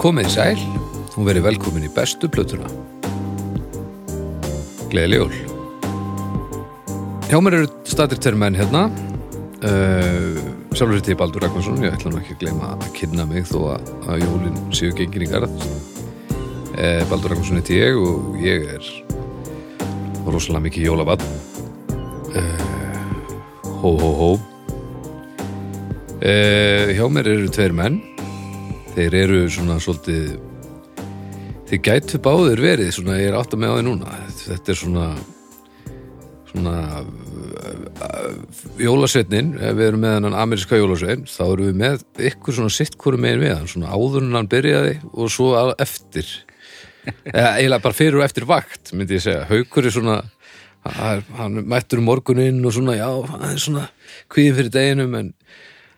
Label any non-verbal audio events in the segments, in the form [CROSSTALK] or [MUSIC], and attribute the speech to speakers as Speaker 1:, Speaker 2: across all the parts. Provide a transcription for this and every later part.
Speaker 1: Komið sæl og verið velkomin í bestu blötuna. Gleðileg jól. Hjá mér eru statir tveir menn hérna. Uh, sjálfur þetta ég Baldur Ragnarsson, ég ætla nú ekki að gleyma að kynna mig þó að, að jólin séu gengin í garð. Uh, Baldur Ragnarsson heiti ég og ég er rosalega mikið jólabann. Uh, hó, hó, hó. Uh, hjá mér eru tveir menn þeir eru svona svolítið þeir gætu báðir verið svona ég er átt að með á því núna þetta er svona svona jólasveitnin, ef við erum með hennan ameríska jólasveitn, þá erum við með ykkur svona sitt hverju megin við hann, svona áður en hann byrjaði og svo að eftir eða eiginlega bara fyrir og eftir vakt myndi ég segja, haukur er svona hann hann er mættur um morguninn og svona, já, hann er svona kvíðin fyrir deginum en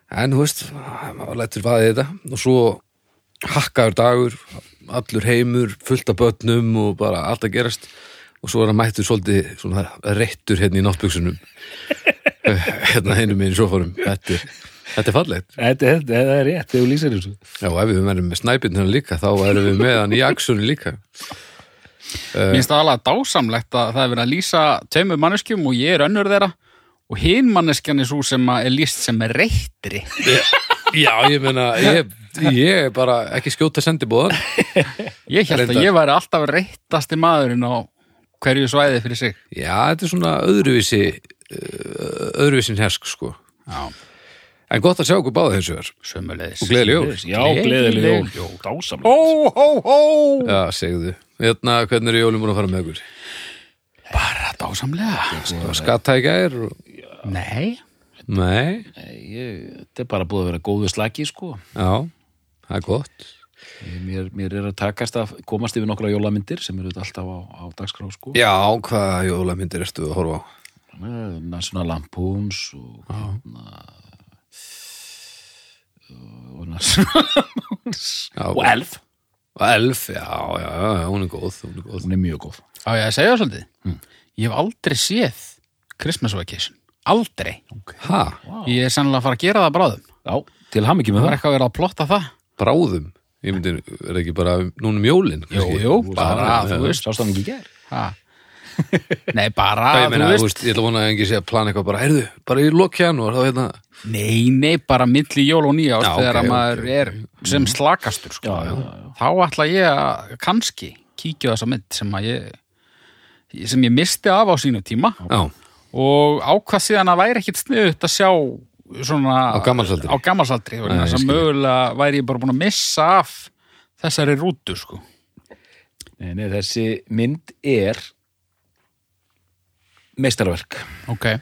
Speaker 1: En þú veist, maður lætur vaðið þetta og svo hakkaður dagur, allur heimur, fullt af börnum og bara allt að gerast og svo er hann mættur svolítið svona reittur hérna í náttbuksunum [LAUGHS] hérna hennum minn sofunum þetta, er- þetta er fallegt
Speaker 2: Þetta, þetta, þetta er rétt, þegar þú lýsir þessu
Speaker 1: Já, og ef við verðum með snæpinn hérna líka þá erum við með hann í aksunum líka
Speaker 3: Mér finnst það alveg dásamlegt að það er verið að lýsa tveimur manneskjum og ég er önnur þeirra og hinn manneskjan er svo sem að er lýst sem reyttri.
Speaker 1: Já, ég meina, ég, ég er bara ekki skjóta sendibóðan
Speaker 3: Ég held að
Speaker 1: Reyndar.
Speaker 3: ég væri alltaf reyttasti maðurinn á hverju svæði fyrir sig.
Speaker 1: Já, þetta er svona öðruvísi uh, öðruvísin hersk sko
Speaker 3: Já,
Speaker 1: En gott að sjá okkur báða þessu verð
Speaker 3: sömulegis.
Speaker 1: Og gleðileg jól.
Speaker 2: Já, gleðileg jól, jól, dásamlega
Speaker 3: Hó, hó, hó!
Speaker 1: Já, segðu. Hérna, hvernig eru jólum búin að fara með ykkur?
Speaker 3: Bara dásamlega.
Speaker 1: Var skatta í gær? Og...
Speaker 3: Nei.
Speaker 1: Nei,
Speaker 2: ég, Þetta er bara búið að vera góðu slagi, sko
Speaker 1: já, það er gott.
Speaker 2: mér, mér er að takast að komast yfir nokkra jólamyndir sem eru þetta alltaf á, á dagskrá, sko
Speaker 1: Já, hvaða jólamyndir ertu að horfa á?
Speaker 2: Eh, National Lampoons og hérna eh, og National
Speaker 1: Já,
Speaker 2: og Elf,
Speaker 1: Og Elf, já, já, já, hún er góð, hún er góð.
Speaker 2: hún er mjög góð
Speaker 3: Á ég að segja það svolítið?
Speaker 2: Hmm.
Speaker 3: Ég hef aldrei séð Christmas Vacation. Aldrei.
Speaker 1: Ha,
Speaker 3: Ég er sennilega að fara að gera það bráðum.
Speaker 2: Já, til ham ekki með
Speaker 3: Það
Speaker 2: það
Speaker 3: er eitthvað að vera að plotta það.
Speaker 1: bráðum? Ég myndi, er ekki bara núna um jólin?
Speaker 3: Jú,
Speaker 1: kannski?
Speaker 3: jú, bara,
Speaker 1: já.
Speaker 3: þú veist.
Speaker 2: Sást það ekki í gær [LAUGHS]
Speaker 3: Ha. Nei, bara,
Speaker 1: Já, ég meina,
Speaker 3: þú veist,
Speaker 1: þú veist, ég ætla að vona að engi sé að plana eitthvað bara, heyrðu, bara í lokjan og þá hérna,
Speaker 3: Nei, nei, bara milli jól og nýja
Speaker 1: Já,
Speaker 3: þegar
Speaker 1: ok,
Speaker 3: að maður
Speaker 1: ok.
Speaker 3: er sem slakastur sko.
Speaker 2: Hmm. Já, já,
Speaker 3: þá ætla ég að kannski kíkja á þessa mynd sem að ég sem ég misti af á sínu tíma
Speaker 1: já,
Speaker 3: og ákvað síðan að væri ekkit sniðut að sjá svona
Speaker 1: Á gammalsaldri.
Speaker 3: á gammalsaldri, vegna
Speaker 1: Nei,
Speaker 3: þess
Speaker 1: ég
Speaker 3: að
Speaker 1: skil.
Speaker 3: mögulega væri ég bara búin að missa af þessari rútu sko.
Speaker 2: Nei, nei, þessi mynd er meistarverk.
Speaker 3: ok,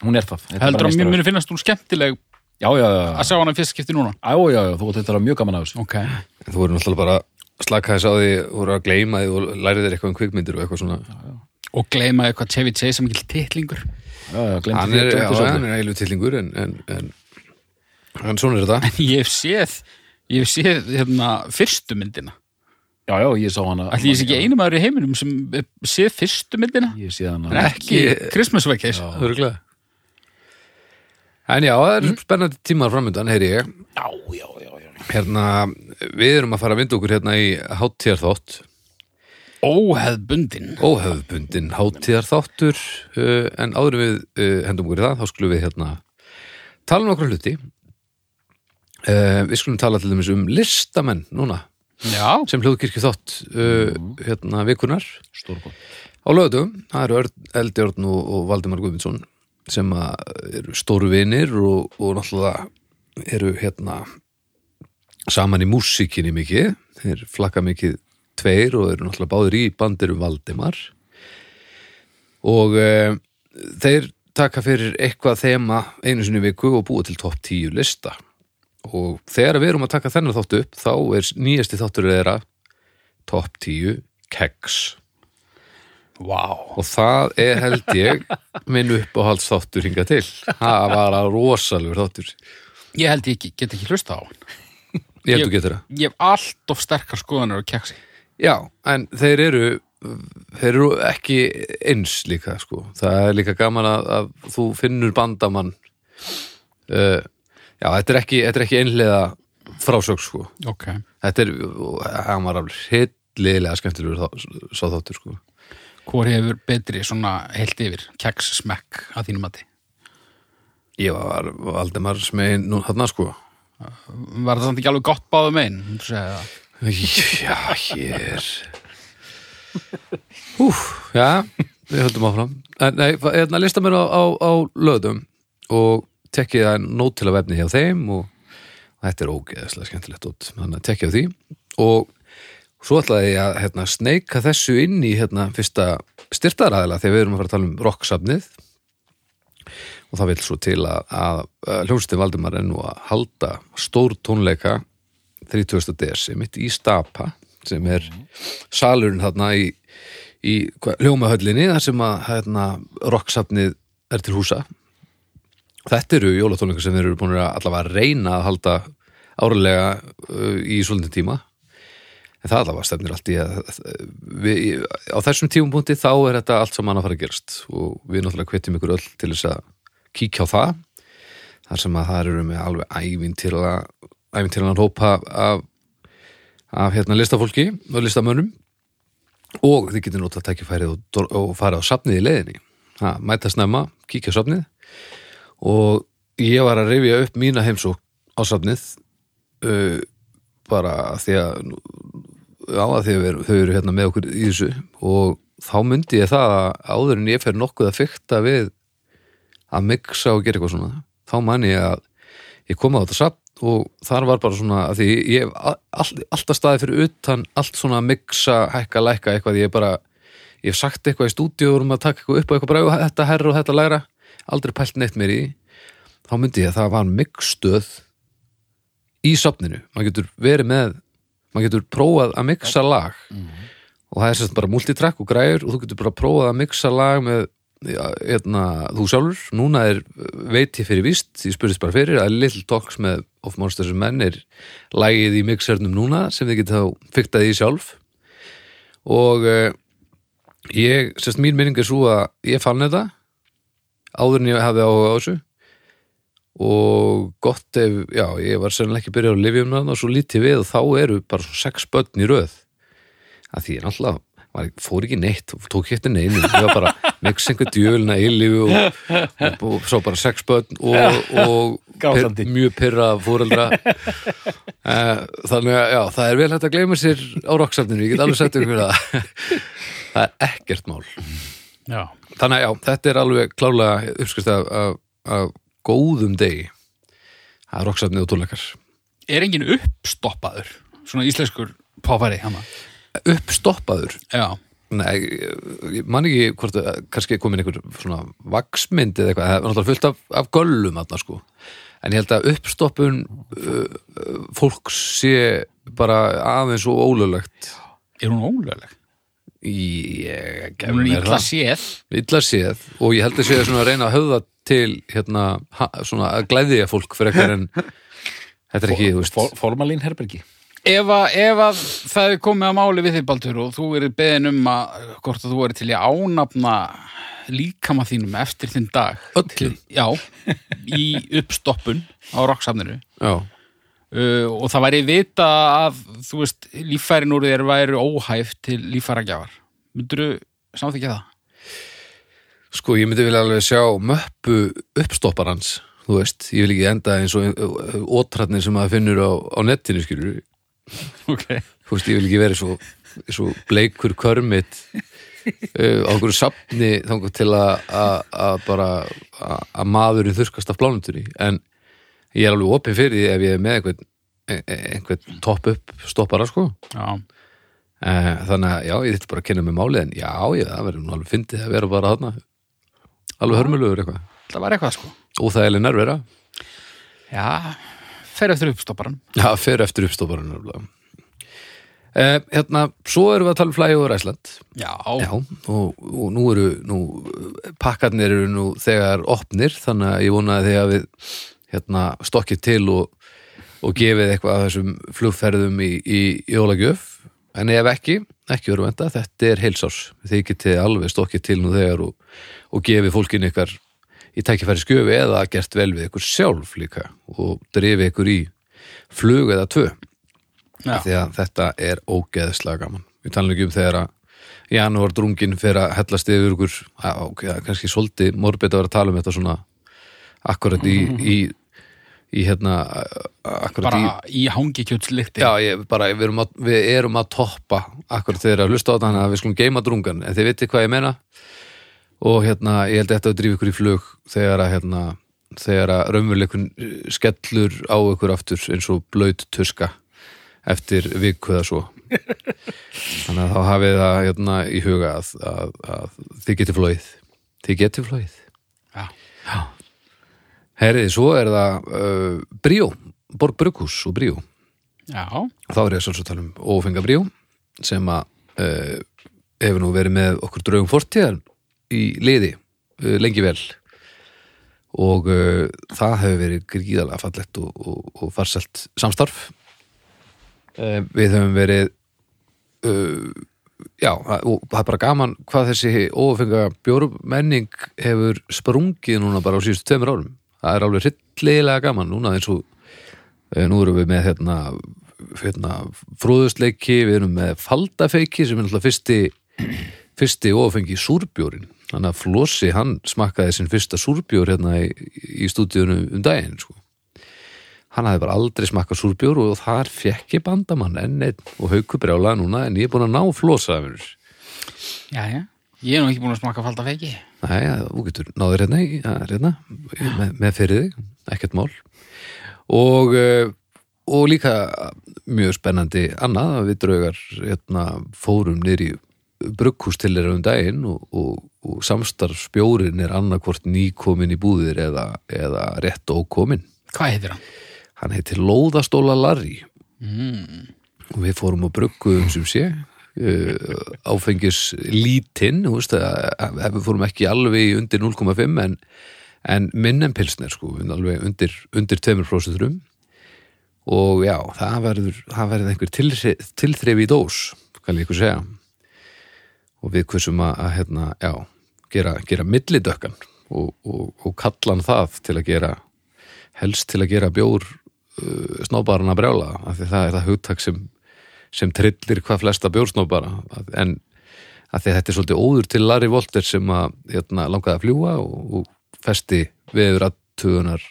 Speaker 2: Hún er það. Þetta er
Speaker 3: heldur
Speaker 2: bara
Speaker 3: að mér
Speaker 2: meistarverk.
Speaker 3: muni finnast hún skemmtileg
Speaker 2: Já, já, já.
Speaker 3: að sjá hana í fyrst skipti núna
Speaker 2: Á, já, já, þú átt þetta að hafa mjög gaman af þessu.
Speaker 3: ok,
Speaker 1: þú voru náttúrulega bara að slaka þess á því, voru að gleyma því og læri þér eitthvað um kvikmyndir og eitthvað svona.
Speaker 3: og gleyma eitthvað Chevy Chase sem ekki titlingur [LAUGHS]
Speaker 2: Já, já, glemdi
Speaker 1: hann
Speaker 2: því
Speaker 1: er,
Speaker 2: að
Speaker 1: já,
Speaker 2: glemdi
Speaker 1: hann
Speaker 2: þessu.
Speaker 1: er eilu tillingur en, en, en, en svona er þetta
Speaker 3: ég hef séð ég hef séð hérna fyrstu myndina
Speaker 2: Já, já, ég sá hana.
Speaker 3: ætli ég sé ekki einu maður í heiminum sem eh, séð fyrstu myndina
Speaker 2: Ég sé hana.
Speaker 3: en ekki
Speaker 1: Ekki-
Speaker 3: Christmas Vacation
Speaker 1: Örgulega En já, það
Speaker 3: Mm.
Speaker 1: er spennandi tímar framöndan, heyri ég
Speaker 2: Já, já, já, já.
Speaker 1: Hérna, við erum að fara að vinda okkur hérna í hátíðarþátt
Speaker 3: óheðbundin
Speaker 1: Óhefðbundin hátíðarþáttur uh, En áður en við uh, hendum okkur í það, þá skulum við hérna tala um okkur hluti uh, Við skulum tala til dæmis um listamenn núna
Speaker 3: já,
Speaker 1: sem hljóðkirkju þátt uh, hérna vikunar
Speaker 2: Stórgótt.
Speaker 1: Á lögðum, það eru Örn, Eldjörn og, og Valdimar Guðmundsson sem að eru stóru vinir og, og náttúrulega eru hérna saman í músíkinni mikið þeir flakka mikið tveir og eru náttúrulega báðir í bandir um Valdimar og e, þeir taka fyrir eitthvað þema einu sinni í viku og búa til topp 10 lista og þegar við erum að taka þennan þátt upp þá er nýjasti þáttur þeirra topp 10 kegs
Speaker 3: wow
Speaker 1: og það er held ég minn uppáhalds þáttur hinga til það var að rosalur þáttur
Speaker 3: ég held ég ekki, get ekki hlusta á hann
Speaker 1: ég held
Speaker 3: Ég-
Speaker 1: þú getur það
Speaker 3: ég hef allt of sterkar skoðanur á keksi
Speaker 1: já, en þeir eru þeir eru ekki eins líka sko. það er líka gaman að, að Eh, þú finnur bandamann uh, já, þetta er ekki, þetta er ekki einlega frásög sko
Speaker 3: Ok.
Speaker 1: þetta er, hann var alveg hillilega skemmtilegur þá- sá þáttur sko
Speaker 3: Hvor hefur betri svona heilt yfir? Keks smekk að þínum mati.
Speaker 1: ég var Valdemar smein nú þarna sko
Speaker 3: Var það samt ekki alveg gott báðum einn?
Speaker 1: já, hér úf, já við höldum áfram en, nei, hérna lista mér á, á, á löðum og tekkið það nót til að vefni hjá þeim og þetta er ógeðslega skemmtilegt út þannig að tekkið á því og svo ætlaði ég að hérna, sneika þessu inn í hérna, fyrsta styrtaræðila þegar við erum að fara að tala um rocksafnið og það vil svo til að, að, að hljómsveitin Valdimar er nú að halda stór tónleika 30. desi mitt í Stapa sem er salurinn þarna í, í hva- hljómahöllinni þar sem að hérna, rocksafnið er til húsa þetta eru jólatónleika sem þeir eru búin að allavega reyna að halda árlega uh, í svolítið tíma en það allavega stefnir allt í að við, á þessum tímupunkti þá er þetta allt saman að fara að gerast og við náttúrulega hvetjum ykkur öll til þess að kíkja á það þar sem að það eru með alveg ævintýrlega ævintýrlega hópa af, af hérna listafólki og listamönnum og þið getur notað tækifærið og, dor- og fara á safnið í leiðinni ha, mæta snemma, kíkja á safnið og ég var að rifja upp mína heimsók á safnið uh, bara af því að nú- já, að því að við- þau eru hérna með okkur í þessu og þá myndi ég það að áður en ég fer nokkuð að fykta við að mixa og gera eitthvað svona þá man ég að ég kom á þetta safn og þar var bara svona að því ég hef a- all, alltaf staðið fyrir utan allt svona að mixa, hækka, lækka eitthvað ég bara, ég hef sagt eitthvað í stúdíu og erum að taka eitthvað upp á eitthvað bara "Jú, þetta herra og þetta læra, aldrei pælt neitt mér í þá myndi ég að það var mixstöð í safninu maður getur verið með maður getur prófað að mixa lag og það er sérst bara multitrack og græjur og þú getur bara prófað að mixa lag með já, hérna, þú sjálfur núna er uh, veit ég fyrir víst ég spurðist bara fyrir að Little Talks með Of Monsters and Men er lagið í mixernum núna sem þið getur þá fiktað í sjálf og uh, ég, sérst mín minning er svo að ég fann þetta áður en ég hafði áhuga á þessu og gott ef, já, ég var sennilega ekki byrjað að lifja um það og svo lítið við og þá eru bara svo sex börn í röð að því ég náttúrulega var, fór ekki neitt og tók ekki eftir neinu ég var bara mix einhver djöfulina illífu og, og, og svo bara sex börn og, og
Speaker 2: Grátandi.
Speaker 1: mjög pyrra fóreldra Eh, þannig að já, það er vel hægt að gleyma sér á roksafninu, ég get alveg sett ykkur það [LAUGHS] það er ekkert mál
Speaker 3: Já.
Speaker 1: þannig að já, þetta er alveg klárlega uppskrift af, af, af góðum degi það er roksafnið og tónleikar
Speaker 3: Er engin uppstoppaður? Svona íslenskur páfari hana.
Speaker 1: uppstoppaður
Speaker 3: Já.
Speaker 1: Nei, ég man ekki hvort að kannski er komin einhver svona vaksmynd eða eitthvað, það var náttúrulega fullt af, af göllum alltaf sko, en ég held að uppstoppun uh, uh, fólks sé bara aðeins og ólulegt
Speaker 3: Er hún ólögleg?
Speaker 1: ég
Speaker 3: Hún er
Speaker 1: mér
Speaker 3: ítla
Speaker 1: það.
Speaker 3: séð.
Speaker 1: illa séð og ég held að séð svona að reyna að höfða til hérna, ha, svona að glæðja fólk fyrir eitthvað en þetta er ekki, þú veist
Speaker 2: For, formalín herbergi
Speaker 3: Ef, að, ef að það er komið að máli við þig, Baldur, og þú er beðin um að, hvort að þú er til í að ánafna líkama þínum eftir þinn dag.
Speaker 1: öllum,
Speaker 3: Já, í uppstoppun á roksafninu.
Speaker 1: já,
Speaker 3: Uh, og það væri vita að, þú veist, líffærin úr þér væri óhæf til líffæragjafar. Myndur þú samþykja það?
Speaker 1: sko ég myndi vilja alveg sjá möppu uppstopparans þú veist, ég vil ekki enda eins og ótratnir sem maður finnur á, á netinu skilur,
Speaker 3: Ok.
Speaker 1: þú veist, ég vil ekki vera svo, svo bleikur körmit uh, á okkur safni þangur til að að- að bara að að maðurinn þurrkast af plánutunni en ég er alveg opið fyrir því ef ég er með einhvern, ein- einhvern topp upp stoppara sko
Speaker 3: Já.
Speaker 1: uh, þannig að já, ég þetta bara að kynna mig málið en já, ég, það verður nú alveg fyndið að vera bara þarna alveg hörmulegur eitthvað
Speaker 3: Það væri eitthvað, sko.
Speaker 1: óþægileg nervera
Speaker 3: Já, fer eftir uppstopparan.
Speaker 1: Já, fer eftir uppstopparinn uh, hérna, svo erum við að tala um flæði og ræsland
Speaker 3: Já.
Speaker 1: Já, og, og nú eru nú, pakkarnir eru nú þegar opnir, þannig að ég vona að þegar við hérna, stokkið til og, og gefið eitthvað af þessum flugferðum í, í jólagjöf en ef ekki, ekki verður venda þetta er heilsás, þið getið alveg stokkið til nú þegar og, og gefið fólkinu ykkar í tækifæri skjöfi eða gert vel við ykkur sjálf líka og drefið ykkur í flug eða tvö
Speaker 3: Já.
Speaker 1: því að þetta er ógeðslega gaman við tala ekki um þegar að janúar drungin fyrir að hellast yfir ykkur á, ok, það er kannski svolítið morbið að vera að tala um þetta svona akkurat í, í, í hérna akkurat í
Speaker 3: bara í hangikjöldslykti
Speaker 1: Já, ég, bara, við, erum að, við erum að toppa akkurat þegar að hlusta á þannig að við skulum geima drungan en þið vitið hvað ég meina og hérna, ég held að þetta að drífa ykkur í flug þegar að, hérna, þegar að raunveruleikun skellur á ykkur aftur eins og blöyt tuska eftir viku eða svo þannig að þá hafið það hérna, í huga að, að, að þið geti flóið þið geti flóið
Speaker 3: Já.
Speaker 1: Herrið, svo er það uh, Bríó, Borg Brukus og Bríó
Speaker 3: Já.
Speaker 1: þá er ég svolítið að tala um ófenga bríó sem að uh, hefur nú verið með okkur draugum fortíðar í liði uh, lengi vel og uh, það hefur verið gríðalega fallegt og, og, og farselt samstarf uh, við höfum verið uh, já, það- og það er bara gaman hvað þessi ófenga bjórmenning hefur sprungið núna bara á síðustu tveimur árum það er alveg hryllilega gaman núna eins og Eh, Nú erum við með hérna, hérna fróðustleiki, við erum með faldafeiki sem er náttúrulega fyrsti, fyrsti ofengi súrbjórin. Þannig að Flossi, hann smakkaði sinn fyrsta súrbjór hérna í, í stúdíunum um daginn, sko. Hann hafði bara aldrei smakkað súrbjór og þar fekk ég bandamann enn einn og haukubrjála núna en ég er búin að ná Flossa, vinur.
Speaker 3: Já, já. Ég er nú ekki búin að smaka falda feiki.
Speaker 1: Nei, já, þú getur náður hérna, í- ja, hérna með, með fyrir þig, ekkert mál og, eh, og líka mjög spennandi annað að við draugar hérna, fórum nýri brugghús til þeirra um daginn og, og, og samstarfsbjórin er annarkvort nýkomin í búðir eða, eða rétt ókomin
Speaker 3: Hvað heitir hann?
Speaker 1: hann heitir Lóðastóla Larry og við fórum og brugguðum sem sé uh, áfengis lítinn þú veist, að- að- við fórum ekki alveg í undir 0,5 en, en minn en pilsner sko, við alveg undir, undir 2% rum og já, það verður, það verður einhver tilhre- tilþrif í dós skal ég ykkur segja og við kursum að, að hérna, já, gera, gera millidökkan og, og, og kallan það til að gera helst til að gera bjór uh, snóbarana brjála af því það er það hugtak sem, sem trillir hvað flesta bjórsnóbara Að- en af því að þetta er svolítið óður til Larry Volter sem að hérna, langaði að fljúa og, og festi veður aðtugunar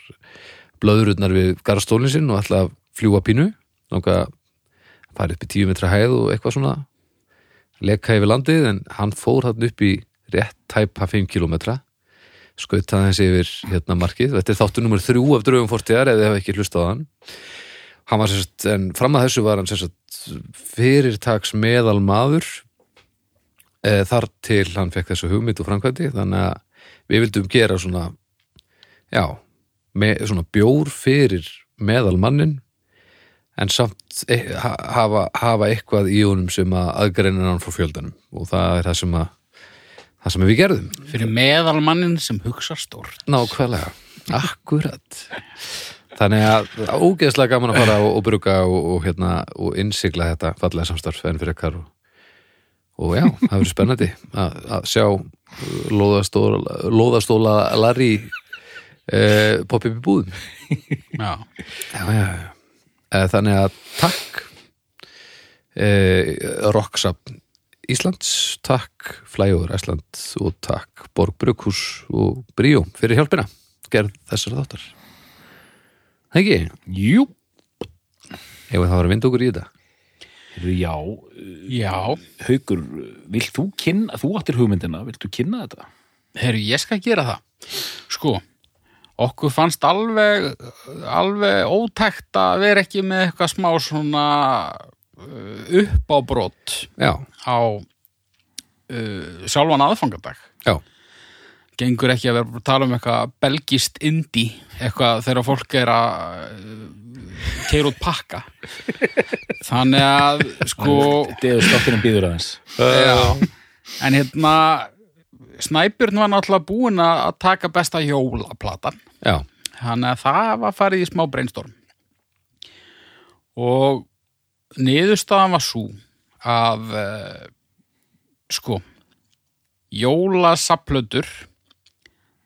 Speaker 1: blöðurutnar við garstólinn sinn og ætlaði að fljúa pínu langaði að fara upp í tíu metra hæð og eitthvað svona leka yfir landið en hann fór hann upp í rétt tæpa 5 kilometra skautaði hans yfir hérna markið þetta er þáttu nummer þrjú af draugum fortíðar ef þið hafa ekki hlustað á hann hann var sérst, en fram að þessu var hann sérst fyrirtaks meðal maður e, þar til hann fekk þessu hugmynd og framkvæmdi þannig að við vildum gera svona já, með, svona bjór fyrir meðal mannin en samt e, ha, hafa, hafa eitthvað í honum sem að aðgreinir hann frá fjöldanum og það er það sem að það sem við gerðum
Speaker 3: Fyrir meðalmannin sem hugsa stór.
Speaker 1: Nákvæmlega, akkurat Þannig að það er ógeðslega gaman að fara og, og bruga og, og, hérna, og innsigla þetta fallega samstarf enn fyrir ekkar og, og já, það verður spennandi að, að sjá uh, lóðastóla, lóðastóla Larry eh, poppa upp í búðum
Speaker 3: Já.
Speaker 1: já, já, já. Eh, Þannig að takk eh, Rocksapn Íslands, takk Flægur Æsland og takk Borg Brukhus og Bríó fyrir hjálpina gerð þessar þáttar Það ekki,
Speaker 2: Jú,
Speaker 1: ef það var að vinda okkur í þetta
Speaker 2: já,
Speaker 3: Já.
Speaker 2: haukur, vilt þú kynna, þú áttir hugmyndina, vilt þú kynna þetta?
Speaker 3: Herru, ég skal gera það. Sko, okkur fannst alveg, alveg ótækt að vera ekki með eitthvað smá svona uh, uppábrot
Speaker 1: Já,
Speaker 3: á uh, sjálfan aðfangadag.
Speaker 1: já,
Speaker 3: Gengur ekki að vera að tala um eitthvað belgist indi, eitthvað þegar fólk er að keira út pakka. Þannig að, sko...
Speaker 2: Deður stokkurinn býður aðeins.
Speaker 3: Já. En hérna, Snæbjörn var náttúrulega búinn að að taka besta jólaplatan.
Speaker 1: já,
Speaker 3: Þannig að það var farið í smá brainstorm. Og niðurstaðan var svo að, uh, sko, jólasaplötur,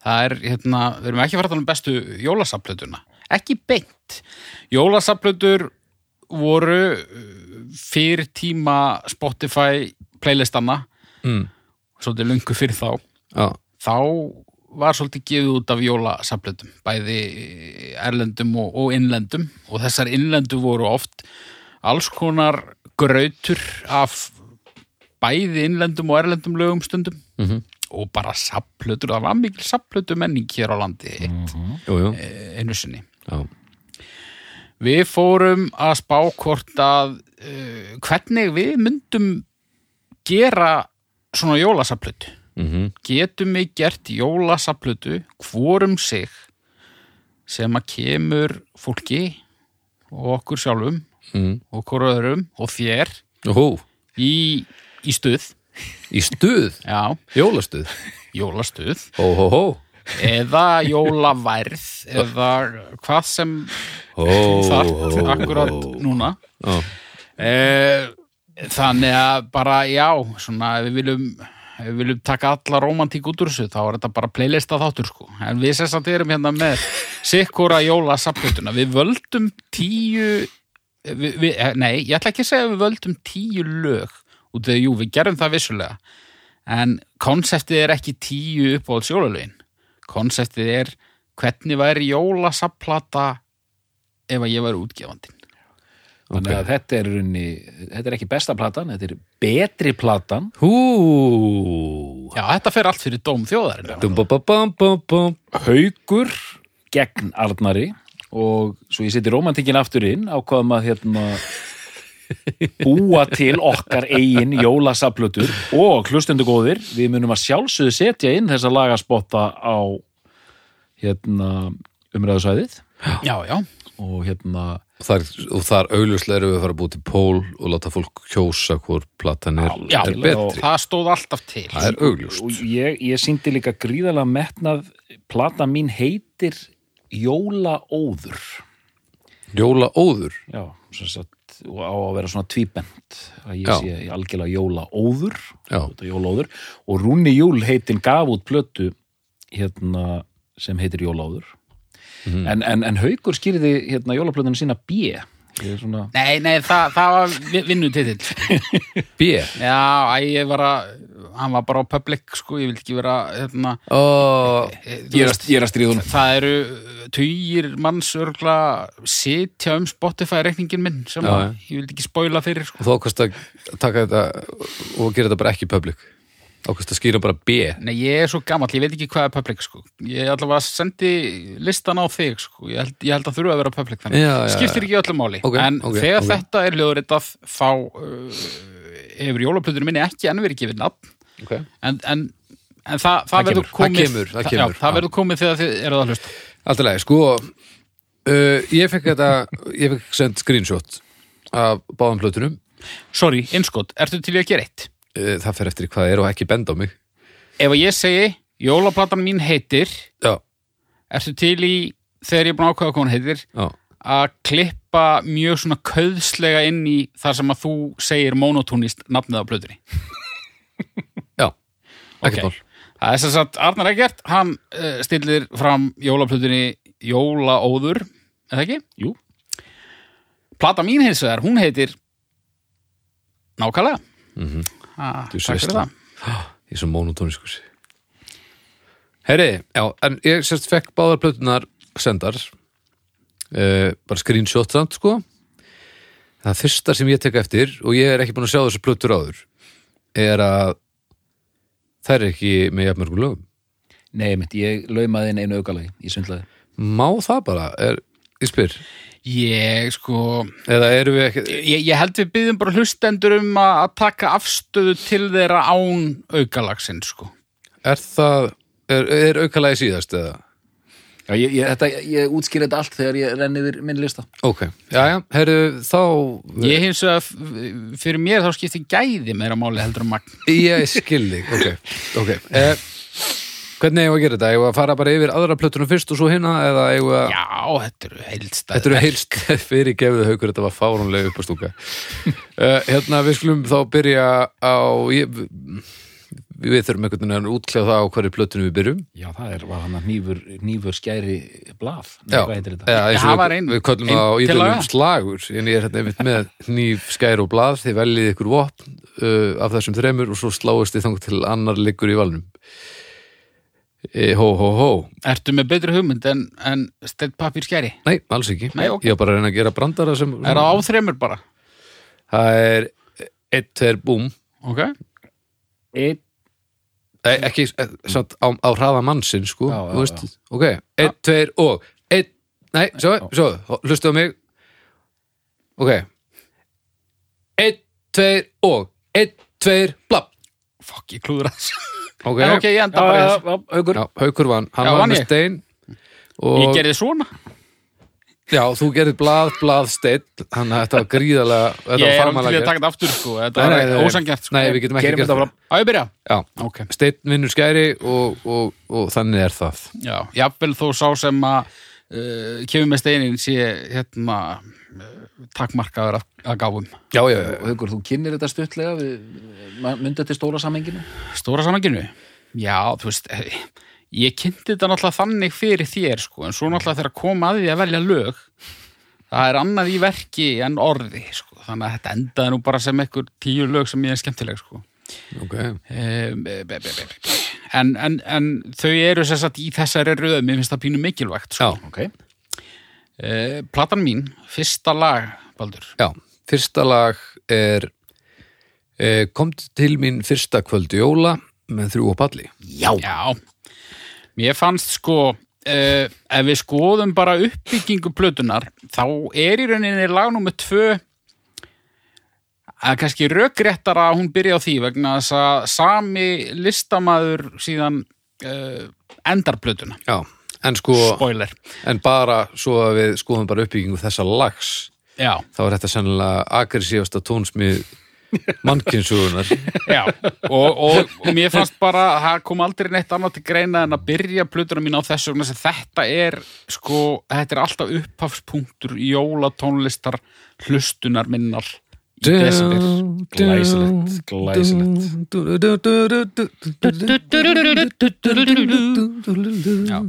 Speaker 3: það er, hérna, við erum ekki að fara að tala um bestu jólasaplötuna. ekki beint jólasaflötur voru uh, fyrir tíma Spotify playlistanna
Speaker 1: mm.
Speaker 3: svolítið lungu fyrir þá
Speaker 1: já,
Speaker 3: þá var svolítið gefið út af jólasaflötum bæði erlendum og, og innlendum og þessar innlendu voru oft alls konar grautur af bæði innlendum og erlendum lögum stundum -hmm. og bara saflötur, það var mikil saflötu menning hér á landi mm
Speaker 1: jú, jú,
Speaker 3: einu sinni
Speaker 1: já,
Speaker 3: Við fórum að spá hvort að uh, hvernig við myndum gera svona jólasaplutu.
Speaker 1: mhm,
Speaker 3: Getum við gert jólasaplutu hvorum sig sem að kemur fólki og okkur sjálfum
Speaker 1: mhm
Speaker 3: og okkur öðrum og þér
Speaker 1: Ó,
Speaker 3: í, í stuð,
Speaker 1: í stuð,
Speaker 3: já,
Speaker 1: jólastuð
Speaker 3: jólastuð
Speaker 1: Ó, hó, hó
Speaker 3: eða jólaværð eða hvað sem
Speaker 1: Ó,
Speaker 3: [LAUGHS] þarft akkurat núna.
Speaker 1: Já,
Speaker 3: Eh, Þannig að bara, já, svona, ef við viljum, ef við viljum taka alla romantík út úr þessu, þá er þetta bara playlista þáttur, sko. En við sem samt erum hérna með sikkura jóla sapplutuna. Við völdum tíu, við, við, eh, nei, ég ætla ekki að segja að við völdum tíu lög út við, jú, við gerum það vissulega. En konseptið er ekki tíu uppáhalds jólalögin. Konseptið er hvernig væri jóla sapplata ef að ég væri útgefandinn.
Speaker 2: Þannig að þetta er, runni, þetta er ekki besta platan, þetta er betri platan
Speaker 1: Hú
Speaker 3: Já, þetta fer allt fyrir dóm þjóðarinn.
Speaker 1: Dum-ba-ba-bam-bam-bam
Speaker 2: haugur gegn Arnari og svo ég seti romantikinn aftur inn ákvaðum að hérna búa til okkar eigin jólasaplutur og hlustundu góðir við munum að sjálfsögðu setja inn þessa lagaspotta á hérna umræðusæðið
Speaker 3: Já, já.
Speaker 2: og hérna
Speaker 1: Þar, og þar auðljóslega erum við að fara að búið til pól og láta fólk kjósa hvort platan er,
Speaker 3: Já,
Speaker 1: er betri.
Speaker 3: það stóð alltaf til.
Speaker 1: Það er augljóst.
Speaker 2: og ég, ég síndi líka gríðalega metnað plata mín heitir Jólaóður
Speaker 1: Jóla óður.
Speaker 2: já, sem sagt og á að vera svona tvíbent að ég
Speaker 1: Já.
Speaker 2: sé ég algjörlega Jólaóður
Speaker 1: Já.
Speaker 2: þetta er Jólaóður og Rúni Júl heitin gaf út plötu hérna sem heitir Jólaóður en, en, en Haukur skýrði hérna jólaplötuna sína B ég er svona
Speaker 3: Nei, nei, það, það var vinnutitill.
Speaker 1: B.
Speaker 3: Já, æ, ég var að, hann var bara á public, sko, ég vil ekki vera, hérna,
Speaker 1: Ó,
Speaker 3: þú veist,
Speaker 2: ég er að stríða honum
Speaker 3: það eru tugir manns örgla sitja um Spotify-reikningin minn sem
Speaker 1: Já,
Speaker 3: að,
Speaker 1: já.
Speaker 3: ég vil ekki spoila fyrir, sko.
Speaker 1: og þá ákast að taka þetta og gera þetta bara ekki public. Ákast að skýra bara B.
Speaker 3: Nei, ég er svo gamall, ég veit ekki hvað er public, sko. Ég allavega sendi listan á þig, sko. Ég held, ég held að þurfa að vera public þannig.
Speaker 1: Já, já, já.
Speaker 3: Skiptir ekki öllu máli.
Speaker 1: Ok,
Speaker 3: en
Speaker 1: ok,
Speaker 3: þegar
Speaker 1: ok.
Speaker 3: þetta er löguritað, þá uh, hefur jólaplötunum minni ekki enn verið gefið nafn.
Speaker 1: Ok.
Speaker 3: En, en, en það, það,
Speaker 1: Það
Speaker 3: verður
Speaker 1: kemur, það
Speaker 3: komið...
Speaker 1: kemur, það kemur,
Speaker 3: Já, það
Speaker 1: já.
Speaker 3: verður komið þegar þið eruð að hlusta.
Speaker 1: Alltaf leið, sko, uh, ég fekk þetta, ég fekk sendt screenshot af báðum plötunum.
Speaker 3: Sorry, innskot, ertu til ég að gera eitt?
Speaker 1: Uh, það fer eftir í hvað það er og ekki benda á mig.
Speaker 3: Ef að ég segi, jólaplatan mín heitir,
Speaker 1: Já,
Speaker 3: ertu til í, þegar ég er búin að ákveða hvað hún heitir,
Speaker 1: já.
Speaker 3: að klippa mjög svona köðslega inn í þar sem að þú segir monotónist nafnið á plötunni.
Speaker 1: Já, ekkert
Speaker 3: Ok.
Speaker 1: mál. [GASPS]
Speaker 3: Það er sem sagt Arnar Eggert, hann uh, stillir fram jólaplötunni Jólaóður, er það ekki?
Speaker 2: Jú.
Speaker 3: Plata mín hins vegar, hún heitir Nákvæmlega. Mm -hmm.
Speaker 1: Þú
Speaker 3: Takk
Speaker 1: sveist
Speaker 3: fyrir það.
Speaker 1: Ég er svo monotóniskus Herri, já, en ég sérst fekk báðar plötunar sendar uh, bara screenshot samt, sko Það fyrsta sem ég tek eftir og ég er ekki búin að sjá þessu plötur áður er að það er ekki með jafnmörgum lögum
Speaker 2: Nei, mitt, ég laumaði inn einu aukalagi í sundlaði
Speaker 1: Má það bara, er, ég spyr
Speaker 3: Ég sko,
Speaker 1: eða erum við ekki
Speaker 3: ég, ég held við byggjum bara hlustendur um að að taka afstöðu til þeirra án aukalagsinn sko.
Speaker 1: er það, er, er aukalagi síðast eða?
Speaker 2: Já, ég, ég, þetta, ég útskýr þetta allt þegar ég renni yfir minn lista
Speaker 1: Ok, já, já, herri, þá
Speaker 3: Ég hins vegar, f- fyrir mér þá skipti gæði meira máli heldur um magn.
Speaker 1: Ég skil þig, ok, okay. Eh, Hvernig eigum við að gera þetta? Eigum við að fara bara yfir aðra plötunum fyrst og svo hinna eða eigum við að
Speaker 3: Já, þetta eru heildstæð.
Speaker 1: Þetta eru [LAUGHS] heilst fyrir gefðu haukur, þetta var Eh, fáránlega uppastúka uh, Hérna, við skulum þá byrja á ég, við þurfum einhvern veginn að útkljá það á hverju plötunum við byrjum
Speaker 2: Já, það er, var hann að nýfur, nýfur skæri blað. Nei,
Speaker 1: Já,
Speaker 2: hvað heitir þetta?
Speaker 1: eða, eins og
Speaker 3: Það var
Speaker 1: við-
Speaker 3: ein-
Speaker 1: við köllum
Speaker 3: ein
Speaker 1: það á
Speaker 3: tillaga.
Speaker 1: ídölum slagur en ég er hérna einmitt með nýf, skær og blað þið veljið ykkur vopn uh, af þessum þremur og svo sláist þið þangt til annar liggur í valnum e, hó, hó, hó
Speaker 3: Ertu með betri hugmynd en, en steitt pappir skæri?
Speaker 1: nei, alls ekki,
Speaker 3: Nei, ok.
Speaker 1: ég var bara að reyna að gera brandara sem,
Speaker 3: Er það á þremur bara?
Speaker 1: það er eitt, tveir, búm
Speaker 3: Ok,
Speaker 2: Einn,
Speaker 1: Nei, ekki, eh, samt á, á hraða mannsinn sko,
Speaker 2: Já, já,
Speaker 1: þú veist, ok einn, tveir og, einn, nei, svo, svo hlustu á mig ok einn, tveir og einn, tveir, blab
Speaker 3: fuck, ég klúður þessu.
Speaker 1: ok,
Speaker 3: En ok, ég enda
Speaker 2: já,
Speaker 3: bara í
Speaker 2: já,
Speaker 3: þessu.
Speaker 2: já, haukur.
Speaker 1: Já, haukur vann, hann
Speaker 3: Já,
Speaker 1: var
Speaker 3: vann
Speaker 1: með
Speaker 3: ég.
Speaker 1: stein og,
Speaker 3: Ég gerði svona.
Speaker 1: já, þú gerði blað, blað, stein hann þetta var gríðalega þetta var
Speaker 3: Ég er um til
Speaker 1: farmalega
Speaker 3: í að
Speaker 1: gert.
Speaker 3: taka þetta aftur, sko. Þetta
Speaker 1: Nei, nei,
Speaker 3: var
Speaker 1: nei,
Speaker 3: ósangjart, sko.
Speaker 1: nei, við getum ekki
Speaker 2: Gerum
Speaker 1: gert
Speaker 2: þetta bara.
Speaker 1: það
Speaker 3: Á, ég byrja?
Speaker 1: já,
Speaker 3: Ok.
Speaker 1: stein vinnur skæri og, og, og þannig er það
Speaker 3: Já, jafnvel þó sá sem að uh, kemur með steinin sé hérna uh, takkmarkaður að, að gáum.
Speaker 1: já, já, já,
Speaker 2: Haukur, þú kynir þetta stuttlega við myndið til stóra samenginu.
Speaker 3: Stóra samanginu? Já, þú veist, eh, ég kynnti þetta náttúrulega þannig fyrir þér, sko, en svo náttúrulega þegar kom að því að velja lög, það er annað í verki en orði, sko, þannig að þetta endaði nú bara sem einhver tíu lög sem ég er skemmtileg, sko.
Speaker 1: ok
Speaker 3: Um, eh, be- be- be- be- En, en, en þau eru sem sagt í þessari röðum, mér finnst það pínu mikilvægt,
Speaker 1: já,
Speaker 3: sko.
Speaker 2: Ok.
Speaker 3: Uh, platan mín, fyrsta lag, Baldur.
Speaker 1: Já, fyrsta lag er e, Komt til mín fyrsta kvöld jóla með þrjú og palli
Speaker 2: Já.
Speaker 3: Já, mér fannst sko uh, ef við skoðum bara uppbyggingu plötunar þá er í rauninni lag nummer tvö að kannski rökréttara að hún byrja á því vegna þess að sami listamaður síðan uh, endar plötuna
Speaker 1: Já, en sko,
Speaker 3: spoiler,
Speaker 1: en bara svo að við skoðum bara uppbyggingu þessa lags
Speaker 3: já,
Speaker 1: þá er þetta sennilega agressífasta tónsmið mannkynnsugunar
Speaker 3: já og, og, og mér fannst bara að það kom aldrei neitt annað til greina en að byrja plötuna mín á þessu vegna þess að þetta er sko, þetta er alltaf upphafspunktur jólatónlistar hlustunar minnar í desember
Speaker 2: Glæsilegt, glæsilegt.
Speaker 3: Já.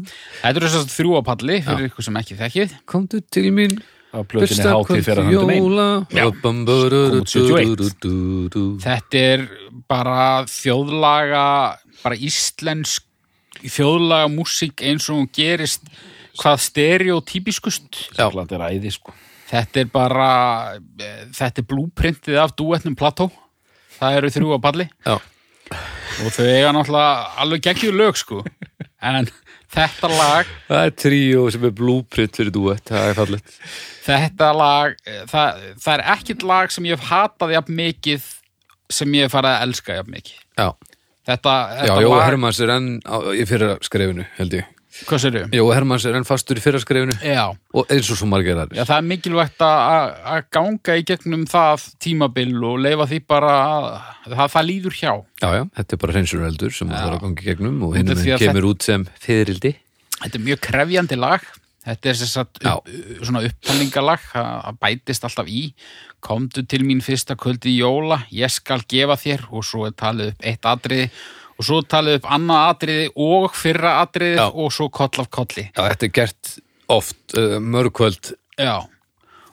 Speaker 3: Þetta eru þess að þrjúapalli fyrir ykkur sem ekki þekkið
Speaker 1: Komdu til mín
Speaker 2: Að plötinni hátíð fyrir hann um einn.
Speaker 1: Já,
Speaker 2: út 71.
Speaker 3: Þetta er bara þjóðlaga bara íslensk þjóðlaga músík eins og hún gerist hvað stereotypiskust
Speaker 1: Já.
Speaker 2: Þetta er æði, sko.
Speaker 3: Þetta er bara eh, þetta er blúprintið af duetnum Plató Það eru þrjúapalli
Speaker 1: Já,
Speaker 3: og þau eiga náttúrulega alveg geggjur lög sko en þetta lag
Speaker 1: það er tríó sem er blúprint fyrir duett, það er fallegt
Speaker 3: þetta lag eh, það, það er ekkit lag sem ég hef hatað jafn mikið sem ég hef farið að elska jafn mikið
Speaker 1: Já,
Speaker 3: þetta,
Speaker 1: já
Speaker 3: þetta
Speaker 1: Jó
Speaker 3: lag,
Speaker 1: Hermanns er enn á, í fyrra skrefinu, held ég
Speaker 3: hvað sér þau?
Speaker 1: Jó Hermanns er enn fastur í fyrra skrefinu
Speaker 3: Já,
Speaker 1: og eins og svo margir
Speaker 3: já,
Speaker 1: aðrir
Speaker 3: það er mikilvægt að- að að ganga í gegnum það tímabil og leifa því bara að það, það líður hjá
Speaker 1: Já, já, þetta er bara hreinsureldur sem það er að gangi gegnum og
Speaker 3: Út af
Speaker 1: hinn
Speaker 3: því að
Speaker 1: kemur út sem fyririldi
Speaker 3: þetta er mjög krefjandi lag þetta er þess að upp, svona upptalningalag það það bætist alltaf í komdu til mín fyrsta kvöldi í jóla ég skal gefa þér og svo er talið upp eitt atriði og svo er talið upp annað atriði og fyrra atriði
Speaker 1: Já.
Speaker 3: og svo koll af kolli
Speaker 1: Já, þetta er gert oft uh, mörgkvöld
Speaker 3: Já.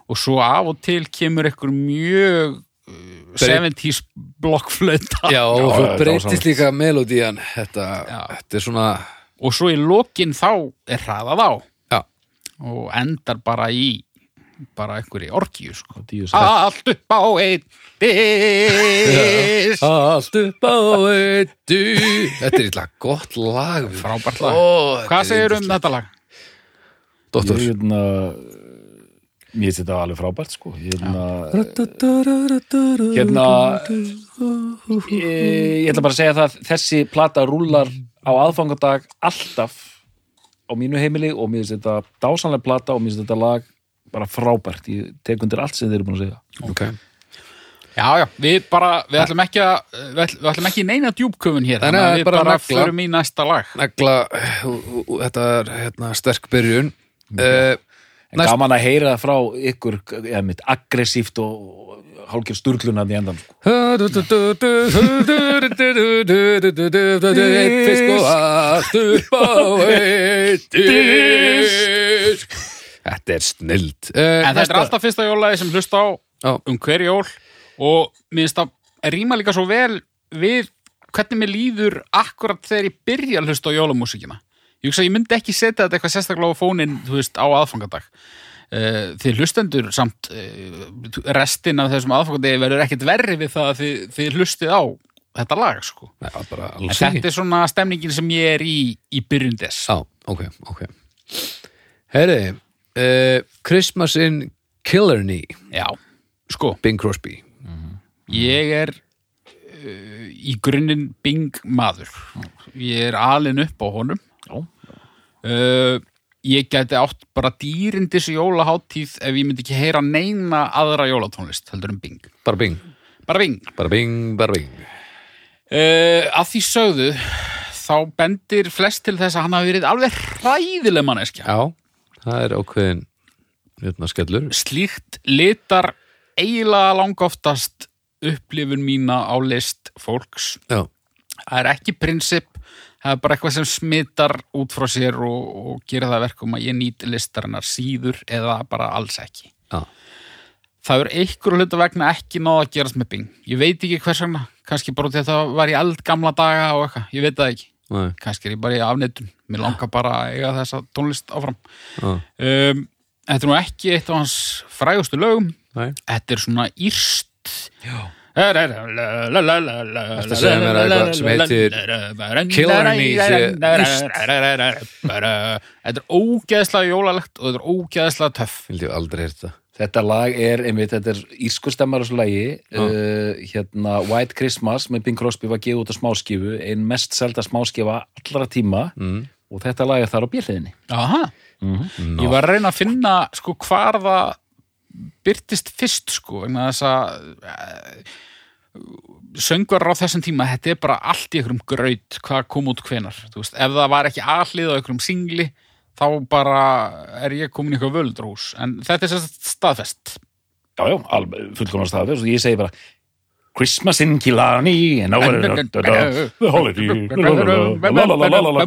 Speaker 3: og svo af og til kemur ykkur mjög uh, 70s blokkflöta
Speaker 1: Ah. Já, og
Speaker 2: Já,
Speaker 1: svo
Speaker 2: já,
Speaker 1: breytist
Speaker 2: dásamlegt.
Speaker 1: líka melodían þetta,
Speaker 3: Já.
Speaker 1: þetta er svona
Speaker 3: og svo í lokin þá er hraðað á
Speaker 1: Já,
Speaker 3: og endar bara í bara einhverju orkíu sko.
Speaker 2: Díu sætt.
Speaker 1: Ah,
Speaker 3: allt upp á einn dis
Speaker 1: allt upp á eittu Þetta er illa gott lag
Speaker 3: frábært lag
Speaker 1: Ó,
Speaker 3: hvað segir um þetta lag?
Speaker 1: Dóttor
Speaker 2: Ég, hérna, mér finnst þetta alveg frábært, sko. Ég, hérna,
Speaker 1: Hérna
Speaker 2: Hérna- Eh, ég, ég ætla bara að segja það, þessi plata rúlar á aðfangadag alltaf á mínu heimili og mér finnst þetta dásanlega plata og mér finnst þetta lag bara frábært. Ég tek undir allt sem þeir eru búin að segja.
Speaker 1: okay.
Speaker 3: já já, við bara, við ætlum ekki að við ætlum, við ætlum ekki í neina djúbköfun hér
Speaker 1: Nei, nei,
Speaker 3: þannig að við
Speaker 1: bara
Speaker 3: bara,
Speaker 1: negla.
Speaker 3: förum í næsta lag
Speaker 1: Negla, ú- ú- ú- þetta er hérna, sterk byrjun okay.
Speaker 2: En
Speaker 1: Næst-
Speaker 2: gaman að heyra frá ykkur eða mitt aggressíft og hálfgjör sturglunandi endan sko.
Speaker 1: Eitt fisk og allt upp á eitt disk Þetta er snild
Speaker 3: En þetta er alltaf fyrsta jólæði sem hlusta á
Speaker 1: Já.
Speaker 3: um hver jól og minnst að rýma líka svo vel við hvernig mér líður akkurat þegar ég byrja að hlusta á jólamúsikina. Ég hugsa að ég myndi ekki setja þetta eitthvað sérstaklega á fónin, þú veist, á aðfangadag. Uh, þið hlustendur samt uh, restin af þessum aðfangandi verður ekkit verri við það að þið, þið hlustið á þetta lag, sko.
Speaker 1: Já, bara
Speaker 3: En
Speaker 1: alls
Speaker 3: þetta
Speaker 1: ekki
Speaker 3: er svona stemningin sem ég er í í byrjun þess.
Speaker 1: Já, ok, ok Herri, uh, Christmas in Killarney
Speaker 3: Já, sko.
Speaker 1: Bing Crosby
Speaker 3: Ég er uh, í grunninn Bing maður. Ég er alin upp á honum.
Speaker 2: Já.
Speaker 3: Uh, ég gæti átt bara dýrindis jólaháttíð ef ég myndi ekki heyra neina aðra jólatónlist, heldur um Bing.
Speaker 1: Bara bing,
Speaker 3: Bara Bing.
Speaker 1: bara bing, bara bing
Speaker 3: Uh, að því sögðu, þá bendir flest til þess að hann hafi verið alveg hræðileg manneskja.
Speaker 1: Já, það er ákveðin hérna skellur
Speaker 3: slíkt litar eiginlega langoftast upplifun mína á list fólks.
Speaker 1: Já,
Speaker 3: það er ekki prinsip það er bara eitthvað sem smittar út frá sér og, og gera það að verkum að ég nýt listarinnar síður eða bara alls ekki
Speaker 1: já,
Speaker 3: það er einhverju hluta vegna ekki náða að gerast með Bing ég veit ekki hvers vegna, kannski bara út í að það var í eld gamla daga og eitthvað, ég veit það ekki
Speaker 1: næ,
Speaker 3: kannski er ég bara í afneitun, mér langar bara að eiga þessa tónlist áfram
Speaker 1: já,
Speaker 3: um, þetta er nú ekki eitt af hans frægustu lögum,
Speaker 1: næ
Speaker 3: þetta er svona írst
Speaker 2: Já.
Speaker 3: Þetta að
Speaker 1: að segja mér að eitthvað sem heitir Killarney sé írskt?
Speaker 3: Þetta er ógeðslega jólalegt og þetta er ógeðslega töff
Speaker 1: Vildi ég aldrei hérta
Speaker 2: Þetta lag er, einmitt, þetta er írskustemmar á svo lagi uh, hérna White Christmas með Bing Crosby var gefið út á smáskifu ein mest selda smáskifa allra tíma mm. og þetta lag er þar á bjöliðinni
Speaker 3: Aha, ég var að reyna að finna sko hvar það byrtist fyrst sko vegna þess að eh, söngvarar á þessum tíma þetta er bara allt í einhverjum graut hvað kom út hvenar, þú veist, ef það var ekki aðlið á einhverjum singli þá bara er ég komin í eitthvað völdrús en þetta er sérst staðfest
Speaker 2: Já, já, alveg fullkomna staðið og ég segi bara Christmas in Killarney and over the holiday la, la, la, la, la, la,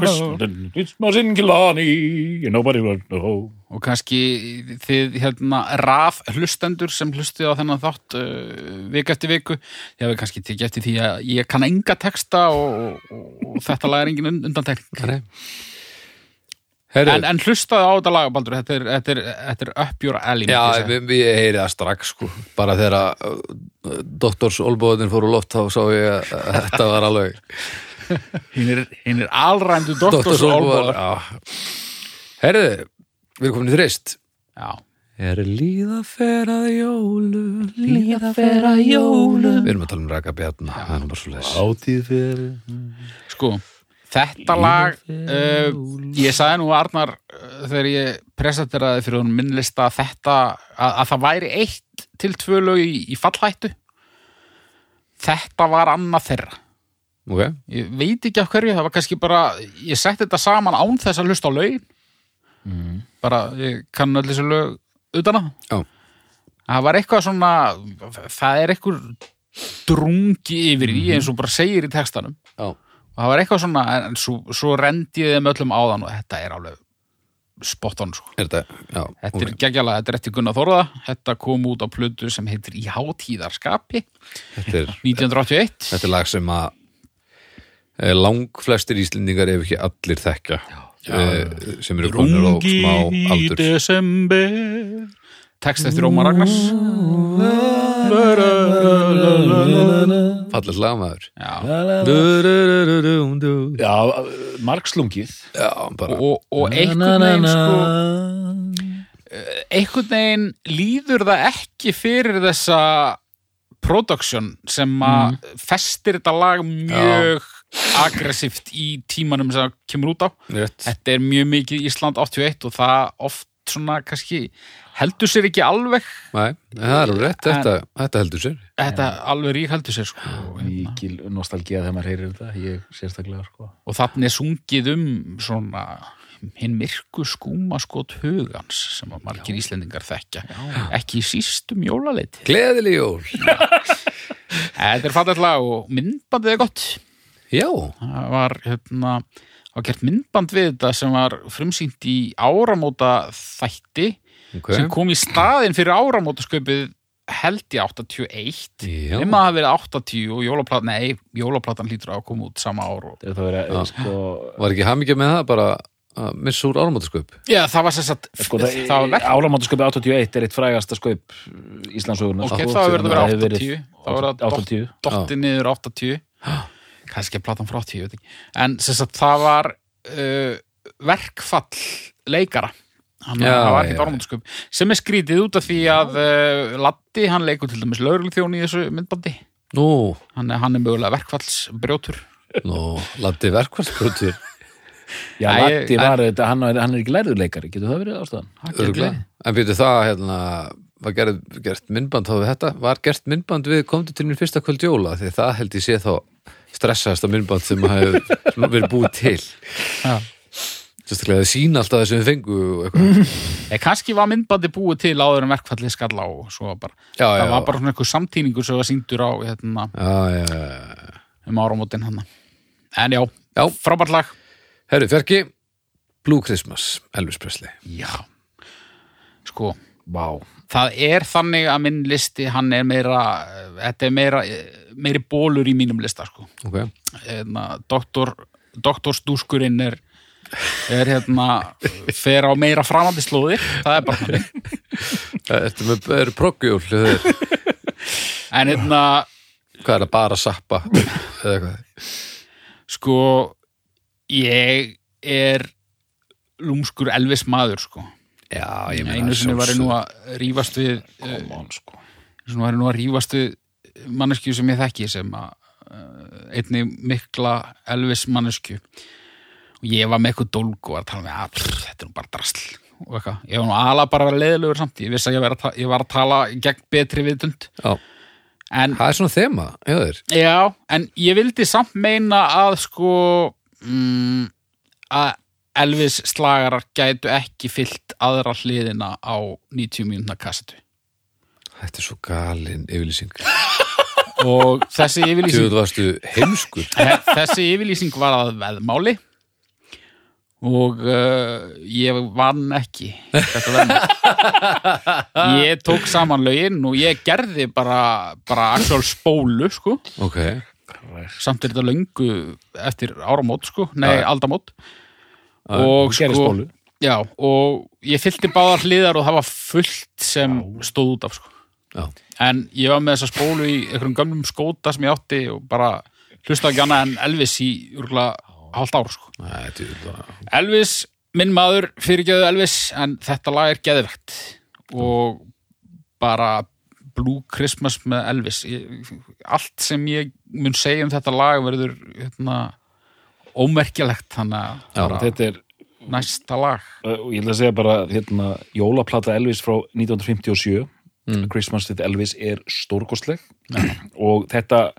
Speaker 2: Christmas in Killarney and nobody will know
Speaker 3: og kannski þið hérna raf hlustendur sem hlustið á þennan þátt uh, vik eftir viku ég hefði kannski tekið eftir því að ég kann enga texta og, og, og þetta lag er engin undantekning
Speaker 1: Nei Herri,
Speaker 3: en, en hlustaði á þetta lag Baldur, þetta er, þetta er, þetta er uppjóra elin
Speaker 1: já, við, við heyri það strax sko Bara þegar að uh, doktors olbóðin fór úr loft þá sá ég að að þetta var [LAUGHS] alveg
Speaker 3: hinn er, hin er alrændu
Speaker 1: Doktors
Speaker 3: doktors
Speaker 1: olbóðar
Speaker 3: Olbóðar
Speaker 1: Herri, við erum komin í þrist
Speaker 3: já,
Speaker 1: Er líða fer að jólum Líða
Speaker 2: fer að jólum.
Speaker 1: Við erum að tala um Raka Bjarna, það er nú bara svo leis
Speaker 2: Átíð fyrir
Speaker 3: sko þetta lag uh, ég sagði nú Arnar uh, þegar ég presenteraði fyrir hún minnlista að þetta, að, að það væri eitt til tvö lög í, í fallhættu þetta var annað þeirra
Speaker 1: Ok,
Speaker 3: ég veit ekki af hverju, það var kannski bara ég sett þetta saman án þess að hlusta á lögin bara ég kann öll þessu lög utan að
Speaker 1: Mhm. já,
Speaker 3: það var eitthvað svona það er eitthvað drungi yfir
Speaker 1: Mhm.
Speaker 3: í eins og bara segir í textanum
Speaker 1: já
Speaker 3: og það var eitthvað svona en svo, svo rendi ég þeim öllum áðan og þetta er alveg spot on sko.
Speaker 1: Er þetta, já
Speaker 3: þetta
Speaker 1: ok.
Speaker 3: er geggjala, þetta er eftir Gunnar Þorða þetta kom út á plötu sem heitir Í hátíðarskapi
Speaker 1: Þetta er
Speaker 3: 1981
Speaker 1: Þetta er lag sem að eh, langflestir Íslendingar ef ekki allir þekkja eh, sem eru konur á smá aldur
Speaker 3: desember text eftir Ómar Ragnars
Speaker 1: fallið lagmaður
Speaker 3: Já.
Speaker 1: Du-du-du-du-du-du.
Speaker 2: Já, margslungið
Speaker 1: Já, bara
Speaker 3: og, og einhvern veginn sko einhvern veginn líður það ekki fyrir þessa production sem að festir þetta lag mjög aggressíft í tímanum sem það kemur út á.
Speaker 1: rétt
Speaker 3: Þetta er mjög mikið Ísland 81 og það oft svona kannski heldur sér ekki alveg
Speaker 1: Nei, en það er alveg rétt, þetta, þetta heldur sér
Speaker 3: þetta alveg rík heldur sér sko og, hérna,
Speaker 2: Mikil nostalgía þegar maður heyrir þetta Ég sérstaklega sko
Speaker 3: og þannig er sungið um svona hinn myrku skúmaskot hugans sem að margir íslendingar þekkja ekki síst um jólaleiti
Speaker 1: Gleðileg jól.
Speaker 3: þetta er fattilegt lag og myndbandið er gott
Speaker 1: Já,
Speaker 3: það var hérna það var gert myndband við þetta sem var frumsýnt í áramóta þætti
Speaker 1: ok.
Speaker 3: sem kom í staðinn fyrir áramóta sköpið held í 81
Speaker 1: Já.
Speaker 3: nema að hafa verið 80 og jólaplatan nei, jólaplatan hlýtur að koma út sama ár og...
Speaker 2: Þetta verið,
Speaker 1: Já.
Speaker 2: sko,
Speaker 1: Var ekki hamingja með það bara að missa úr áramótasköp?
Speaker 3: já, það var sér satt
Speaker 2: sko
Speaker 3: það, var verk
Speaker 2: Áramáttasköpi 81 er eitt frægasta sköp Íslandsögurna
Speaker 3: ok, það verður að vera 80 það var að
Speaker 2: 80
Speaker 3: dotti niður
Speaker 1: [GASPS]
Speaker 3: 80 kannski að platan frá 80, ég veit ekki en sem sagt, það var uh, verkfall leikara hann
Speaker 1: Já,
Speaker 3: það var ekki
Speaker 1: já,
Speaker 3: barmundasköp sem er skrítið út af því að uh, Latti, hann leikur til dæmis lögreglþjón í þessu myndbandi
Speaker 1: Nú,
Speaker 3: hann er, hann er mögulega verkfallsbrjótur
Speaker 1: nú, landi verkvælsbrotur.
Speaker 2: Já,
Speaker 3: Æ,
Speaker 2: Latti
Speaker 3: ég-
Speaker 2: var þetta, hann, hann er ekki lærðuleikari getur það verið ástæðan?
Speaker 3: Það er
Speaker 1: Örgulega.
Speaker 3: gleði.
Speaker 1: En byrju það, hérna, var gerð, gert myndband þá við þetta? Var gert myndband við komdu til mín fyrsta kvöld jóla? Því það held ég sé þá stressaðasta myndband sem hefur sem [LAUGHS] verið búið til.
Speaker 3: Já.
Speaker 1: Sérstaklega þau sína alltaf það sem við fengu og eitthvað.
Speaker 3: Eh, kannski var myndbandi búið til áður en verkfallið skall á og svo var bara,
Speaker 1: Já,
Speaker 3: það
Speaker 1: já.
Speaker 3: var bara svona einhver samtíningur sem var sýndur á hérna,
Speaker 1: Já, já, já.
Speaker 3: um áramótin hann en já,
Speaker 1: Já.
Speaker 3: frábært lag
Speaker 1: Herru, Ferki, Blue Christmas, Elvis Presley.
Speaker 3: já, sko
Speaker 2: Vá,
Speaker 3: það er þannig að minn listi hann er meira, þetta er meira meiri bólur í mínum lista sko.
Speaker 1: Ok. Eh,
Speaker 3: hérna, doktor doktorstúskurinn er er hérna fer á meira framandi slóðir, það er bara þannig.
Speaker 1: Þetta með, er proggjól, hvað
Speaker 3: en hérna,
Speaker 1: er það, bara sappa? Eða eitthvað.
Speaker 3: sko ég er lúmskur Elvis maður sko
Speaker 1: Já, ég meina.
Speaker 3: einu sinni var ég nú
Speaker 1: sjálfsögðu.
Speaker 3: að rífast við eh,
Speaker 2: kom án sko
Speaker 3: svona var ég nú að rífast við manneskju sem ég þekki sem að eh, einni mikla Elvis manneskju og ég var með eitthvað dólg og var að tala með að prr, þetta er nú bara drasl og eitthvað, ég var nú ala bara leðilegur samt ég vissi að ég var að, ta- ég var að tala gegn betri viðtund
Speaker 1: Já.
Speaker 3: en
Speaker 1: Það er svona þema, já þeir.
Speaker 3: Já, en ég vildi samt meina að sko mm, að Elvis slagarar gætu ekki fyllt aðra hliðina á 90 mínúna kassetu
Speaker 1: Þetta er svo galin yfirlýsing.
Speaker 3: og þessi yfirlýsing
Speaker 1: Tjóðu varstu heimskur.
Speaker 3: þessi yfirlýsing var að veðmáli og uh, ég vann ekki þetta veðmáli ég tók saman lögin og ég gerði bara, bara actual spólu sko
Speaker 1: Ok,
Speaker 3: samt er þetta löngu eftir áramót sko, nei aldamót og
Speaker 2: gerði
Speaker 3: sko
Speaker 2: spólu.
Speaker 3: já, og ég fyllti báðar hliðar og það var fullt sem stóð út af sko
Speaker 1: já.
Speaker 3: en ég var með þessa spólu í einhverjum gömlum skóta sem ég átti og bara hlusta ekki annað en Elvis í úrgla hálft ár sko.
Speaker 1: Nei, tjóðu var...
Speaker 3: Elvis, minn maður fyrirgeðu Elvis en þetta lag er geðvegt og bara Blue Christmas með Elvis ég, allt sem ég mun segja um þetta lag verður hérna, ómerkjalegt þannig að
Speaker 1: Já,
Speaker 3: bara
Speaker 2: Þetta er,
Speaker 3: næsta lag
Speaker 2: uh, og ég ætla að segja bara hérna, jólaplata Elvis frá 1957 Christmas with Elvis er stórkostleg [CLEARS THROAT] og þetta,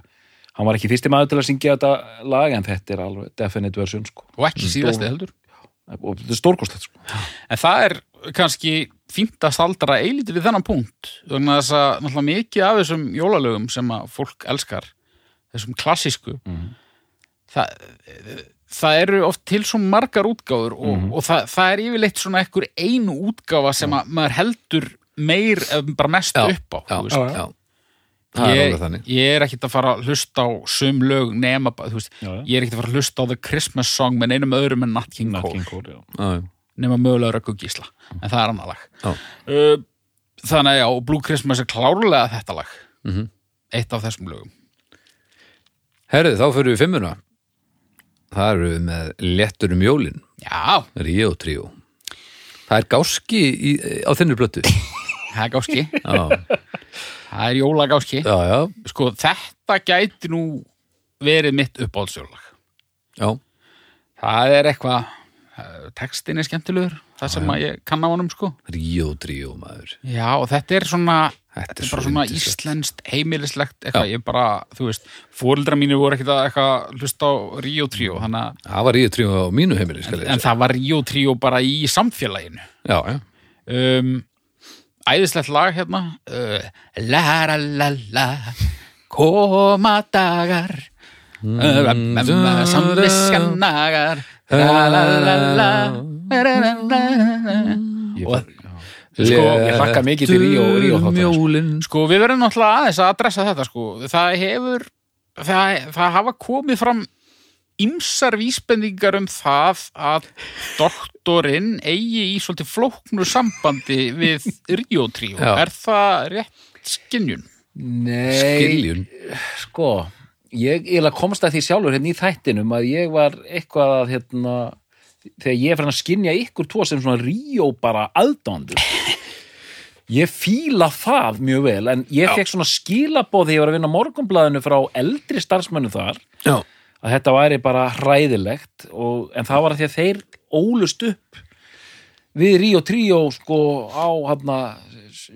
Speaker 2: hann var ekki fyrsti maður til að syngja þetta lag en þetta er alveg definite version sko
Speaker 3: og ekki síðasti heldur
Speaker 2: og þetta er stórkostlegt sko
Speaker 3: En það er kannski fínt að staldra eilítið við þennan punkt vegna þess að náttúrulega mikið af þessum jólalögum sem að fólk elskar þessum klassísku
Speaker 1: Mhm.
Speaker 3: það, það eru oft til svo margar útgáfur og,
Speaker 1: Mhm.
Speaker 3: og það, það er yfirleitt svona ekkur einu útgáfa sem að maður heldur meir eða bara mest
Speaker 1: Já,
Speaker 3: upp á
Speaker 1: já,
Speaker 3: þú veist.
Speaker 1: já. Það er alveg
Speaker 3: ég,
Speaker 1: þannig.
Speaker 3: ég er ekkert að fara að hlusta á sum lög nema, bara, þú veist,
Speaker 2: Já, já.
Speaker 3: ég er ekkert að fara að hlusta á The Christmas Song með einum öðrum en Nat King Cole
Speaker 2: Cole, já.
Speaker 1: Já, já.
Speaker 3: nema mögulega Röggu Gísla en það er annar lag
Speaker 1: Mm. Já.
Speaker 3: uh, þannig að já, og Blue Christmas er klárlega þetta lag
Speaker 1: Mhm.
Speaker 3: eitt af þessum lögum
Speaker 1: Herðu, þá fyrir við fimmuna. Það eru við með Lettur um jólin,
Speaker 3: já,
Speaker 1: Ríó Tríó. Það er gáski í, á þinni blötu.
Speaker 3: það er gáski
Speaker 1: [LAUGHS] Já,
Speaker 3: það er jólagáski
Speaker 1: já, já.
Speaker 3: sko, þetta gæti nú verið mitt uppáhaldsjólag
Speaker 1: já.
Speaker 3: það er eitthvað eh, textin er skemmtilegur það sem að ég kann á honum sko
Speaker 1: Ríó Dríó maður
Speaker 3: já og þetta er svona
Speaker 1: Þetta er
Speaker 3: þetta er
Speaker 1: svo
Speaker 3: bara svona
Speaker 1: yndislegt.
Speaker 3: íslenskt heimilislegt eitthvað ég bara þú veist fóreldra mínu voru ekkit að eitthvað hlusta á Rio Trio þannig að
Speaker 1: Það var Ríó Dríó á mínu heimili skal ég
Speaker 3: en
Speaker 1: segja.
Speaker 3: það var Rio Trio bara í samfélaginu
Speaker 1: Já, já
Speaker 3: um, æðislegt lag hérna uh, la la la la koma dagar Uh, samviskannagar la la la la la, la, la, la.
Speaker 2: Ég, sko, ég hlakka mikið til Ríó, Ríó
Speaker 1: um
Speaker 2: þáttar
Speaker 1: Mjólin
Speaker 3: sko við verðum náttúrulega aðeins að adressa þetta sko það hefur það, það hafa komið fram ymsar vísbendingar um það að doktorinn eigi í svolítið flóknu sambandi við Ríotríu
Speaker 1: Já.
Speaker 3: er það rétt skinnjun?
Speaker 2: Nei,
Speaker 1: Skiljun
Speaker 2: sko Ég, ég komst að því sjálfur hérna í þættinum að ég var eitthvað að hérna, þegar ég er fyrir að skynja ykkur tvo sem svona Ríó bara aðdándur Ég fíla það mjög vel en ég fekk svona skilaboð þegar ég var að vinna á morgunblaðinu frá eldri starfsmönnu þar
Speaker 1: Já,
Speaker 2: að þetta væri bara hræðilegt og, en það var að því að þeir ólust upp við Ríó Tríó sko á hafna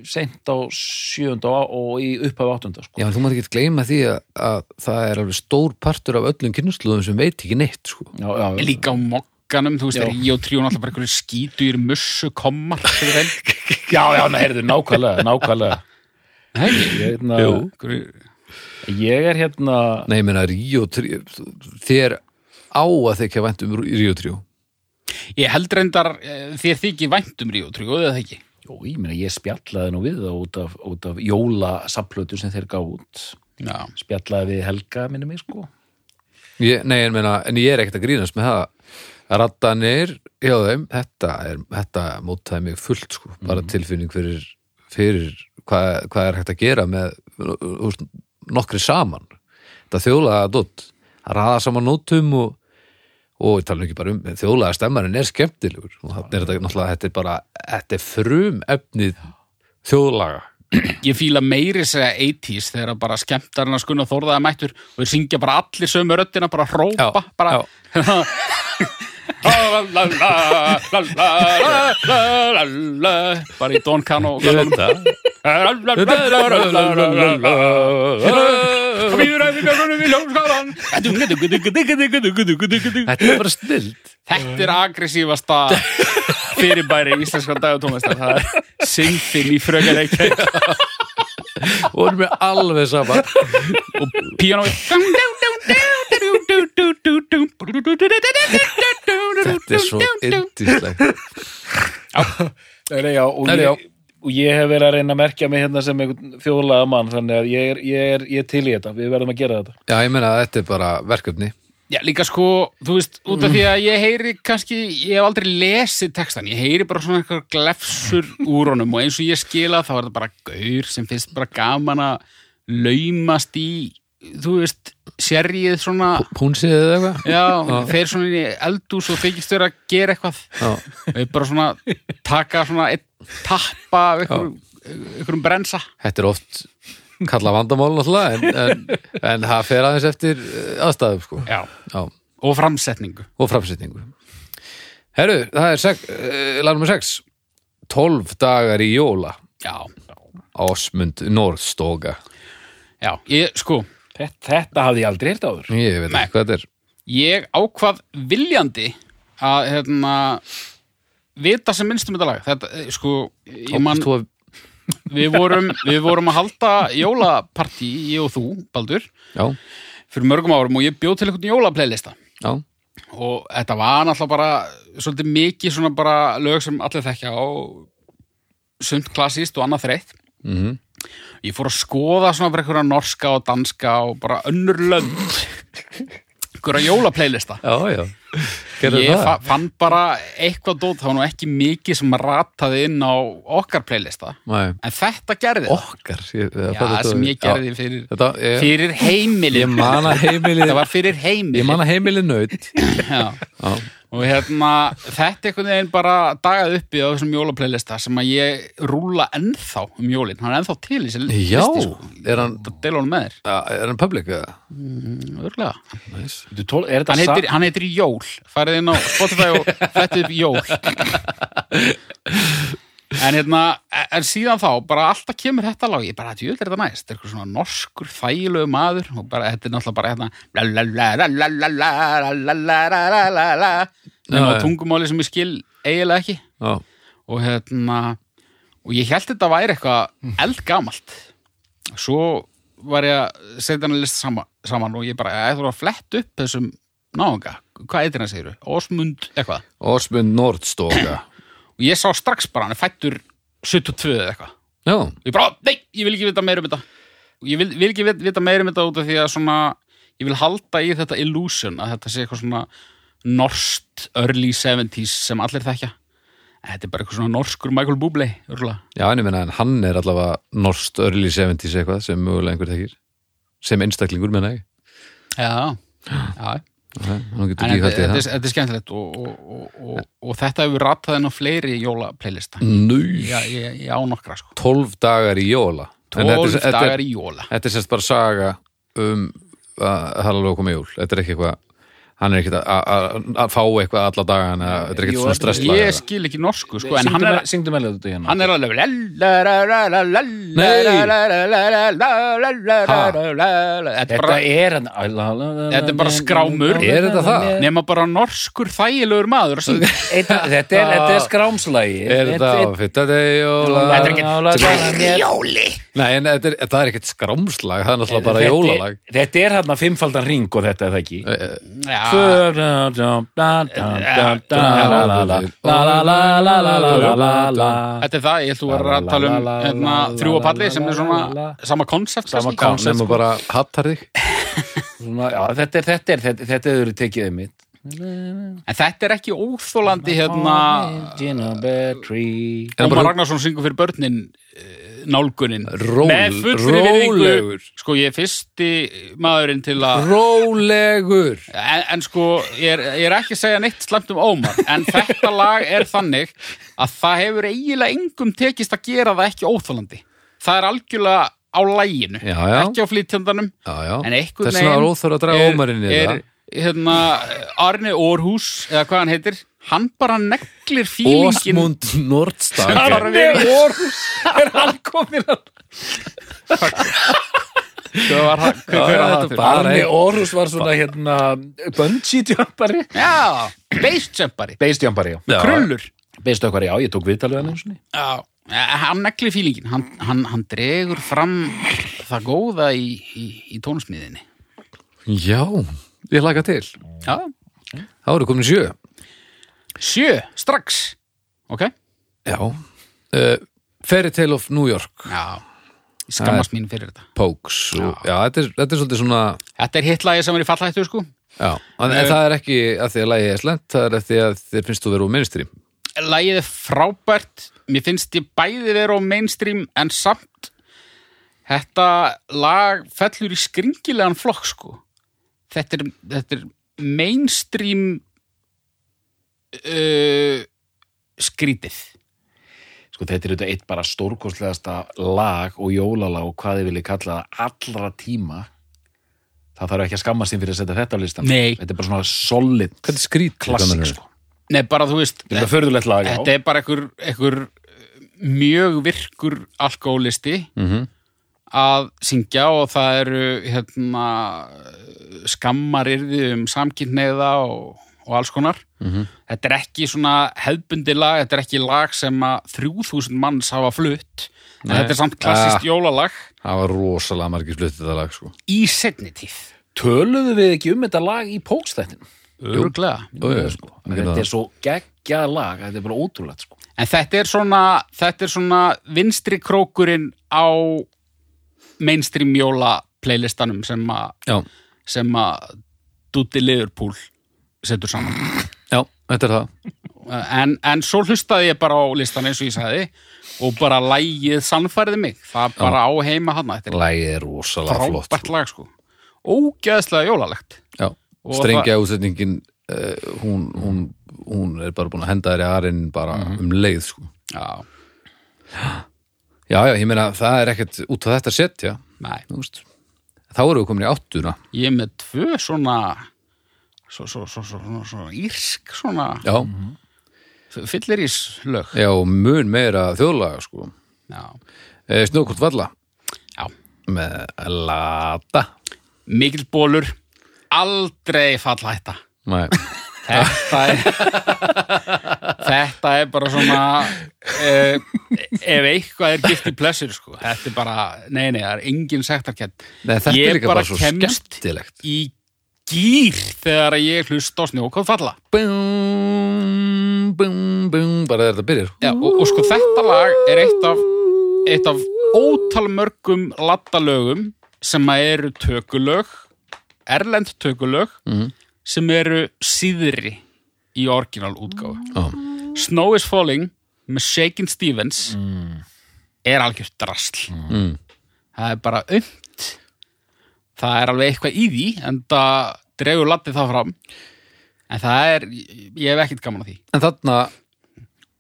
Speaker 2: sent á sjönda og í upphafi áttunda sko.
Speaker 1: Já, en þú maður ekki gleyma því að, að það er alveg stór partur af öllum kynnslóðum sem veit ekki neitt, sko.
Speaker 2: já, já, já.
Speaker 3: Líka á mokkanum, þú veist,
Speaker 2: Já.
Speaker 3: Ríotríu náttúrulega bara einhverju skítur mussu kommar fyrir þeim
Speaker 2: já, já, na, heyrðu, nákvæmlega, nákvæmlega
Speaker 3: Nei,
Speaker 2: ég, hérna,
Speaker 3: einhverju-
Speaker 2: ég er hérna
Speaker 1: Nei, ég meina, Ríó 3, þér á að þekja vænt um Ríó 3.
Speaker 3: Ég held reyndar eh, þér þykir vænt um Ríotríu, eða það ekki?
Speaker 2: Jó, ég meina, ég spjallaði nú við það út af, út af jólasaflötu sem þeir gá út.
Speaker 3: Já.
Speaker 2: Spjallaði við Helga, minni mig, sko.
Speaker 1: Ég, nei, en, meina, en ég er ekkert að grínast með það. Rattanir, já þeim, þetta, er, þetta mótaði mig fullt, sko. Bara tilfinning fyrir, fyrir hvað, hvað er hægt að gera með úst, nokkri saman. Þetta þjóðlega dott. Að raða saman nótum og og ég tala nú ekki bara um, þjóðlega stemmarinn er skemmtilegur og þannig er þetta náttúrulega, þetta er bara þetta er frum efnið þjóðlaga
Speaker 3: Ég fíla meiri segja 80s þegar bara skemmtarinn að skunna þórðaða mættur og þeir syngja bara allir sömu röddina, bara hrópa,
Speaker 1: Já,
Speaker 3: bara...
Speaker 1: já.
Speaker 3: La, la, la, la, la, la, la, la, bara í Don Cano og göllunum. La, la, la, la, la, la, la, la, la. Býður að þig að gunum í ljómskálan.
Speaker 1: [LAUGHS] Þetta er bara snild
Speaker 3: Þetta er agressívasta fyrirbæri íslenska dagatónlistar það er syngfinn í frögaleikja
Speaker 1: og erum við alveg saman
Speaker 3: og píanói Þetta
Speaker 1: Þetta er svo yndislegt
Speaker 2: Nei, nei, já, og,
Speaker 1: Nei, nei, já.
Speaker 2: ég, og ég hef verið að reyna að merkja mig hérna sem einhvern þjóðlega mann, þannig að ég er, ég er, ég er til í þetta. Við verðum að gera þetta.
Speaker 1: Já, ég meina að þetta er bara verkefni
Speaker 3: Já, líka sko, þú veist, út af því að ég heyri kannski, ég hef aldrei lesið textan, ég heyri bara svona eitthvað glefsur úr honum og eins og ég skila þá er það bara gaur sem finnst bara gaman að laumast í, þú veist, sérjið svona,
Speaker 1: Púnsið eða eitthvað
Speaker 3: já, þeir svona inn í eldús og þykist þau að gera eitthvað
Speaker 1: Já,
Speaker 3: og ég bara svona taka svona einn tappa af einhverjum, einhverjum brensa.
Speaker 1: Þetta er oft kalla vandamál náttúrulega en, en, en það fer aðeins eftir eh, aðstæðum sko
Speaker 3: Já,
Speaker 1: Já,
Speaker 3: og framsetningu.
Speaker 1: og framsetningu Herru, það er sek, uh, lagnum 6 12 dagar í jóla
Speaker 3: Já,
Speaker 1: Ásmund Norðstoga
Speaker 3: já, ég, sko,
Speaker 2: Þetta, þetta hafði ég aldrei hirt áður.
Speaker 1: Ég veit
Speaker 3: Nei.
Speaker 1: ekki hvað þetta er
Speaker 3: ég ákvað viljandi að hérna, vita sem minnst um þetta lag þetta, eh, sko, ég man
Speaker 1: Þú að-
Speaker 3: við vorum, við vorum að halda jólapartí, ég og þú, Baldur
Speaker 1: Já,
Speaker 3: fyrir mörgum árum og ég bjó til einhvern jólaplaylista
Speaker 1: já,
Speaker 3: og þetta var náttúrulega bara svolítið mikið svona bara lög sem allir þekkja á sumt klassist og annað þreytt
Speaker 1: Mhm.
Speaker 3: ég fór að skoða svona bara einhverja norska og danska og bara önnur lönd einhverja jólaplaylista
Speaker 1: já, já. Gerðu
Speaker 3: ég
Speaker 1: það?
Speaker 3: fa fann bara eitthvað dót, það var nú ekki mikið sem rataði inn á okkar playlista
Speaker 1: Nei,
Speaker 3: en þetta gerði það.
Speaker 1: okkar ég, það
Speaker 3: Já,
Speaker 1: fattar
Speaker 3: það sem
Speaker 1: þú-
Speaker 3: ég gerði fyrir,
Speaker 1: Þetta, ég,
Speaker 3: fyrir
Speaker 1: ég
Speaker 3: heimilin
Speaker 1: man að
Speaker 3: þetta
Speaker 1: heimilið
Speaker 3: var fyrir
Speaker 1: Ég
Speaker 3: heimilin
Speaker 1: man að heimilið naut
Speaker 3: Já.
Speaker 1: Já,
Speaker 3: og hérna, þetta einhvern veginn bara dagað uppi á þessum jólaplaylista sem að ég rúla ennþá um jólin hann er ennþá til í sér
Speaker 1: Já, er hann,
Speaker 3: bara deila honum með þér,
Speaker 1: ja, er hann public eða?
Speaker 3: örglega
Speaker 1: Nice.
Speaker 2: Bíddu, tól- Er
Speaker 3: hann
Speaker 2: þetta sa-
Speaker 3: heitir, hann heitir Jól, farið inn á Spotify og fættið upp Jól en hérna en síðan þá, bara alltaf kemur þetta lag ég bara, þetta er þetta næst, þetta er eitthvað svona norskur þægilegu maður og bara, þetta er náttúrulega bara hérna lalalalalalalalalalalalala nema
Speaker 1: Já, já.
Speaker 3: á tungumáli sem ég skil eiginlega ekki
Speaker 1: Já,
Speaker 3: og hérna og ég held þetta væri eitthvað eldgamalt svo var ég að setja hann að lista saman, saman og ég bara, ég þarf að flett upp þessum náunga, hvað eitthvað hann segir Ósmund eitthvað,
Speaker 1: Osmund Nordstoga
Speaker 3: og ég sá strax bara hann er fættur 72 eða eitthvað
Speaker 1: Já,
Speaker 3: og ég bara, nei, ég vil ekki vita meira um þetta og ég vil, vil ekki vit- vita meira um þetta út af því að svona, ég vil halda í þetta illusion að þetta sé eitthvað svona norskt early 70s sem allir þekkja En þetta er bara eitthvað svona norskur Michael Bublé, örgulega
Speaker 1: já, en ég meina en hann er allavega Norst early 70s eitthvað sem mögulega einhver tekir sem einstaklingur meina ég
Speaker 3: Já, já.
Speaker 1: Ok, Hann
Speaker 3: En
Speaker 1: getur
Speaker 3: þetta,
Speaker 1: gíðhaldið
Speaker 3: þetta, er,
Speaker 1: það
Speaker 3: þetta er skemmtilegt og, og, og, og, og þetta hefur ratað inn á fleiri jólaplaylista.
Speaker 1: Mm. Nú,
Speaker 3: Já, ég, ég á nokkra sko.
Speaker 1: 12 dagar í jóla En þetta er-
Speaker 3: 12
Speaker 1: þetta er-
Speaker 3: dagar í jóla.
Speaker 1: Þetta er semst bara saga um að Halló komið jól. Þetta er ekki eitthvað, hann er ekkert að- að að fá eitthvað alla dagana, þetta er ekkert
Speaker 2: Jú,
Speaker 1: svona
Speaker 2: þetta er-
Speaker 1: stressla.
Speaker 3: Ég skil ekki norsku sko, en
Speaker 2: Syngdu
Speaker 3: hann er,
Speaker 2: mér- Syngdu með þetta hérna
Speaker 3: hann er alveg Þetta er
Speaker 2: Þetta
Speaker 3: bara
Speaker 2: er hann Þetta
Speaker 3: Þetta er bara skrámur.
Speaker 1: Er þetta það?
Speaker 3: nema bara norskur þægilegur maður að syngja.
Speaker 1: [LAUGHS]
Speaker 2: Þetta er, þetta er skrámslægi
Speaker 1: Er þetta á fitta degi jóla?
Speaker 2: Þetta er ekkert
Speaker 3: Jóli
Speaker 1: Nei, en þetta er, það er ekkert skrámslag, það er náttúrulega bara jólalag. Eh,
Speaker 2: Þetta er hann að fimmfaldan ring og þetta er það ekki
Speaker 3: Já,
Speaker 2: Sama
Speaker 3: þetta er það, ég held þú var að tala um hérna, þrjú og palli sem er svona sama konsept
Speaker 1: Já,
Speaker 2: koncept
Speaker 3: sko.
Speaker 1: nema bara hattar þig.
Speaker 2: Þetta er þetta er þetta þetta eru tekið um mitt
Speaker 3: sko- En þetta er ekki óþólandi hérna
Speaker 2: Þetta
Speaker 1: En
Speaker 3: Ómar
Speaker 1: bara-
Speaker 3: Ragnarsson syngur fyrir börnin eh, nálgunin
Speaker 1: Ról-
Speaker 3: með fullri
Speaker 1: rólegur.
Speaker 3: virðingu sko ég er fyrsti maðurinn til að
Speaker 1: Rólegur!
Speaker 3: en, en sko ég er, ég er ekki að segja neitt slemt um Ómar en þetta lag er þannig að það hefur eiginlega engum tekist að gera það ekki óþólandi það er algjörlega á læginu
Speaker 1: Já, já.
Speaker 3: ekki á flýtjandanum
Speaker 1: Já, já.
Speaker 3: en einhvern
Speaker 1: Þess vegna var óþörf að draga ómarinn í
Speaker 3: er,
Speaker 1: það.
Speaker 3: hérna, Arne Orhus eða hvað hann heitir hann bara neglir fílingin
Speaker 1: Ósmund
Speaker 3: [LAUGHS]
Speaker 1: Nordstag.
Speaker 2: er orðs Er hann komin að
Speaker 3: Hvað var hann- hver- hver
Speaker 1: þetta
Speaker 3: var það
Speaker 1: er
Speaker 3: aftur?
Speaker 1: bara-
Speaker 2: Arne Orhus var svona hérna bungee jumpari
Speaker 3: Já, bassjumpari
Speaker 2: Beist jumpari, já
Speaker 1: Já.
Speaker 3: Krullur
Speaker 2: Beist okkar, já, ég tók viðtalið hann einu sinni
Speaker 3: Já, Eh, hann negli fílingin hann, hann, hann dregur fram það góða í, í, í tónsmiðinni
Speaker 1: Já, ég laka til.
Speaker 3: Já,
Speaker 1: Það voru komin sjö.
Speaker 3: sjö, strax Ok,
Speaker 1: Já. Uh, Fairy Tale of New York.
Speaker 3: já Ég skammast mín fyrir þetta
Speaker 1: Pokes og, já, þetta, er, þetta er svolítið svona
Speaker 3: Þetta er hittlagi sem er í fallhættu sko
Speaker 1: já, en,
Speaker 3: Eh.
Speaker 1: en það er ekki að því að lægi er slent það er að því að þér finnst þú vera úr minnstri
Speaker 3: Lagið er frábært Mér finnst ég bæði vera á mainstream en samt Þetta lag fellur í skringilegan flokk sko Þetta er, þetta er mainstream uh, skrítið
Speaker 2: Sko þetta er auðvitað eitt bara stórkostlegasta lag og jólalag og hvað þið viljið kalla það allra tíma það þarf ekki að skamma sín fyrir að setja þetta á listan
Speaker 3: Nei.
Speaker 2: Þetta er bara svona solid
Speaker 1: hvernig skrít
Speaker 2: klassik sko
Speaker 3: Nei, bara þú veist
Speaker 2: Þetta er förðulegt lag,
Speaker 3: Þetta
Speaker 2: já
Speaker 3: er bara einhver, einhver eh, mjög virkur alkoholisti
Speaker 1: Mhm.
Speaker 3: að syngja og það eru hérna, eh, skammarirði um samkynhneigða og, og alls konar.
Speaker 1: Mhm.
Speaker 3: -hmm. Þetta er ekki svona hefbundi lag, þetta er ekki lag sem að 3000 manns hafa flutt, en þetta er samt
Speaker 1: Ah.
Speaker 3: klassist jólalag
Speaker 1: það var rosalega margir fluttið það lag sko.
Speaker 3: í setni tíð.
Speaker 2: Töluðu við ekki um þetta lag í pókstættin
Speaker 3: Öruglega.
Speaker 1: Jú, jú,
Speaker 2: sko.
Speaker 1: ég geta
Speaker 2: Þetta
Speaker 1: það.
Speaker 2: er svo geggjað lag þetta er bara ótrúlegt sko
Speaker 3: En þetta er svona, þetta er svona vinstri krókurinn á mainstream jóla playlistanum sem að
Speaker 1: já,
Speaker 3: sem að Dutti Liverpool setur saman.
Speaker 1: já, þetta er það
Speaker 3: En, en svo hlustaði ég bara á listan eins og ég sagði og bara lægið sannfæriði mig. Það bara á heima hana. Þetta
Speaker 1: lagið er rosalega
Speaker 3: er
Speaker 1: flott
Speaker 3: frábært
Speaker 1: sko.
Speaker 3: lag sko. Ógæðslega jólalegt.
Speaker 1: já,
Speaker 3: Og
Speaker 1: strengja útsetningin uh, hún, hún hún er bara búin að henda þér í arinn bara um leið sko.
Speaker 3: Já,
Speaker 1: já, já, ég meina það er ekkert út á þetta setja
Speaker 3: nei.
Speaker 1: Þú veist. þá erum við komin í áttuna
Speaker 3: Ég er með tvö svona svo, svo, svo, svo, svo, svo írsk svona
Speaker 1: já,
Speaker 3: fylliríslög.
Speaker 1: já, og mun meira þjóðlaga sko.
Speaker 3: Já.
Speaker 1: e, Snökkvort Valla
Speaker 3: Já.
Speaker 1: með Lata
Speaker 3: Mikill bólur, aldrei falla hætta.
Speaker 1: Nei.
Speaker 3: Þetta er, þetta er bara svona, uh, ef eitthvað er gift í plessur, sko, þetta er bara, nei, nei, það er engin sektarkett.
Speaker 1: Nei, þetta
Speaker 3: Ég
Speaker 1: er líka bara,
Speaker 3: bara
Speaker 1: svo
Speaker 3: kemst-
Speaker 1: skemmtilegt
Speaker 3: Í gýr þegar ég hlusta á snjókóð falla.
Speaker 1: bum, bum, bum, bara þegar þetta byrjar
Speaker 3: Já, og, og sko þetta lag er eitt af, eitt af ótalmörgum laddalögum sem að eru tökulög, erlend tökulög,
Speaker 1: Mhm.
Speaker 3: sem eru síðri í orginal útgáfu.
Speaker 1: Já.
Speaker 3: Snow is Falling með Shakin' Stevens er algjört drasl.
Speaker 1: Mm.
Speaker 3: Það er bara umt. Það er alveg eitthvað í því, en það dregur laddið það fram. En það er, ég hef ekkert gaman að því.
Speaker 1: En þarna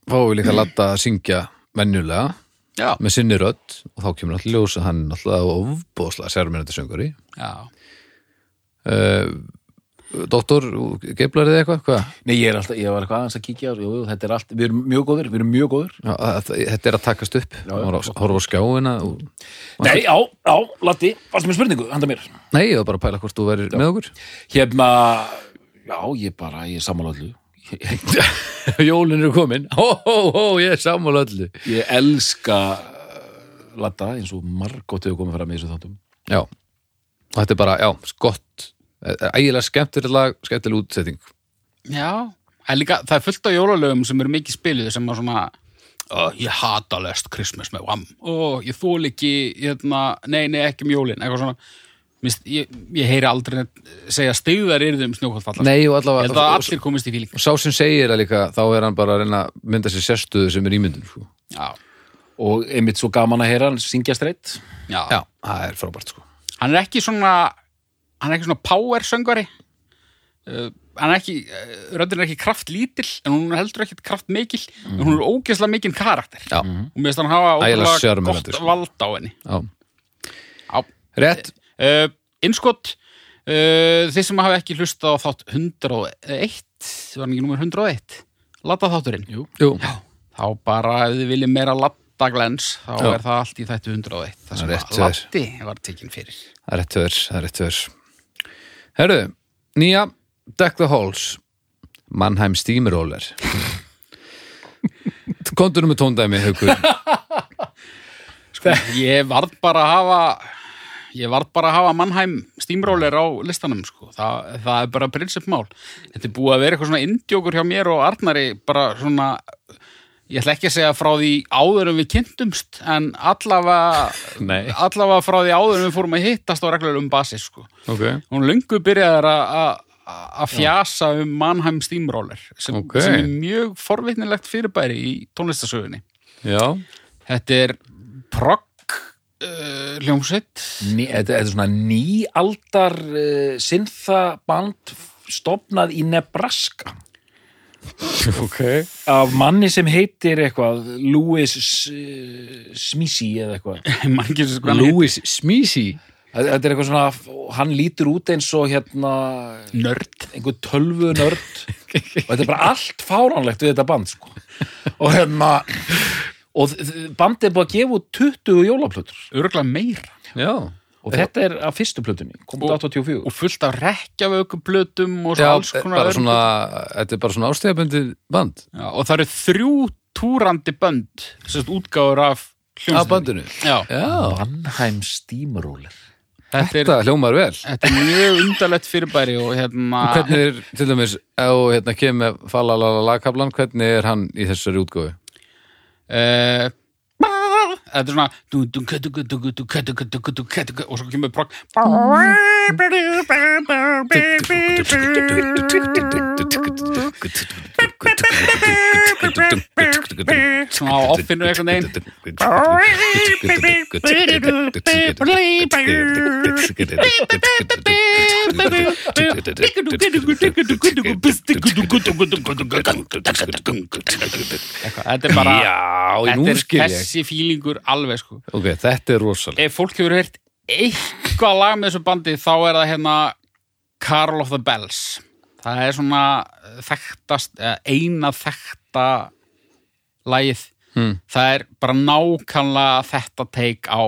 Speaker 1: fáum við líka Latta að syngja venjulega
Speaker 3: Já.
Speaker 1: með sinni rödd og þá kemur alltaf ljós að hann er alltaf ofbóðslega sérmennandi söngari
Speaker 3: Já.
Speaker 1: uh, Doktor, geiflar þið eitthvað? Hvað?
Speaker 2: Nei, ég, er alltaf, ég var eitthvað aðeins að kíkja á, jú, jú, þetta er allt, við erum mjög góðir, við erum mjög góðir.
Speaker 1: Já, að- Þetta er að takast upp
Speaker 2: já.
Speaker 1: horfa á- horfa á skjáina og...
Speaker 2: Nei, já, já, Latti, varstu með spurningu, handa mér.
Speaker 1: Nei, ég var bara að pæla hvort þú værir með okkur [LAUGHS]
Speaker 2: Hérna, já, ég bara, ég er sammála öllu. Ég,
Speaker 1: Jólin eru komin Hó, hó, hó, ég er sammála öllu
Speaker 2: ég elska eh, Latta, eins og margótt hefur komið fram í þessu þáttum.
Speaker 1: Já, og þetta er bara, já, gott Eh, Ægilega skemmtileg lag, skemmtileg útsetting
Speaker 3: Já, það er, líka, það er fullt af jólalögum sem eru mikið spiluð sem að svona "Ó, ég hata lest Christmas með vam og ég þól ekki, hérna, nei, nei, ekki um jólin eitthvað svona Mist, ég, ég heyri aldrei neitt segja stegðar eru um snjókvöldfallar
Speaker 1: Nei, og
Speaker 3: ég
Speaker 1: allavega
Speaker 3: held að allir komist í fíling
Speaker 1: og sá sem segir það líka, þá er hann bara að reyna að mynda sér sérstöðu sem er ímyndun sko.
Speaker 3: já,
Speaker 2: Og einmitt svo gaman að heyra hann syngja streitt.
Speaker 3: já.
Speaker 1: Já, það er frábært sko.
Speaker 3: hann er ekki svona hann er ekki svona power söngari uh, hann er ekki uh, röndin er ekki kraftlítil en hún er heldur ekki kraftmikil en hún er ógeðslega mikinn karakter
Speaker 1: Já.
Speaker 3: og mér finnst hann hafa
Speaker 1: Ægilega
Speaker 3: ótrúlega
Speaker 1: sjarmerandi,
Speaker 3: gott
Speaker 1: sko.
Speaker 3: vald á henni
Speaker 1: Já.
Speaker 3: já
Speaker 1: Rétt,
Speaker 3: Uh, innskott, uh, þið sem hafa ekki hlustað á þátt 101, var hann ekki númer 101, latta þátturinn. Jú.
Speaker 1: jú,
Speaker 3: Þá bara, ef þið viljið meira latta glens, þá
Speaker 1: Já.
Speaker 3: er það allt í þættu 101. Það
Speaker 1: Það
Speaker 3: sem
Speaker 1: er rétt
Speaker 3: að
Speaker 1: hjá þér.
Speaker 3: latti var tekin fyrir.
Speaker 1: það er rétt hörs, það er rétt hörs Herru, nýja Deck the Halls Mannheim [LAUGHS] Steamroller Kontur með tóndæmi, haukur
Speaker 3: Sko, ég varð bara að hafa, ég varð bara að hafa Mannheim steamroller á listanum, sko. Það, það er bara prinsipmál. Þetta er búið að vera eitthvað svona indjókur hjá mér og Arnari, bara svona ég ætla ekki að segja frá því áður en við kynntumst, en allavega
Speaker 1: Nei,
Speaker 3: allavega frá því áður en við fórum að hittast á reglulegum basis sko.
Speaker 1: ok
Speaker 3: hún löngu byrjaðar að- að að fjasa um Mannheim Steamroller sem,
Speaker 1: Ókei.
Speaker 3: sem er mjög forvitnilegt fyrirbæri í tónlistasögunni
Speaker 1: Já,
Speaker 3: þetta er progg uh, [LAUGHS] hljómsveit
Speaker 2: Ný, þetta, þetta er svona nýaldar uh, synthaband stopnað í Nebraska
Speaker 1: ok
Speaker 2: af manni sem heitir eitthvað Louis uh, Smisi eða [LAUGHS] eitthvað
Speaker 3: mann getur sko hann
Speaker 1: Louis Smeezy
Speaker 2: Þetta þetta er eitthvað svona, f- hann lítur út eins og hérna
Speaker 3: heitir nörd
Speaker 2: einhver tölvu nörd og þetta er bara allt fáránlegt við þetta band sko. og hérna og þ- þ- bandið er búið að gefa út 20 jólaplötur
Speaker 3: örgulega meira
Speaker 1: Já,
Speaker 2: og þetta er af fyrstu plötunni, komið
Speaker 3: Og-
Speaker 2: 84
Speaker 3: og fullt af rekkjavöku blötum og svo
Speaker 1: Já eh,
Speaker 3: alls konar
Speaker 1: bara
Speaker 3: öðrum
Speaker 1: svona, eh, þetta er bara svona ástegabundið band
Speaker 3: blötum. Já, og það eru þrjú túrandi bönd sem sagt útgáður af
Speaker 1: Á
Speaker 3: hljómsveitinni
Speaker 1: bandinu
Speaker 3: Já,
Speaker 1: Já,
Speaker 2: Mannheim Steamroller
Speaker 3: þetta er,
Speaker 1: þetta hljómar vel
Speaker 3: þetta er mjög undarlegt fyrirbæri og hérna
Speaker 1: Hvernig er, til dæmis, ef þú, hérna kemur falalala lagkablan, hvernig er hann í þessari útgóðu?
Speaker 3: Eh, Þetta er svona dú, dú, dú, dú, dú, dú, dú, dú, dú, dú, dú, dú, dú, og svo kemur progg svona á offinu einhvern veginn Eitthvað, þetta er bara
Speaker 1: Já, nú
Speaker 3: þetta er
Speaker 1: skil ég
Speaker 3: þessi fílingur alveg sko
Speaker 1: Ok, þetta er rosalega
Speaker 3: ef fólk hefur heyrt eitthvað lag með þessu bandi þá er það hérna Carl of the Bells það er svona þekktast, eða eina þekkta lagið hmm. það er bara nákvæmlega þetta teik á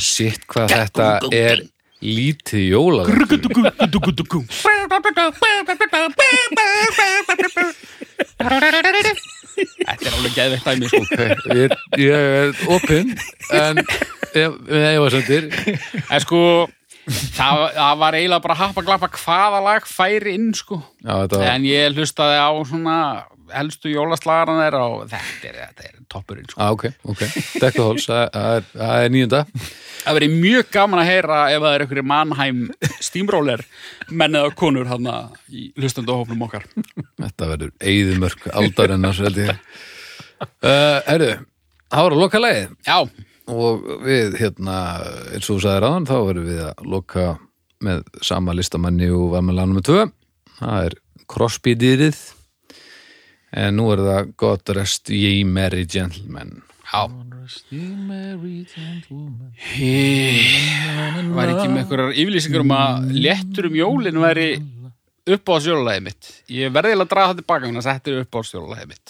Speaker 1: Sitt hvað þetta er lítið jóla
Speaker 3: Þetta er alveg geðveikt dæmi sko
Speaker 1: Ég ég er opinn en ég var sendir
Speaker 3: En sko, það, það var eiginlega bara happa glappa hvaða lag færi inn sko
Speaker 1: Já, þetta var
Speaker 3: En ég hlustaði á svona helstu jólaslagaran þeirra og þetta er, þetta er toppurinn sko.
Speaker 1: Ah, ok, ok, dekkaháls, það það er- það er nýjunda
Speaker 3: Það verið mjög gaman að heyra ef það er einhverju Mannheim steamroller menn eða konur hann í hlustandahofnum okkar.
Speaker 1: Þetta verður eyðumörk aldarinnar held ég uh, Herru, það var að loka leið
Speaker 3: Já,
Speaker 1: og við hérna eins og þú sagði ráðan þá verðum við að loka með sama listamanni og var með lanum með tvö það er Crosby dýrið en nú er það God Rest Ye Merry Gentlemen
Speaker 3: já. Ég var ekki með einhverjar yfirlýsingar um að léttur um jólin væri upp á sjólulegið mitt. Ég verði eiginlega að draga það tilbaka hann að þetta er upp á sjólulegið mitt.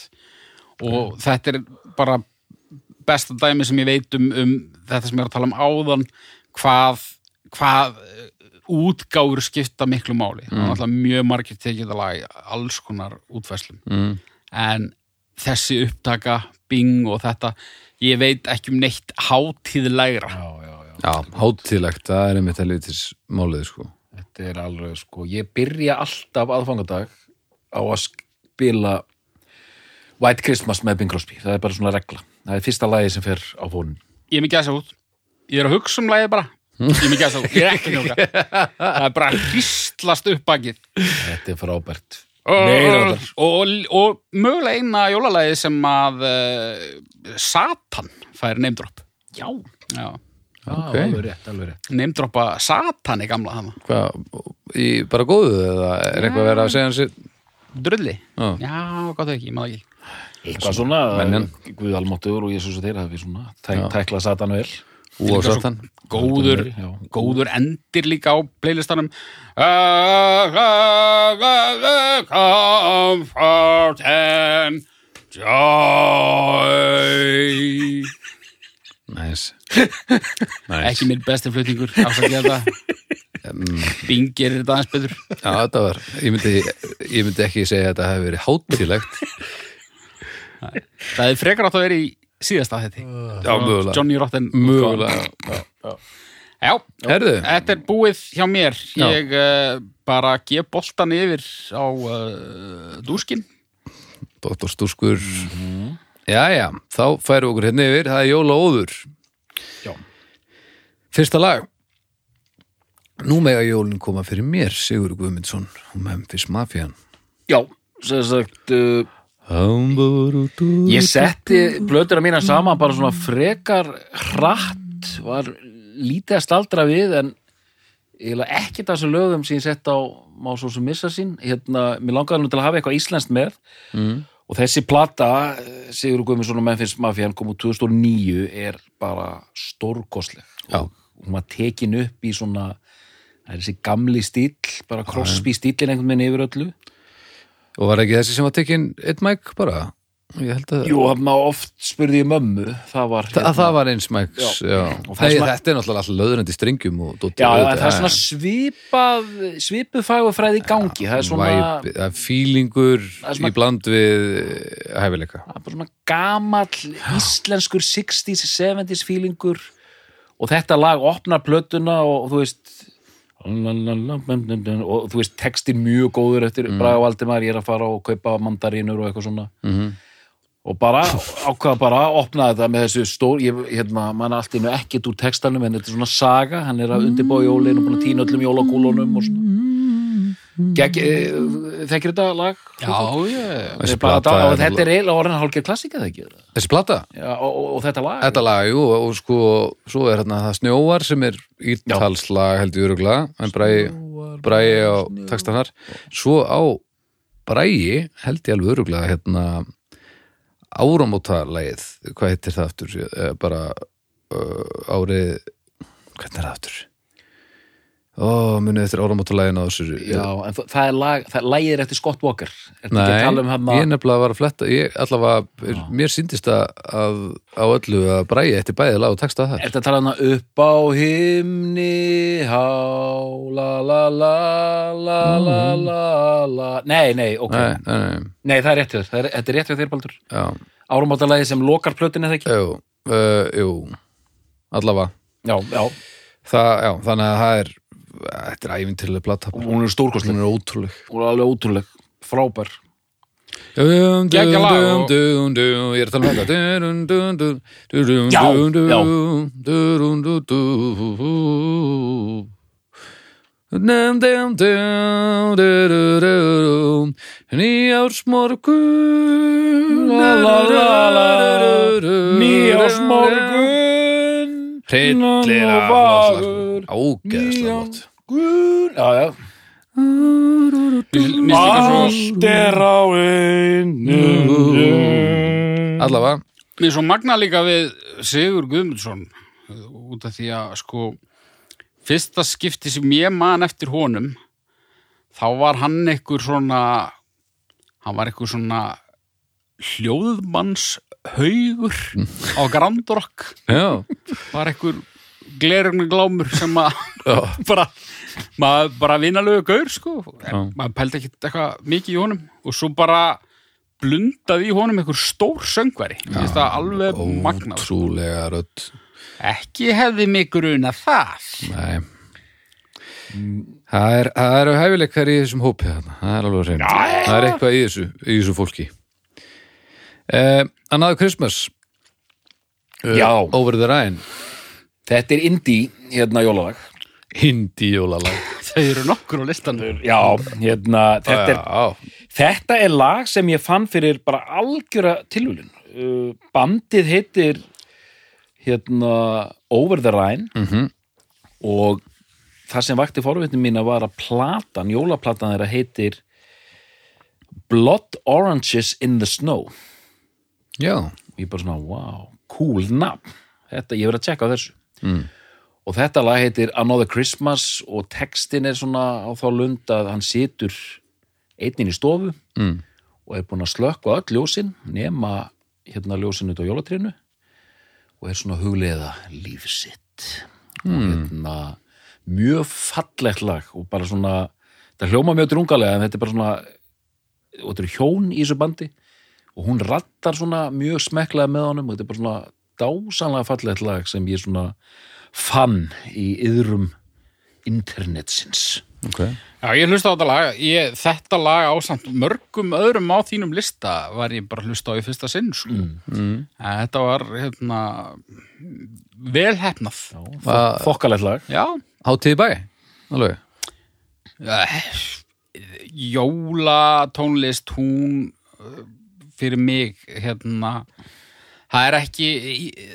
Speaker 3: Og þetta er bara besta dæmi sem ég veit um, um þetta sem ég er að tala um áðan hvað, hvað eh, útgáfur skipta miklu máli það er alltaf mjög margir tekið þetta lag í alls konar útfæslum mm. en þessi upptaka bing og þetta, ég veit ekki um neitt hátíðlegra já, já, já.
Speaker 1: Já, hátilegt, það er einmitt helvitis málið sko
Speaker 2: Þetta er alveg sko, ég byrja alltaf aðfangadag á að spila White Christmas með Bing Crosby, það er bara svona regla það er fyrsta lagi sem fer á fónin
Speaker 3: ég er með gæsa út, ég er að hugsa um lagið bara ég er með gæsa út, ég er ekki njóka það er bara hristlast upp bakið
Speaker 2: þetta er frábært
Speaker 3: og,
Speaker 2: Meiriháttar.
Speaker 3: og, og mögulega eina jólalagi sem að uh, Satan fær neymdropp
Speaker 2: já,
Speaker 3: Já,
Speaker 1: Ok.
Speaker 2: alveg rétt, alveg rétt
Speaker 3: neymdroppa Satan í gamla hana
Speaker 1: Hvað, í bara góðu eða er eitthvað verið að segja hans í-
Speaker 3: Drulli?
Speaker 1: Já.
Speaker 3: Já, gott ekki, ég maður ekki
Speaker 2: eitthvað svona,
Speaker 1: Menjan.
Speaker 2: Guð Almáttur og Jésús og þeir hafi svona tæk, tækla Satan vel
Speaker 1: Ú og satan
Speaker 3: Góður,
Speaker 2: Já.
Speaker 3: góður endir líka á playlistanum Comfort and joy
Speaker 1: Næs
Speaker 3: Ekki minn besti flutningur, ásakið
Speaker 1: [LAUGHS]
Speaker 3: þetta Bingir þetta aðeins betur
Speaker 1: Já, þetta var, ég myndi, ég myndi ekki segja að þetta hefur verið hátilegt
Speaker 3: Það er frekar átt að vera í síðasta þetta
Speaker 1: Já, mögulega.
Speaker 3: Johnny Rotten
Speaker 1: Mögulega
Speaker 3: Já,
Speaker 1: Herðu,
Speaker 3: þetta er búið hjá mér
Speaker 1: Já.
Speaker 3: Ég uh, bara gef boltan yfir á uh, dúskin
Speaker 1: Dr. Stúskur
Speaker 2: Mhm.
Speaker 1: Jæja, þá færum við okkur hérna yfir Það er Jóla Óður
Speaker 2: Já.
Speaker 1: Fyrsta lag Nú mega jólin koma fyrir mér Sigur Guðmundsson og Memphis Mafian
Speaker 2: já, sem sagt uh,
Speaker 1: Ég
Speaker 2: ég setti blötuna mína saman bara svona frekar hratt var lítið að staldra við en eiginlega ekkert af þessum lögum sem ég sett á má svo sem missa sín hérna, mér langaði nú til að hafa eitthvað íslenskt með og þessi plata eh, Sigur Guðmundsson og Memphis Mafian kom úr 2009 er bara stórkostleg
Speaker 1: Já.
Speaker 2: og hún var tekin upp í svona það er þessi gamli stíll bara crossby stíllin einhvern veginn yfir öllu
Speaker 1: Og var ekki þessi sem var tekin eitt mæk bara? Ég held að
Speaker 2: Jú, hann oft spurði ég mömmu það var,
Speaker 1: Að það var eins mæks, já.
Speaker 2: Já. Og það
Speaker 1: Nei,
Speaker 2: sem að-
Speaker 1: þetta er náttúrulega alltaf löðrandi stringjum og dóttir
Speaker 2: Já,
Speaker 1: auðvitað,
Speaker 2: það, það er svona
Speaker 1: en-
Speaker 2: svipað svipuð fagufræði í gangi það er svona,
Speaker 1: væp, það er fílingur
Speaker 2: er svona-
Speaker 1: í bland við hæfileika
Speaker 2: það er bara svona gamall íslenskur 60s, 70s feelingur og þetta lag opnar plötuna og, þú veist og þú veist textin mjög góður eftir Braga Valdimar, ég er að fara og kaupa mandarínur og eitthvað svona -hmm. og bara ákvaða bara að opna þetta með þessu stór, ég hérna mann allt innu ekkert úr textanum en þetta er svona saga hann er að undirbúa jólin og búin að týna öllum jólakúlunum og svona Gekk, eh, þekkir þetta lag?
Speaker 3: Já, já,
Speaker 1: Þessi
Speaker 2: Þetta er bara-
Speaker 1: plata
Speaker 2: og
Speaker 1: er
Speaker 2: þetta
Speaker 1: náttúrulega-
Speaker 2: er eiginlega orðin hálfgerð klassika það ekki
Speaker 1: Þessi plata,
Speaker 2: já, og, og, og þetta lag
Speaker 1: þetta lag, jú, og sko, svo er hérna það snjóar sem er ítalslag held ég öruglega, en bræði, bræði á textanar. Svo á bræði held ég alveg öruglega hérna áramótalagið, hvað heitir það aftur, Eh, bara uh, árið, hvernig er það aftur? Ó, munið eftir áramótalaginu á þessu.
Speaker 2: já, en það, það er lag, það er lagið er eftir Scott Walker er þetta ekki að tala um hann
Speaker 1: ég nefnilega var að fletta ég, allavega, er, mér síndist að, að á öllu að bræja eftir bæði lag og texta það
Speaker 2: Er þetta að tala hana upp á himni, há, la la la la la la la Nei, nei, ok,
Speaker 1: Mhm. nei,
Speaker 2: nei,
Speaker 1: nei, nei,
Speaker 2: það er rétt hjá þér, það er- þetta er rétt hjá þér Baldur
Speaker 1: já,
Speaker 2: Áramótalagi sem lokar plötin eða ekki
Speaker 1: jú, uh, jú allavega,
Speaker 2: Já, já,
Speaker 1: það, já, þannig að það er þetta er æfintilega plata bara.
Speaker 2: hún er stórkostleg
Speaker 1: hún er ótrúleg
Speaker 2: Hún er alveg ótrúleg, frábær
Speaker 1: Dum, dum,
Speaker 3: Geggjað lag
Speaker 1: dum,
Speaker 3: og-
Speaker 1: dum, dum, ég er að tala um þetta Dum, dum, dum, dum, dum,
Speaker 2: Já,
Speaker 1: dum, dum,
Speaker 2: já.
Speaker 1: dum, dum, dum. Dum, dum, dum, dum, dum, dum. Nýjársmorgun
Speaker 2: La la la la Nýjársmorgun
Speaker 1: Hryllilega
Speaker 2: og
Speaker 1: flott lag,
Speaker 2: vagur.
Speaker 1: sko. Ógeðslega flott
Speaker 2: Nýjársmorgun Já, já
Speaker 3: Mér líka svo,
Speaker 2: Allt er á einu
Speaker 1: Allavega
Speaker 3: mér svo magna líka við Sigur Guðmundsson uh, út af því að sko fyrsta skipti sem ég man eftir honum þá var hann einhver svona hann var einhver svona hljóðmanns haugur á Grand Rock
Speaker 1: Já,
Speaker 3: var einhver glerugni glámur sem að
Speaker 1: já,
Speaker 3: bara, maður bara vinalegu gaur sko, en
Speaker 1: Já.
Speaker 3: maður pældi ekkit eitthvað mikið í honum og svo bara blundaði í honum einhver stór söngveri, mér finnst það alveg magnað, sko.
Speaker 1: ótrúlega rödd
Speaker 3: ekki hefði mig gruna það
Speaker 1: Nei Það, er, það eru hæfileikar í þessum hópi þarna, það er alveg reynd Það er eitthvað í þessu, í þessu fólki uh, Another Christmas uh,
Speaker 2: Já.
Speaker 1: Over the Rhine
Speaker 2: Þetta er indie, hérna jólalag
Speaker 1: Hindi jólalag
Speaker 3: þau eru nokkur á listanum
Speaker 2: Já, hérna, þetta er,
Speaker 1: Já,
Speaker 2: þetta er lag sem ég fann fyrir bara algjöra tilvölin uh, Bandið heitir hérna Over the Rhine
Speaker 1: Mhm.
Speaker 2: og það sem vakti forvitnum mína var að platan, jólaplatan þeirra heitir Blood Oranges in the Snow
Speaker 1: já,
Speaker 2: og ég bara svona, wow, cool nafn þetta, ég verið að tjekka á þessu mm. og þetta lag heitir Another Christmas og textin er svona á þá lund að hann situr einnin í stofu mm. og er búinn að slökka öll ljósin nema hérna ljósin út á jólatrínu og er svona að hugleiða líf sitt og hérna mjög fallegt lag og bara svona, þetta hljóma mjög drungalega en þetta er bara svona og þetta eru hjón í þessu bandi og hún rattar svona mjög smekklaði með honum og þetta er bara svona dásanlega fallegt lag sem ég svona fann í yðrum internetsins
Speaker 1: ok
Speaker 3: já, ég hlusta á þetta lag, ég, þetta lag á samt mörgum öðrum á þínum lista var ég bara að hlusta á í fyrsta sinn sko. mm. þetta var hérna vel hefnað já,
Speaker 1: Va-
Speaker 2: fokkalegt lag
Speaker 3: já.
Speaker 1: Hátíð í bæ, alveg
Speaker 3: Eh, Jólatónlist hún eh, fyrir mig hérna það er ekki,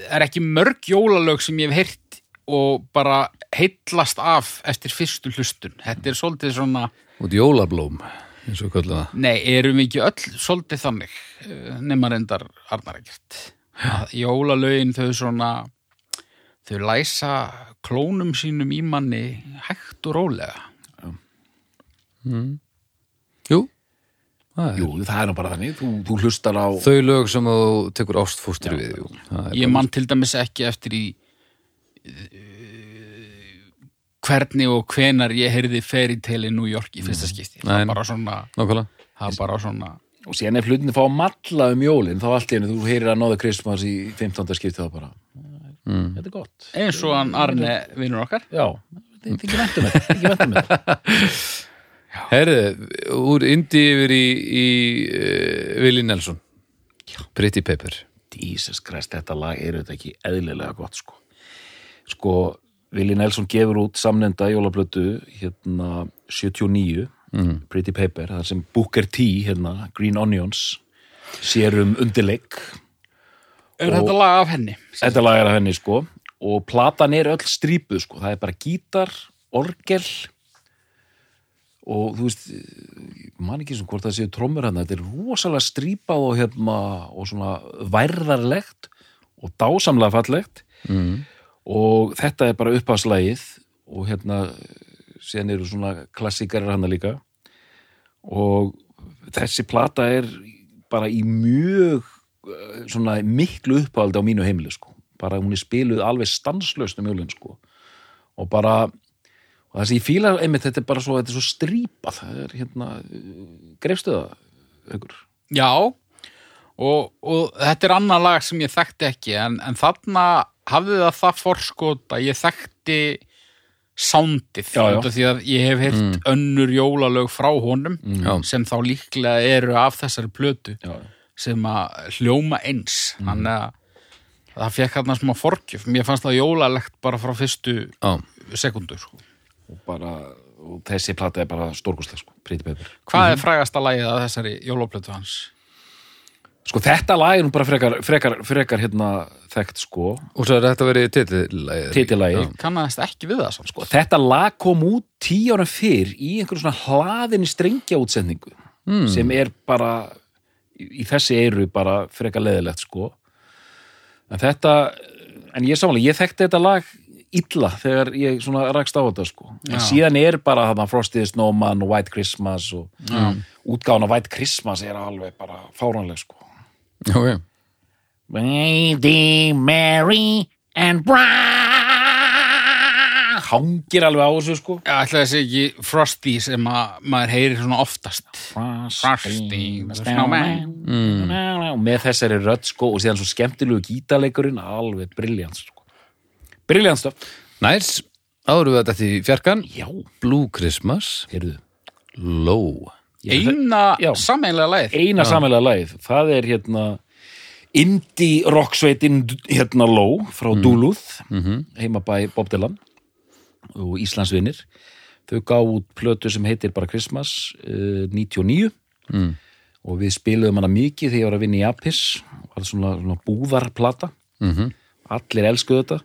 Speaker 3: það er ekki mörg jólalög sem ég hef heyrt og bara heitlast af eftir fyrstu hlustun. Þetta er svolítið svona
Speaker 1: Út jólablóm, eins og kallum það
Speaker 3: nei, erum við ekki öll svolítið þannig eh, nema reyndar Arnar ekkert. Að Jólalögin þau svona þau læsa klónum sínum í manni hægt og rólega.
Speaker 1: Jú, það er
Speaker 2: Jú, það er nú bara þannig, þú, þú hlustar á
Speaker 1: Þau lög sem þú tekur ástfóstur við jú. Það er
Speaker 3: ég man til dæmis ekki eftir í eh, hvernig og hvenar ég heyrði Fairy Tale í New York í fyrsta skipti það
Speaker 1: Mm. Nei.
Speaker 3: er bara svona,
Speaker 1: Nákvæmlega
Speaker 3: það er bara svona
Speaker 2: og síðan ef hlutinni fá að matla um jólin þá allt í henni, þú heyrir að náða Christmas í 15. skipti þá bara Þetta er gott
Speaker 3: eins og hann Arne vinnur okkar
Speaker 2: Já, þetta er ekki væntum með þetta, ekki væntum með þetta
Speaker 1: Herðu, úr Indi yfir í, í uh, Willi Nelson Pretty Paper
Speaker 2: Jesus Christ, þetta lag er auðvitað ekki eðlilega gott sko. Sko, Vili Nelson gefur út samnenda jólablötu hérna 79 Pretty Paper, þar sem Booker T hérna, Green Onions sér um undirleik
Speaker 3: Er þetta lag af henni?
Speaker 2: þetta lag er af henni sko og platan er öll strípuð sko það er bara gítar, orgel og þú veist ég man ekki sem hvort það séu trommur hann þetta er rosalega strípað og, hérna, og svona værðarlegt og dásamlega fallegt mm. og þetta er bara uppáðslagið og hérna síðan eru svona klassikarir hann líka og þessi plata er bara í mjög eh, svona miklu uppáhaldi á mínu heimili sko. bara hún er spiluð alveg stanslöst um jólinn sko. og bara og það sem ég fíla einmitt þetta er bara svo, þetta er svo strípað það er hérna, greifstu það ykkur
Speaker 3: Já, og, og þetta er annað lag sem ég þekkti ekki, en, en þarna hafði það það forskot að ég þekkti sándið,
Speaker 2: Já, Mm. já.
Speaker 3: út af því að ég hef heyrt önnur jólalög frá honum
Speaker 1: Já.
Speaker 3: sem þá líklega eru af þessari plötu
Speaker 2: Mm. Já. Mm.
Speaker 3: sem að hljóma eins, þannig að það fekk hann smá forgjöf, mér fannst það jólalegt bara frá fyrstu
Speaker 1: Já.
Speaker 3: sekundur. Sko.
Speaker 2: og bara, og þessi plata er bara stórkostlega sko, pretty paper
Speaker 3: Hvað er frægasta lagið af þessari jólaplötu hans?
Speaker 2: sko þetta lag er nú bara frekar, frekar, frekar hérna þekkt sko
Speaker 1: Og svo er þetta verið titillægið.
Speaker 2: titilagi,
Speaker 3: Kannaðist ekki við það samt sko.
Speaker 2: Þetta lag kom út tíu ára fyrr í einhverjum svona hlaðinni strengja útsendingu
Speaker 3: Hmm.
Speaker 2: sem er bara í í þessi eru bara frekar leðilegt sko en þetta, en ég samanlega ég þekkti þetta lag illa þegar ég svona rakst á þetta sko en
Speaker 3: Já.
Speaker 2: síðan er bara þarna Frosty the Snowman og White Christmas og
Speaker 3: Já.
Speaker 2: útgáðan á White Christmas er alveg bara fáránleg sko
Speaker 1: Ok.
Speaker 2: Lady Mary and Brown hangir alveg á þessu sko
Speaker 3: Já, ætla þessi ekki Frosty sem að maður heyrir svona oftast. Frosty the Snowman.
Speaker 2: og Mm. með þessari rödd sko og síðan svo skemmtilegu gítarleikurinn alveg briljant sko. briljant stöf
Speaker 1: Næs, áður við þetta í fjarkan.
Speaker 2: já,
Speaker 1: Blue Christmas,
Speaker 2: heyrðu
Speaker 1: Low.
Speaker 2: Ég-
Speaker 3: Eina
Speaker 2: Já.
Speaker 3: sameinlega leið.
Speaker 2: eina samhælega lagið, það er hérna indie rocksveitin hérna Low frá Duluth heima bæ Bob Dylan og Íslandsvinir þau gaf út plötu sem heitir bara Christmas uh, 99 og við spiluðum hana mikið þegar ég var að vinna í Apis var svona, svona búðarplata -hmm. allir elskuðu þetta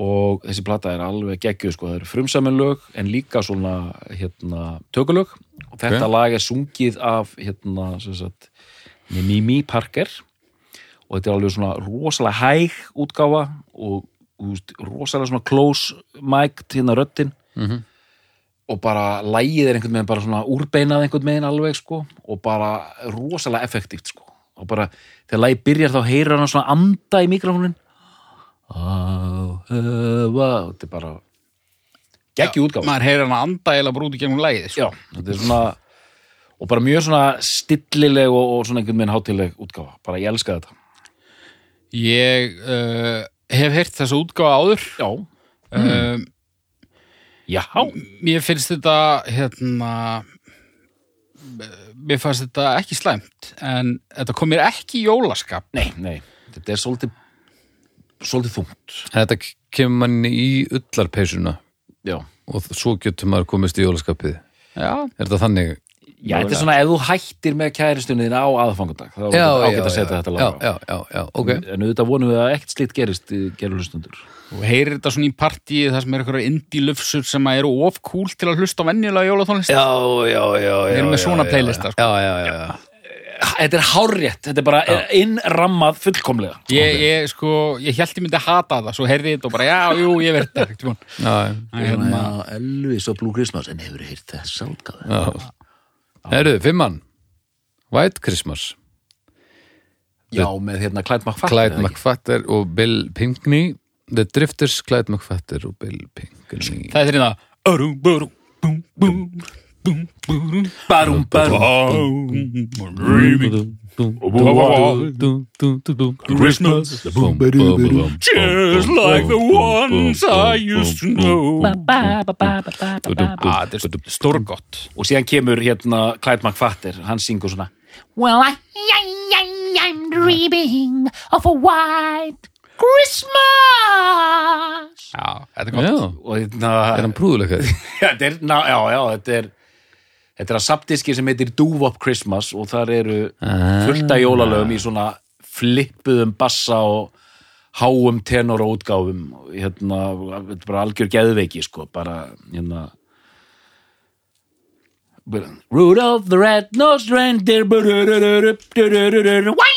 Speaker 2: og þessi plata er alveg geggjuð sko, það eru frumsaminlög en líka svona hérna, tökulög og þetta lag er sungið af hérna, sem sagt, Mimi Parker og þetta er alveg svona rosalega hæg útgáfa og þú veist, rosalega svona close mic hérna röddin og bara lægið er einhvern veginn bara svona úrbeinað einhvern veginn alveg sko og bara rosalega effektíft sko og bara þegar lægið byrjar þá heyrir hann svona anda í mikrofónin Á, höfa, og þetta er bara geggjum útgáfa
Speaker 3: Maður heyrir hann að anda eða brúti gegnum leiði. Sko.
Speaker 2: já, þetta er svona og bara mjög svona stillileg og, og svona einhvern veginn hátileg útgáfa bara ég elska þetta
Speaker 3: Ég uh, hef heyrt þessa útgáfa áður.
Speaker 2: já,
Speaker 3: Mm.
Speaker 2: já,
Speaker 3: mér finnst þetta, hérna, eh, mér fannst þetta ekki slæmt, en þetta kom mér ekki í jólaskap.
Speaker 2: nei, nei þetta er svolítið svolítið þungt
Speaker 1: Þetta kemur mann í ullarpeysuna
Speaker 2: já,
Speaker 1: og svo getur maður komist í jólaskapið.
Speaker 3: Já,
Speaker 1: Er þetta þannig?
Speaker 2: já þetta er svona ef þú hættir með kæristunni þín á aðfangundag þá er þetta ágætt að setja þetta
Speaker 1: já,
Speaker 2: lag á
Speaker 1: já, já, já, ok.
Speaker 2: en auðvitað vonum við að ekkert slíkt gerist eh, gerur hlustundur
Speaker 3: og heyrir þetta svona í partíi þar sem er einhverja indie-lufsur sem að eru of cool til að hlusta á venjulega jólatónlist.
Speaker 1: Já, já, já, já.
Speaker 3: erum með
Speaker 1: já,
Speaker 3: svona
Speaker 1: já,
Speaker 3: playlista,
Speaker 1: já.
Speaker 3: sko.
Speaker 1: Já, já, já, já.
Speaker 2: þetta er hárrétt, þetta er bara eh, innrammað fullkomlega
Speaker 3: Ég, ég, sko, ég held ég myndi hata það, svo heyrði ég þetta og bara, já, jú, ég verði þetta. einhvern tímann.
Speaker 1: já.
Speaker 3: Æ, hérna,
Speaker 2: Elvis og Blue Christmas en hefur heyrt þess álgáð
Speaker 1: já. Herru, fimmann. White Christmas.
Speaker 2: já, með hérna Clyde McFadden
Speaker 1: Clyde
Speaker 2: eða ekki?
Speaker 1: McFatter og Bill Pinkney. The Drifters, Clyde McFatter og Bill Pinkney.
Speaker 3: það er hérna, þetta, örum, börum, búm, búm, búm, búm,
Speaker 2: Barum, barum
Speaker 3: búm, dreaming,
Speaker 1: Christmas
Speaker 3: just like the ones I used to know. Ah, þetta er stórgott.
Speaker 2: og síðan kemur hérna Clyde McFadden, hann syngur svona
Speaker 4: Well, I, I, I, I'm dreaming of a white Christmas.
Speaker 3: Já, þetta er gott.
Speaker 1: Já,
Speaker 2: og hérna
Speaker 1: [LAUGHS] er hann prúðuleikari?
Speaker 2: þetta er, ná, já, já, þetta er Þetta er að sapdiski sem heitir Dúvop Christmas og þar eru fullta jólalögum í svona flippuðum bassa og háum tenor og útgáfum hérna, þetta er bara algjör geðveiki sko, bara hérna Rudolph the Red-Nosed Reindeer brururururu, brururururu, wæ,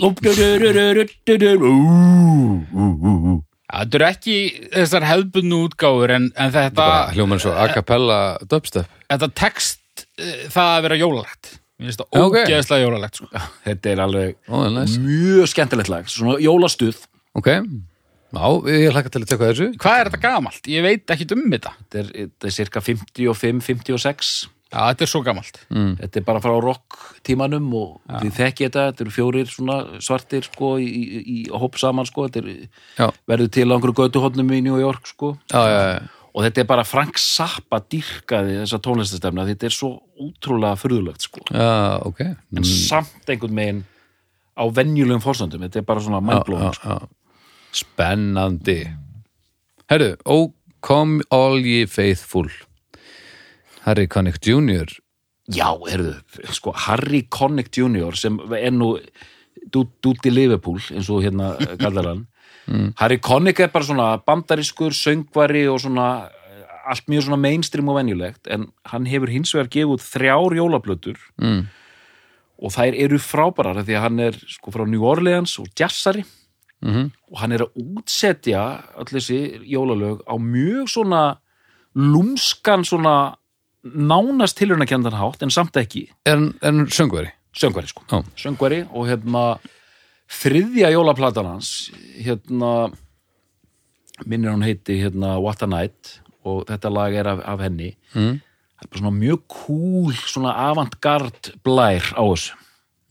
Speaker 2: æ, brururururu, brurururu, ú, ú, ú, ú.
Speaker 3: Ja, Þetta eru ekki þessar hefðbundu útgáfur en, en þetta,
Speaker 1: Hljóman svo a cappella dubstep
Speaker 3: þetta text eh, það að vera jólalegt Mér finnst það
Speaker 1: Já, ok.
Speaker 3: ógeðslega jólalegt sko.
Speaker 2: Þetta er alveg
Speaker 1: Ó, næs.
Speaker 2: mjög skemmtilegt lag, svona jólastuð
Speaker 1: Ok, já, ég hlakka til að tekka þessu
Speaker 3: Hvað er þetta gamalt? Ég veit ekki um þetta
Speaker 2: þetta er, þetta er cirka 55, 56
Speaker 3: Já, þetta er svo gamalt
Speaker 1: Mm.
Speaker 2: þetta er bara að fara á rock tímanum og við þekki þetta, þetta eru fjórir svona svartir sko í, í, í hóp saman sko, þetta er,
Speaker 1: Já,
Speaker 2: verður til á einhverju götuhóttnum í New York sko
Speaker 1: já, já, já.
Speaker 2: og þetta er bara Frank Zappa dýrkaði þessa tónlistastefna, þetta er svo útrúlega furðulegt sko,
Speaker 1: já ok
Speaker 2: en samt einhvern veginn á venjulegum fórsöndum, þetta er bara svona mindblóðum sko.
Speaker 1: já. Spennandi Herru, oh come all ye faithful Harry Connick Jr.
Speaker 2: Já, heyrðu, sko, Harry Connick Jr. sem er nú dútt í Liverpool, eins og hérna kallar hann. Harry Connick er bara svona bandarískur, söngvari og svona eh, allt mjög svona mainstream og venjulegt, en hann hefur hins vegar gefið út þrjár jólablötur
Speaker 1: Mm.
Speaker 2: og þær eru frábærar af því að hann er sko frá New Orleans og jazzari
Speaker 1: Mhm.
Speaker 2: og hann er að útsetja öll þessi jólalög á mjög svona lúmskan svona nánast tilhörnakendan hátt en samt ekki
Speaker 1: Er hann- er hann söngveri?
Speaker 2: söngvari sko
Speaker 1: Já.
Speaker 2: söngvari og hérna þriðja jólaplatan hans hérna minnir hún heiti hérna What a Night og þetta lag er af, af henni
Speaker 1: Mm.
Speaker 2: það er bara svona mjög cool svona avantgard blær á þessu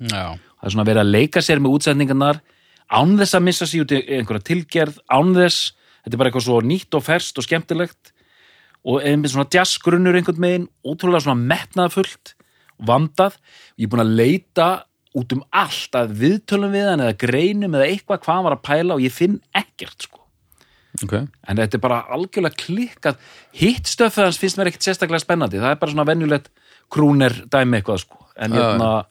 Speaker 3: Já,
Speaker 2: það er svona verið að leika sér með útsendingarnar án þess að missa sig út í einhverja tilgerð án þess, þetta er bara eitthvað svo nýtt og ferskt og skemmtilegt og einmitt svona jazzgrunnur einhvern megin ótrúlega svona metnaðfullt vandað, ég er búin að leita út um allt að viðtölum við hann eða greinum eða eitthvað hvað hann var að pæla og ég finn ekkert sko
Speaker 1: Ok,
Speaker 2: en þetta er bara algjörlega klikkað hitt stöfið hans finnst mér ekkert sérstaklega spennandi það er bara svona venjulegt krúner dæmi eitthvað sko en
Speaker 1: Já,
Speaker 2: hérna,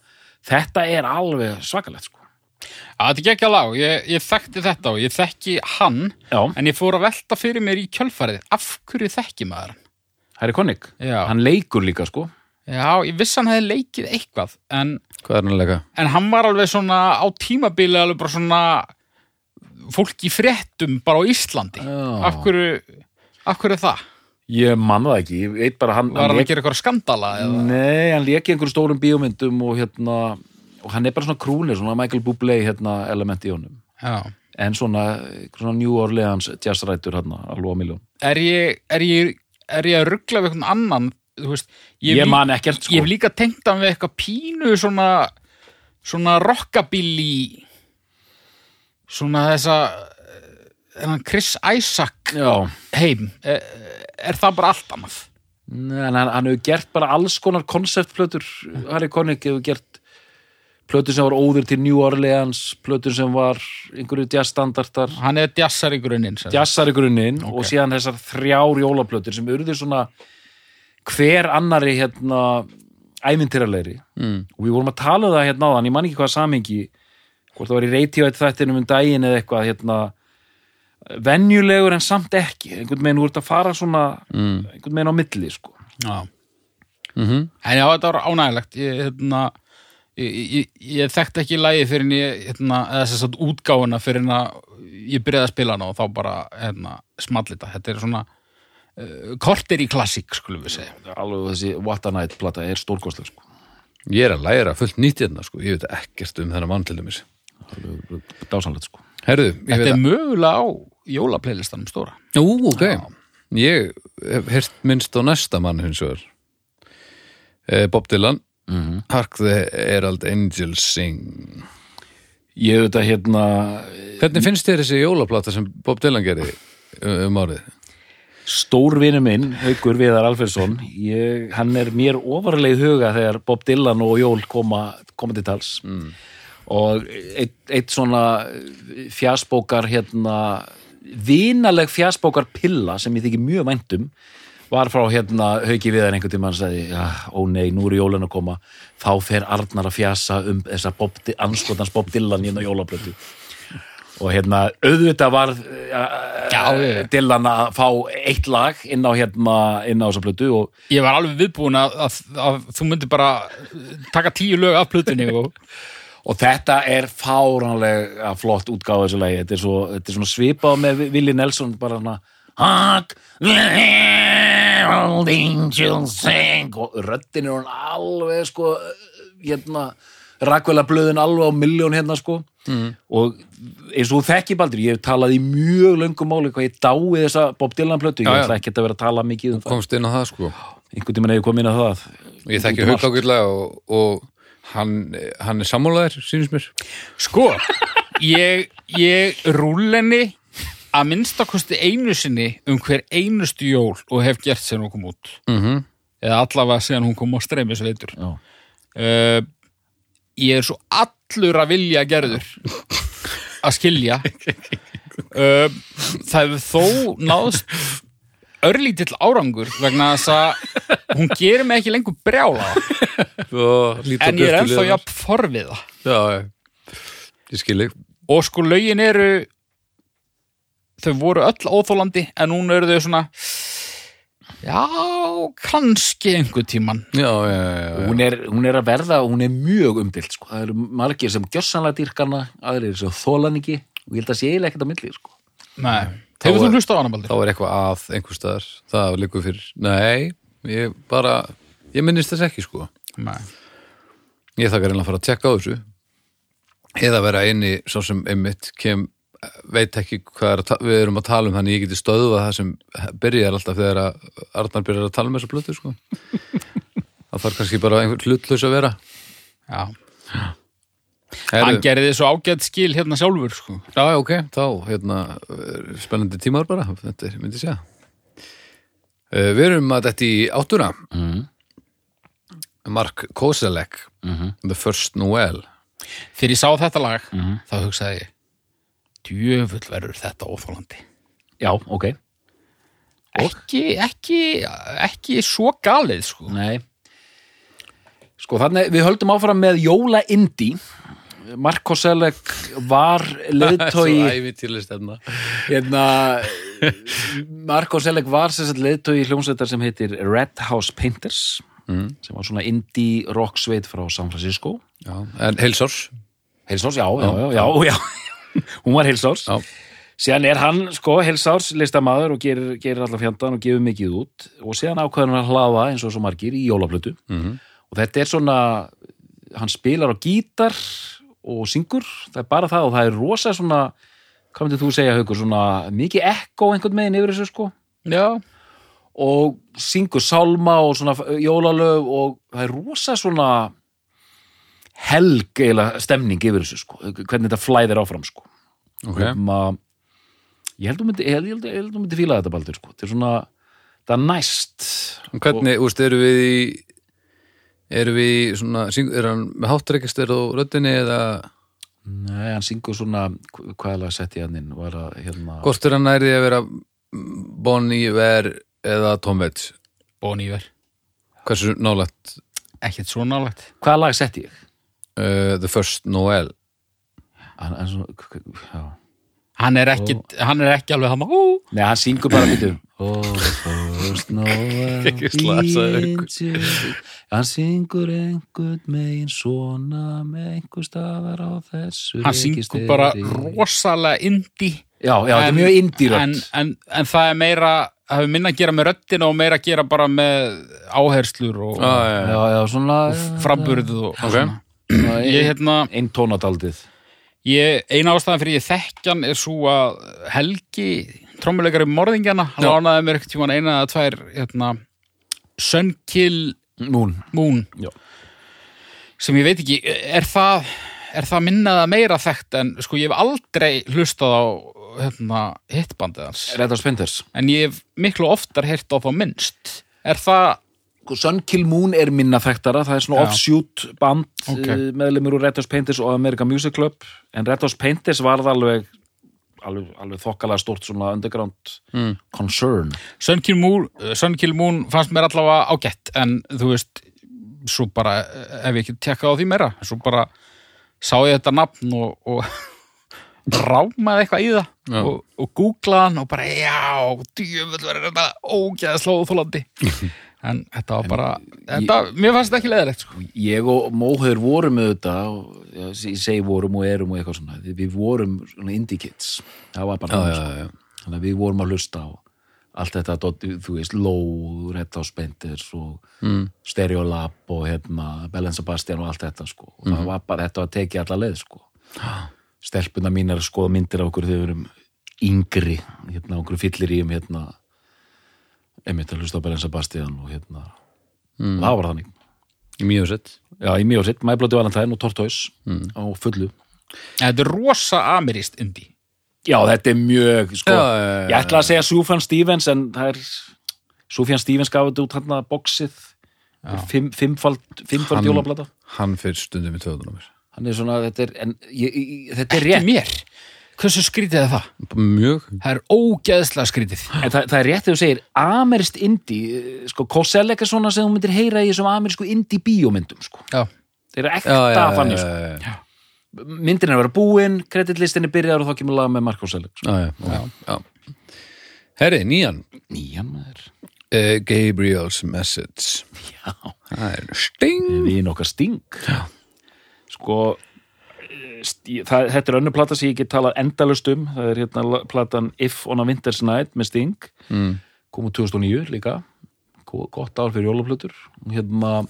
Speaker 2: þetta er alveg svakalegt sko
Speaker 3: Já, þetta er ekki að lág ég, ég þekkti þetta og ég þekki hann
Speaker 2: já,
Speaker 3: en ég fór að velta fyrir mér í kjölfarið af hverju þekki maður hann?
Speaker 2: Harry Connick,
Speaker 3: Já.
Speaker 2: hann leikur líka sko
Speaker 3: Já, ég vissi hann hefði leikið eitthvað en,
Speaker 1: hvað er hann að leika?
Speaker 3: en hann var alveg svona á tímabili alveg bara svona fólk í fréttum bara á Íslandi
Speaker 2: Já.
Speaker 3: af hverju, af hverju það?
Speaker 2: ég man það ekki, ég veit bara hann,
Speaker 3: Var hann
Speaker 2: hann
Speaker 3: að gera eitthvað skandala? Eða?
Speaker 2: nei, hann leik í einhverjum stórum bíómyndum og hérna og hann er bara svona krúnir, svona Michael Bublé hérna element í honum
Speaker 3: Já.
Speaker 2: en svona, svona New Orleans jazzrætur hérna, alveg á miljón
Speaker 3: Er ég, er ég, er ég að ruggla við eitthvað annan? Þú Veist,
Speaker 2: ég,
Speaker 3: hef lí-
Speaker 2: man ekkert sko
Speaker 3: Ég hef líka tengt hann við eitthvað pínu svona, svona rockabilly svona þessa eh, þennan Chris Isaac
Speaker 2: já
Speaker 3: heim er, er það bara allt annað?
Speaker 2: Nei, en hann, hann hefur gert bara alls konar konceptplötur Harry Connick hefur gert plötur sem var óður til New Orleans plötur sem var einhverju jazzstandardar
Speaker 3: Hann er djassar í grunninn sem sagt.
Speaker 2: jazzar í grunninn og síðan þessar þrjár jólaplötur sem urðu svona hver annari hérna ævintýralegri mm. og við vorum að tala um það hérna áðan, ég man ekki hvað samhengi hvort það var í reytívætt þættinum um daginn eða eitthvað hérna venjulegur en samt ekki einhvern veginn voru að fara svona einhvern veginn á milli sko
Speaker 3: Já. En já, þetta var ánægilegt ég, hérna, ég, ég, ég þekkt ekki lægi fyrir en ég, hérna, eða sem sagt útgáfuna fyrir en að ég byrjaði að spila hana og þá bara, hérna, smallita þetta er svona uh, kortir í klassík, skulum við segja
Speaker 2: alveg þessi What a Night plata er stórkostleg sko.
Speaker 1: Ég er að læra fullt nýtt hérna, sko. Ég veit ekkert um þennan mann til dæmis.
Speaker 2: dásanlegt sko.
Speaker 1: Herðu, ég
Speaker 3: Þetta
Speaker 1: veit
Speaker 3: er
Speaker 1: að...
Speaker 3: mögulega á jólaplaylistanum stóra
Speaker 1: Ú, ok. Ég hef hirt minnst á næsta mann hins vegar. Eh, Bob Dylan. Hark the Herald Angels Sing.
Speaker 2: ég hef þetta hérna
Speaker 1: Hvernig finnst þér þessi jólaplata sem Bob Dylan gerði um um árið?
Speaker 2: stórvinu minn, Haukur Viðar Alfredsson ég, hann er mér ofarlega í huga þegar Bob Dylan og Jól koma, koma til tals mm. og eitt, eitt svona fjasbókar hérna vinaleg fjasbókar pilla sem ég þykir mjög væntum var frá hérna Hauki Viðar einhvern tímann sagði, já, ó nei, nú eru jólun að koma þá fer Arnar að fjasa um þessa Bob, Di- anskotans Bob Dylan hérna á jólablötu og hérna, auðvitað var eh,
Speaker 3: Já, já, já.
Speaker 2: Dylan að fá eitt lag inn á hérna, inn á þessa blötu og
Speaker 3: Ég var alveg viðbúin að, að, að þú myndir bara eh, taka tíu lög af plötunni og
Speaker 2: Og þetta er fáránlega flott útgáfa þessu lagi. Þetta er, svo, þetta er svona svipað með Willi Nelson bara svona Hark, the herald angels sing og röddin er hún alveg sko hérna rakvela blöðin alveg á milljón hérna sko
Speaker 1: Mm.
Speaker 2: og eins og þú þekkir baldur ég hef talað í mjög löngum máli hvað ég dái þessa Bob Dylan plötu
Speaker 1: Já,
Speaker 2: ég
Speaker 1: já.
Speaker 2: ætla ekki að vera að tala mikið um það
Speaker 1: komst inn á það sko
Speaker 2: einhvern tímann hefur komið inn á það
Speaker 1: ég þekki hauk ákveðlega og, og hann, hann er sammálaðir, sínist mér
Speaker 3: sko, ég, ég rúlenni að minnstakosti einu sinni um hver einustu jól og hef gert sér hún kom út. Mm -hmm. Eða allavega síðan hún kom á streymis veitur.
Speaker 2: Já.
Speaker 3: Uh, ég er svo allur að vilja gerður að skilja. Uh, það hefur þó náðst örlítill árangur vegna þess að hún gerir mig ekki lengur brjála en ég er ennþá jafn forviða
Speaker 1: já, já, ég skil ég
Speaker 3: og sko lögin eru þau voru öll óþólandi en núna eru þau svona já, kannski einhver tíman
Speaker 1: já, já, já, já.
Speaker 2: hún er, hún er að verða, hún er mjög umdilt sko. það eru margir sem gjörsanlega dýrkana aðrir sem þólan ekki og ég held að sé eiginlega ekkert á milli sko.
Speaker 3: Nei. hefur
Speaker 1: Þá
Speaker 3: þú
Speaker 1: er-
Speaker 3: hlust á hana
Speaker 1: þá
Speaker 3: Baldur?
Speaker 1: er eitthvað að einhver staðar það liggur fyrir, nei ég bara, ég minnist þess ekki sko
Speaker 3: Nei.
Speaker 1: ég þakkar einlega að fara að tjekka á þessu eða vera inni svo sem einmitt kem, veit ekki hvað er að, ta- við erum að tala um þannig ég geti stöðvað það sem byrjar alltaf þegar að Arnar byrjar að tala um þessa plötu sko. það þarf kannski bara einhvern hlutlaus að vera
Speaker 3: Já. hann
Speaker 1: Heru,
Speaker 3: gerði svo ágætt skil hérna sjálfur sko.
Speaker 1: já, já, ok, þá hérna, eh, spennandi tímar bara þetta er, myndi ég segja Eh, við erum að þetta í áttuna
Speaker 3: Mhm.
Speaker 1: Mark Koselek
Speaker 3: Mhm.
Speaker 1: The First Noel
Speaker 3: þegar ég sá þetta lag þá hugsaði ég djöfull verður þetta óþólandi
Speaker 2: já, ok
Speaker 3: ekki, ekki, ekki svo galið sko.
Speaker 2: Nei. sko þannig, við höldum áfram með Jóla Indi Marko Selleck var [LAUGHS] leiðtói
Speaker 1: æfintilist hérna
Speaker 2: hérna, Marko Selleck var sem sagt leiðtói hljómsveitar sem heitir Red House Painters sem var svona indie rock sveit frá San Francisco
Speaker 1: Já, en heilsors
Speaker 2: Heilsárs, já, já, já, já, já. [LAUGHS] hún var heilsárs
Speaker 1: Já.
Speaker 2: síðan er hann, sko, heilsárs listamaður og gerir, gerir allar fjandan og gefur mikið út og síðan ákveður hann að hlaða eins og svo margir í jólablötu -hmm. og þetta er svona hann spilar á gítar og syngur, það er bara það og það er rosa svona, hvað myndir þú segja Haukur, svona mikið ekko einhvern meginn yfir þessu sko
Speaker 3: já,
Speaker 2: og syngur sálma og svona jólalöf og það er rosa svona helg eða stemning yfir þessu sko, hvernig þetta flæðir áfram sko
Speaker 1: okay.
Speaker 2: um að ég held að þú myndi, ég held, ég held, ég held að þú myndi fíla þetta baldur sko, þetta er svona það er næst
Speaker 1: Og Hvernig, úrst, eru við í eru við í svona syng- er hann með háttrekistur og röddinni eða
Speaker 2: Nei, hann syngur svona, hv- hvað er það að setja hann inn var að, hérna,
Speaker 1: hvort er hann nærði að vera Bonnie Ver eða Tom Waits
Speaker 3: Boníver
Speaker 1: hversu nálægt
Speaker 3: ekkert svo nálægt
Speaker 2: hvaða lag setti ég?
Speaker 1: uh, The First Noel
Speaker 2: Hann, hann, svona, k- k- já.
Speaker 3: hann er ekki, hann er ekki alveg hann ó,
Speaker 2: Nei, hann syngur bara býtum Oh, first Noel
Speaker 1: Ekki slasaður ykkur.
Speaker 2: into- Hann syngur einhvern megin svona með einhver stafar á þessu
Speaker 3: hann syngur bara
Speaker 2: registeri.
Speaker 3: rosalega indie
Speaker 2: Já, já, þetta er
Speaker 3: En-
Speaker 2: mjög indírönd
Speaker 3: en, en, en það er meira það hefur minna að gera með röddina og meira að gera bara með áherslur
Speaker 1: ah,
Speaker 3: og
Speaker 1: ja, ja.
Speaker 2: Já, já, svona
Speaker 3: framburð og og svona. ég hérna,
Speaker 2: Einn tónadaldið
Speaker 3: ég, eina ástæðan fyrir ég þekkjan er svo að Helgi trommuleikari morðingjana hann lánaði mér ekkert tíma eina eða tvær hérna, Sunkill
Speaker 2: Nún
Speaker 3: Moon
Speaker 2: Já.
Speaker 3: sem ég veit ekki, er það er það minnaða meira þekkt en sko ég hef aldrei hlustað á hérna, hittbandið hans
Speaker 2: Red House Painters
Speaker 3: en ég hef miklu oftar heyrt á þá minnst er það
Speaker 2: Sko, Sun Kill Moon er minna þekktara Það er svona
Speaker 3: Já.
Speaker 2: offshoot band eh,
Speaker 3: Ok.
Speaker 2: okay. meðlumur úr Red House Painters og America Music Club En Red House Painters varð alveg alveg, alveg þokkalega stort svona underground
Speaker 3: Mm.
Speaker 2: concern
Speaker 3: Sun Kill Moon, eh, Sun Kill Moon fannst mér allavega ágætt en þú veist svo bara, eh, ef ég ekki tekka á því meira svo bara sá ég þetta nafn og, [LAUGHS] og rámaði eitthvað í það
Speaker 2: Já.
Speaker 3: og, og googlaði hann og bara já, djöfull verður þetta ógæðsla og þólandi en þetta var bara, þetta, mér fannst þetta ekki leðilegt sko.
Speaker 2: ég og Móhauður vorum auðvitað og, já, ég segi vorum og erum og eitthvað svona við, við vorum svona indie kids það var bara já, já, já. þannig að við vorum að hlusta á allt þetta dot- þú veist, Low, Red House Painters og mm. Stereolab og hérna, Belen Sebastian og allt þetta sko. og það var bara, þetta var tekið alla leið sko. stelpuna mínar skoða myndir á okkur þegar við erum yngri hérna, okkur fyllir í um hérna einmitt að hlusta á Belen Sebastian og hérna, það var þannig
Speaker 1: í mjög sett
Speaker 2: Já, í mjög sitt, My Bloody Valentine og Tortoise á fullu.
Speaker 3: þetta er rosa amirist indi
Speaker 2: Já, þetta er mjög, sko,
Speaker 1: Já, já, já,
Speaker 2: ég ætla að segja Sufjan Stevens, en það er, Sufjan Stevens gaf þetta út hérna boxið, fimm, fimmfald, fimmfald
Speaker 1: Hann-
Speaker 2: jólablata.
Speaker 1: hann fyrir stundum í töðunum mér
Speaker 2: Hann er svona, þetta er, en, ég, ég, þetta er
Speaker 3: ekki
Speaker 2: rétt,
Speaker 3: mér, hversu skrítið er það?
Speaker 1: mjög
Speaker 3: það er ógæðsla skrítið
Speaker 2: en það, það er rétt þegar þú segir, amerist indie, eh, sko, Kossel eitthvað svona sem þú myndir heyra í þessum amerísku indie bíómyndum, sko.
Speaker 3: já,
Speaker 2: Þeir eru ekta
Speaker 1: já, já,
Speaker 2: fannig,
Speaker 1: já,
Speaker 2: sko.
Speaker 1: já, já,
Speaker 2: Myndin er að vera búin, kreditlistin er byrjar og þá kemur lag með Marko Selleck, sko.
Speaker 1: já, já, ok, já. herri, nýjan
Speaker 2: Nýjan maður.
Speaker 1: uh, Gabriel's Message já það er sting
Speaker 2: við nokkar sting sko eh, st- það, þetta er önnur plata sem ég get talað endalust um, það er hérna la- platan If on a Winter's Night með Sting mm. kom úr 2009 líka Go- gott ár fyrir jólaplötur hérna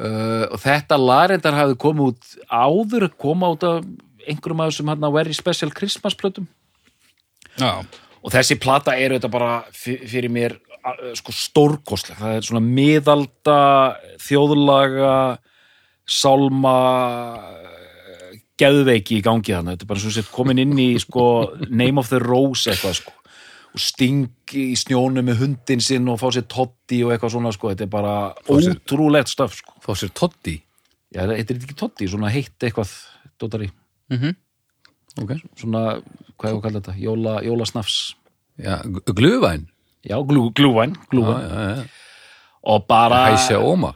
Speaker 2: uh, og þetta larendar hafði komið út áður koma út af einhverjum af þessum hérna Very Special Christmas plötum
Speaker 3: já,
Speaker 2: og þessi plata er auðvitað bara fyr- fyrir mér a- sko stórkostleg það er svona miðalda þjóðlaga sálma eh, geðveiki í gangi þannig þetta er bara svo sett komin inn í sko Name of the Rose eitthvað sko og sting í snjónu með hundin sinn og fá sér totti og eitthvað svona sko þetta er bara
Speaker 1: sér-
Speaker 2: ótrúlegt stöf sko
Speaker 1: fá sér toddi
Speaker 2: Já, þetta er þetta ekki totti, svona heitt eitthvað dótari,
Speaker 1: okay.
Speaker 2: svona, hvað er að kalla þetta Jóla, jólasnafs,
Speaker 1: já, gl- glühwein
Speaker 2: já, glú, glúvæn glúvæn,
Speaker 1: já, já, já.
Speaker 2: og bara
Speaker 1: hæsja óma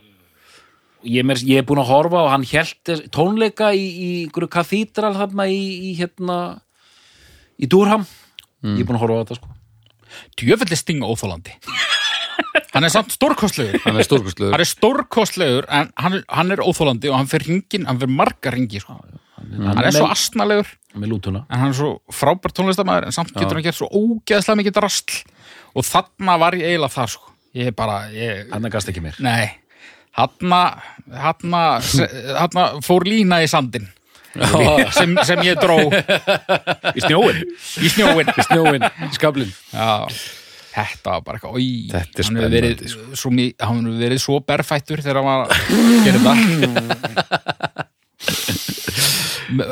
Speaker 2: ég, meir, ég er búin að horfa og hann held tónleika í, í einhverju kathídral þarna í, í hérna í Durham ég er búin að horfa á þetta sko
Speaker 3: djöfellir stinga óþólandi hann er samt stórkostlegur
Speaker 1: hann er stórkustluður
Speaker 3: hann er stórkostlegur en hann, hann er óþólandi og hann fyrir hringin, hann fyrir marga hringi sko. hann, er svo astnalegur
Speaker 2: með lútuna
Speaker 3: en hann er svo frábær tónlistamæður en samt getur hann gert svo ógeðslega mikið drasl og þarna var ég eiginlega þar sko. ég er bara, ég,
Speaker 2: hann gast ekki mér
Speaker 3: nei þarna, þarna þarna fór lína í sandin sem, sem ég dró
Speaker 2: í snjóin
Speaker 3: í snjóin
Speaker 1: snjóin, skablin
Speaker 3: Já, þetta var bara eitthvað oj,
Speaker 1: Þetta er
Speaker 3: hann hefur verið,
Speaker 1: spennandi, sko."
Speaker 3: svo mi- hann hefur verið svo berfættur þegar hann var að gera það
Speaker 1: [LAUGHS]
Speaker 3: Me-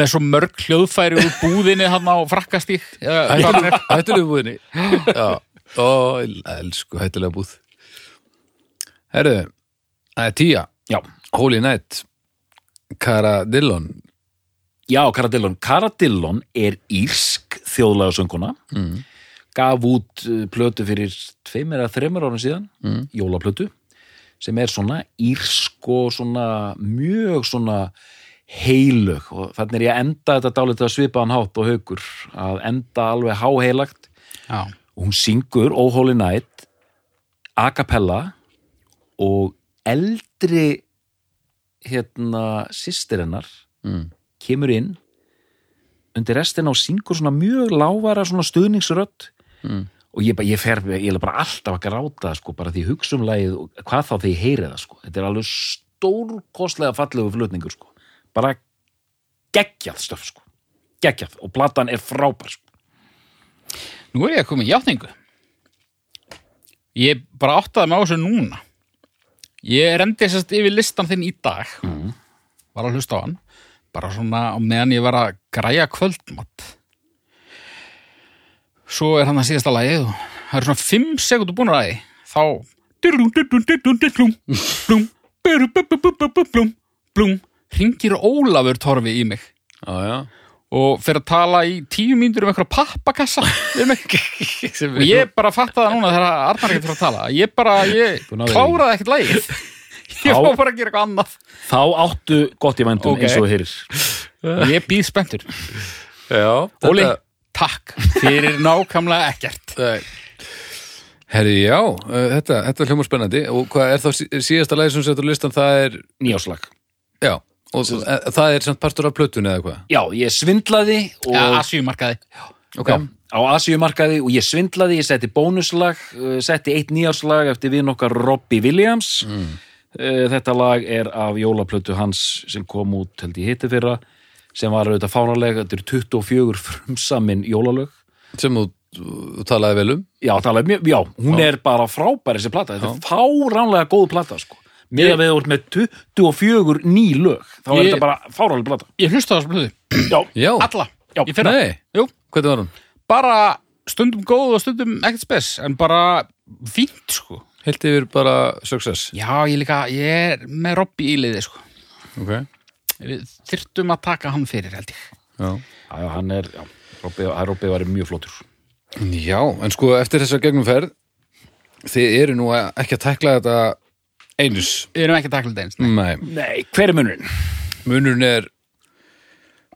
Speaker 3: með svo mörg hljóðfæri úr búðinni hann á frakkastík eða hvað hann er.
Speaker 1: hættulega búðinni já, ó, elsku hættulega búð herru það er tíja,
Speaker 2: já,
Speaker 1: Holy Night Cara Dillon
Speaker 2: já Karadillon Karadillon er írsk þjóðlega sönguna mm. gaf út uh, plötu fyrir tveimur eða þreimur árum síðan mm. jólaplötu sem er svona írsk og svona mjög svona heilög og þannig er ég að enda þetta dálítið að svipa hann hátt og haukur að enda alveg háheilagt
Speaker 3: Já,
Speaker 2: og hún syngur Oh Holy Night a cappella og eldri hérna systir hennar
Speaker 1: Mm.
Speaker 2: kemur inn undir restina og syngur svona mjög lágvara svona stuðningsrödd
Speaker 1: Mm.
Speaker 2: og ég, bara- ég fer ég er bara alltaf að gráta sko, bara því ég hugsa um lagið og hvað þá því ég heyri það sko. þetta er alveg stórkostlega fallegu flutningur sko. bara geggjað stöf sko. geggjað og platan er frábær sko.
Speaker 3: nú er ég að koma í játningu Ég bara áttaði mig á þessu núna Ég rendi sérst yfir listan þinn í dag var að hlusta á hann bara svona á meðan ég var að græja kvöldmatt svo er hann að síðasta lagið og það eru svona 5 sekundur búin að því þá dyrlum, dyrlum, dyrlum, dyrlum, blum, beru, bu, bu, bu, bu, bu, blum, blum, hringir Ólafur Torfi í mig
Speaker 1: já, já,
Speaker 3: og fyrir að tala í tíu mínútur um eitthvað pappakassa við
Speaker 1: [LAUGHS]
Speaker 3: mig. og ég bara fatt það núna þegar Arnar ekkert fyrir að tala ég bara, ég
Speaker 2: Þú náðir í.
Speaker 3: kláraði ekkert lægið [LAUGHS] ég
Speaker 2: Þá-
Speaker 3: fór bara að gera eitthvað annað
Speaker 2: Þá áttu gott í vendum
Speaker 3: Ok.
Speaker 2: eins og þú heyrir.
Speaker 3: ég býð spenntur
Speaker 1: Já,
Speaker 3: Óli, takk fyrir nákvæmlega ekkert
Speaker 1: Herri, já, uh, þetta, þetta er hljómar spennandi og hvað er þá sí- síðasta lægi sem setur á listan það er,
Speaker 2: Nýjáslag.
Speaker 1: já og svo- e- það er samt partur af plötunni eða hvað
Speaker 2: Já, ég svindlaði og...
Speaker 3: Já, Asíumarkaði
Speaker 1: okay.
Speaker 2: Já, á Asíumarkaði og ég svindlaði, ég setti bónuslag, uh, setti eitt nýjárslag eftir við nokkar Robbie Williams. Uh, Þetta lag er af jólaplötu hans sem kom út, held ég hitti fyrra, sem var auðvitað fánalega, þetta eru 24 frumsamin jólalög.
Speaker 1: sem þú þú talaði vel um
Speaker 2: Já, talaði, mjög- já hún er bara frábær þessi plata, þetta er fáránlega góð plata sko. Með að við vorum með 24 ný lög, þá er
Speaker 3: Ég-
Speaker 2: þetta bara fáránlega plata.
Speaker 3: Ég hlusta á þessu blöðu,
Speaker 2: Já,
Speaker 1: Já,
Speaker 3: alla
Speaker 2: Já.
Speaker 3: Í fyrra.
Speaker 1: nei,
Speaker 3: Jú,
Speaker 1: hvernig var hún?
Speaker 3: bara stundum góð og stundum ekkert spes en bara fínt sko
Speaker 1: Heilt yfir bara success
Speaker 3: Já, ég líka, ég er með Robby í liði sko
Speaker 1: okay.
Speaker 3: Við þyrftum að taka hann fyrir held ég
Speaker 1: já.
Speaker 2: já, já, hann er, já, Robby, Robby var mjög flottur.
Speaker 1: já, en sko eftir þessa gegnumferð þið eru nú ekki að tækla þetta einus
Speaker 3: Við erum ekki að takla þetta eins
Speaker 1: Nei,
Speaker 2: Nei, hver er munurinn?
Speaker 1: munurinn er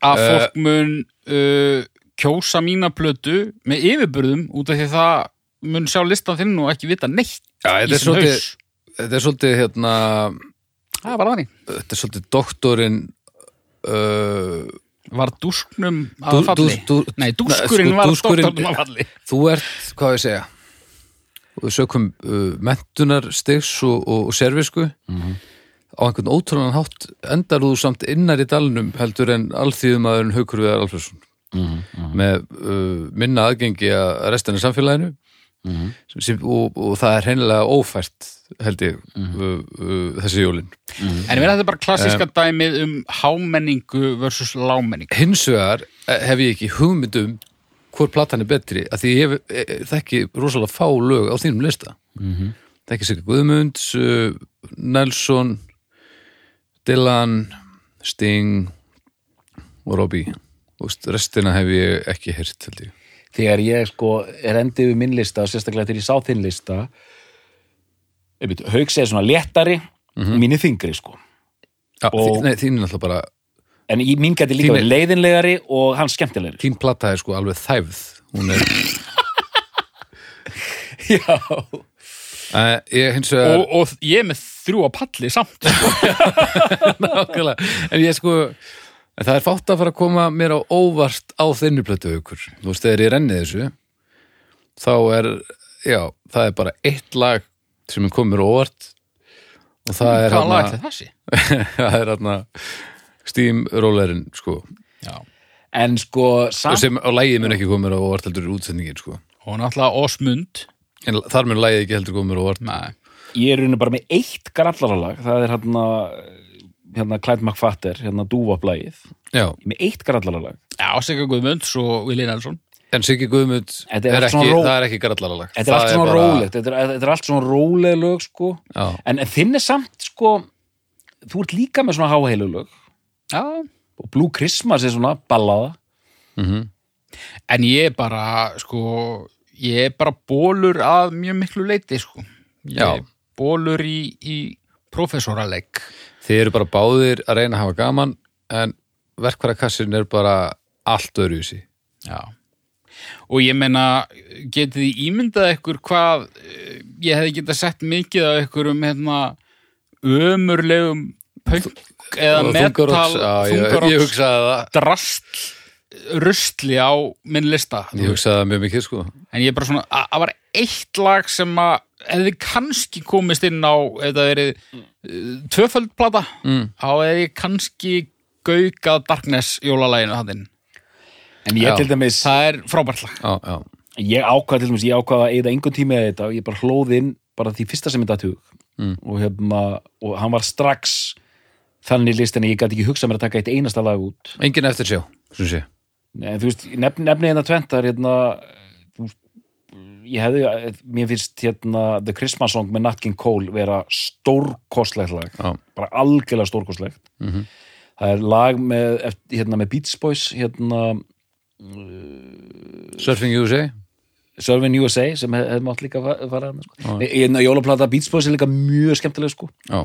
Speaker 3: Að
Speaker 1: Eh.
Speaker 3: fólk mun uh, kjósa mína plötu með yfirburðum út af því að það mun sjá listan þinn og ekki vita neitt
Speaker 1: Já,
Speaker 3: í
Speaker 1: þetta er
Speaker 3: sinn
Speaker 1: svolítið-
Speaker 3: haus.
Speaker 1: þetta er svolítið hérna
Speaker 3: Það er bara þannig
Speaker 1: þetta er svolítið doktorinn uh,
Speaker 3: Var dúsknum að
Speaker 1: Dú-
Speaker 3: falli?
Speaker 1: dú- dú-
Speaker 3: Nei,
Speaker 1: Nei,
Speaker 3: dúskurinn
Speaker 1: sko,
Speaker 3: var
Speaker 1: dúskurinn-
Speaker 3: dóttarnum að falli
Speaker 1: þú ert, hvað á ég að segja og sökum uh, mentunar stigs og, og, og servisku á einhvern ótrúan hátt endar þú samt innar í dalnum heldur en alþýðumadurinn Haukur Viðar Alfredsson með uh, minna aðgengi að restina samfélaginu sem, sem, og, og það er hennilega ófært held ég uh, uh, þessi jólin
Speaker 3: En ég meina þetta er bara klassíska dæmið um hámenningu versus lámenningu
Speaker 1: hins vegar eh, hef ég ekki hugmyndum hvort platan er betri að því ég hef, e, e, þekki rosalega fá lög á þínum lista þekki sér Guðmunds uh, Nelson Dylan Sting og Robbie og st- restina hef ég ekki heyrt held ég
Speaker 2: þegar ég sko er endið við minn lista og sérstaklega þegar ég sá þinn lista ég veit, haugs er svona léttari mm mínir þingri sko
Speaker 1: ja, og...
Speaker 2: Og-
Speaker 1: þín, nei, þín er náttúrulega bara
Speaker 2: en í- mín gæti líka
Speaker 1: Þín er-
Speaker 2: verið leiðinlegari og hann skemmtilegri
Speaker 1: þín plata er sko alveg þæfð hún er,
Speaker 2: [LAUGHS] já,
Speaker 1: uh, ég hins vegar
Speaker 3: og, og ég er með þrjú á palli samt
Speaker 1: Nákvæmlega, en ég sko en það er fátt að fara að koma mér á óvart á þinni plötu aukur þú veist, þegar ég renni þessu þá er, já, það er bara eitt lag sem er komið mér á óvart og það er
Speaker 3: Hvaða
Speaker 1: hana,
Speaker 3: lag ætli það hérna- sé?
Speaker 1: [LAUGHS] það er hana Steam Rollerinn, sko
Speaker 3: Já.
Speaker 2: en sko samt,
Speaker 1: sem á lagið mun ekki koma mér á óvart heldur útsendingin, sko
Speaker 3: Og náttúrulega Osmund
Speaker 1: en þar mun lagið ekki heldur koma mér á óvart
Speaker 3: Nei.
Speaker 2: ég er rauninu bara með eitt grallaralag það er hérna hérna Clyde McFatter, hérna dúvaplægið
Speaker 1: já,
Speaker 2: með eitt grallaralag
Speaker 3: Já, Sigga Guðmunds og Willi Nelson
Speaker 1: en Siggi Guðmund
Speaker 2: Þetta
Speaker 1: er
Speaker 2: er allt
Speaker 1: ekki,
Speaker 2: svona ró-
Speaker 1: það er ekki grallara lag
Speaker 2: þetta er allt svona rólegt, þetta er, þetta er allt svona róleg lög sko,
Speaker 1: já,
Speaker 2: en, en þinn er samt sko, þú ert líka með svona háheilu lög
Speaker 3: Já.
Speaker 2: og Blue Christmas er svona ballaða
Speaker 3: En ég er bara, sko ég er bara bólur að mjög miklu leiti, sko Ég
Speaker 1: Já.
Speaker 3: er bólur í, í professoraleg
Speaker 1: Þið eru bara báðir að reyna að hafa gaman en verkvarakassin er bara allt öðru í sí.
Speaker 3: Já. Og ég meina, getið þið ímyndað ykkur hvað eh, ég hefði getað sett mikið af ykkur um hérna ömurlegum punk eða metal
Speaker 1: ég, ég
Speaker 3: þungaroks
Speaker 1: hugsaði það.
Speaker 3: drast rusli á minn lista
Speaker 1: Ég hugsaði það mjög mikið sko.
Speaker 3: en ég er bara svona, að það var eitt lag sem að hefði kannski komist inn á ef það verið mm. tvöföldplata mm. þá hefði ég kannski gaukað Darkness jólalæginu hann inn.
Speaker 2: En ég
Speaker 1: Já.
Speaker 2: til dæmis,
Speaker 3: það er frábært lag
Speaker 1: Já, já.
Speaker 2: ég ákvað til dæmis, ég ákvað að eða engum tími að þetta og ég bara hlóð inn bara því fyrsta sem þetta tug mm. og, hérna, og hann var strax þannig list en ég gæti ekki hugsað mér að taka eitt einasta lag út
Speaker 1: Engin eftir sjá, sem sé.
Speaker 2: Nei, en þú veist, ég nefni, nefni hérna tventar hérna, þú veist, ég hefði, mér finnst hérna The Christmas Song með Nat King Cole vera stórkostlegt lag
Speaker 1: Já.
Speaker 2: bara algjörlega stórkostlegt það er lag með, eft- hérna, með Beach Boys hérna,
Speaker 1: Surfing USA
Speaker 2: Surfing USA sem hef, hef mátt líka fa- fara þarna, sko. Nei, hérna, jólaplata Beach Boys er líka mjög skemmtileg sko.
Speaker 3: Já.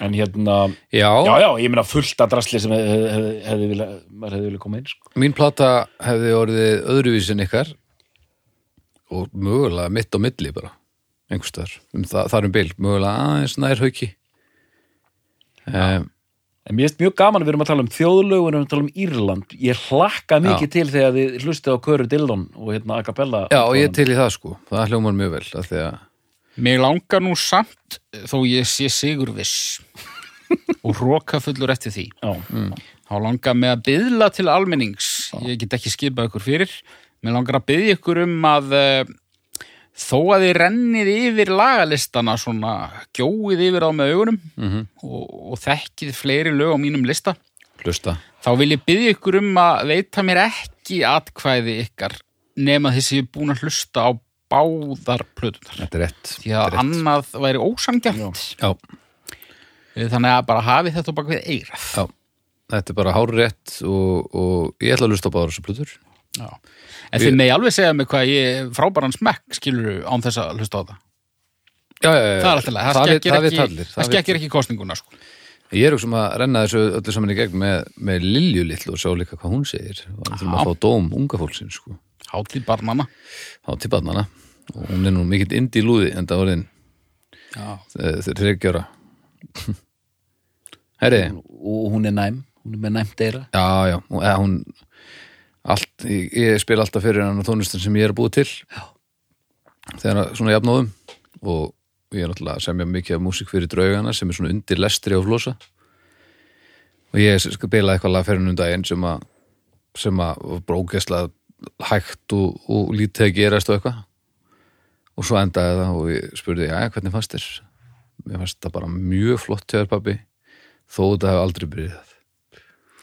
Speaker 2: en hérna,
Speaker 1: Já,
Speaker 2: já já, ég meina fullt að drasli sem hefði hef, hef, hef, vilja, maður hefði vilja koma inn sko.
Speaker 1: mín plata hefði orðið öðruvísin ykkar og mögulega mitt á milli bara, einhverstaðar um það, þar um bil, mögulega aðeins nær hauki um,
Speaker 2: En mér finnst mjög gaman að við erum að tala um þjóðlög og við erum að tala um Írland. Ég hlakka mikið til þegar þið hlustið á Köru Dillon og hérna Acapella.
Speaker 1: Já, og ég er til í það sko, það hljómar mjög vel af því að
Speaker 3: Mér langar nú samt þó ég sé sigurviss og rókafullur eftir því.
Speaker 2: Já,
Speaker 1: Mm.
Speaker 3: Þá langar mig að byðla til almennings. Ég get ekki skipað ykkur fyrir. Mér langar að byðja ykkur um að eh, þó að þið rennið yfir lagalistana svona gjóið yfir á með augunum og, og þekkið fleiri lög á mínum lista
Speaker 1: hlusta
Speaker 3: þá vil ég byðja ykkur um að veita mér ekki atkvæði ykkar nema þið séu búin að hlusta á báðar plötunar.
Speaker 1: Þetta er rétt,
Speaker 3: Því að
Speaker 1: Þetta er rétt.
Speaker 3: annað væri ósangjant.
Speaker 1: Já,
Speaker 3: Þannig að bara hafi þetta á bak við eirað.
Speaker 1: já, þetta er bara hárrétt og, og ég ætla að hlusta á báður þessu plötur
Speaker 3: En þið megi alveg segja mig hvað ég frábæran smekk skilur án þess að hlusta á það.
Speaker 1: Já, já, já, já.
Speaker 3: Það er alltaf leið, það
Speaker 1: vit- Eh, það
Speaker 3: skekkir
Speaker 1: vit
Speaker 3: ekki,
Speaker 1: allir,
Speaker 3: það
Speaker 1: vit-
Speaker 3: skekkir ekki kostninguna sko.
Speaker 1: Ég er auksum að renna þessu öllu saman í gegn með, með Lilju litlu og sjá líka hvað hún segir og hann þurfum að fá dóm unga fólksinn sko
Speaker 3: Hátíð barnana.
Speaker 1: á tibatnana og hún er nú mikill indi lúði en það orðin eh,
Speaker 3: Já.
Speaker 1: þeir reykjóra [LAUGHS] Herri,
Speaker 2: og hún er næm, hún er með næmt eira.
Speaker 1: já, já hún, eða, hún allt, ég, ég spil alltaf fyrir hann á tónlistin sem ég er að búið til já. þegar að- svona jafnóðum og ég er náttúrulega að semja mikið af músík fyrir draugana sem er svona undir lestri á flosa og ég skal bila eitthvað lag fyrir hann um daginn sem að sem að brókesla hægt og, og lítið að gerast og eitthvað og svo endaði það og ég spurði, já, hvernig fannst þér? Mér fannst það bara mjög flott hjá þér pabbi þó þetta hef aldrei byrjað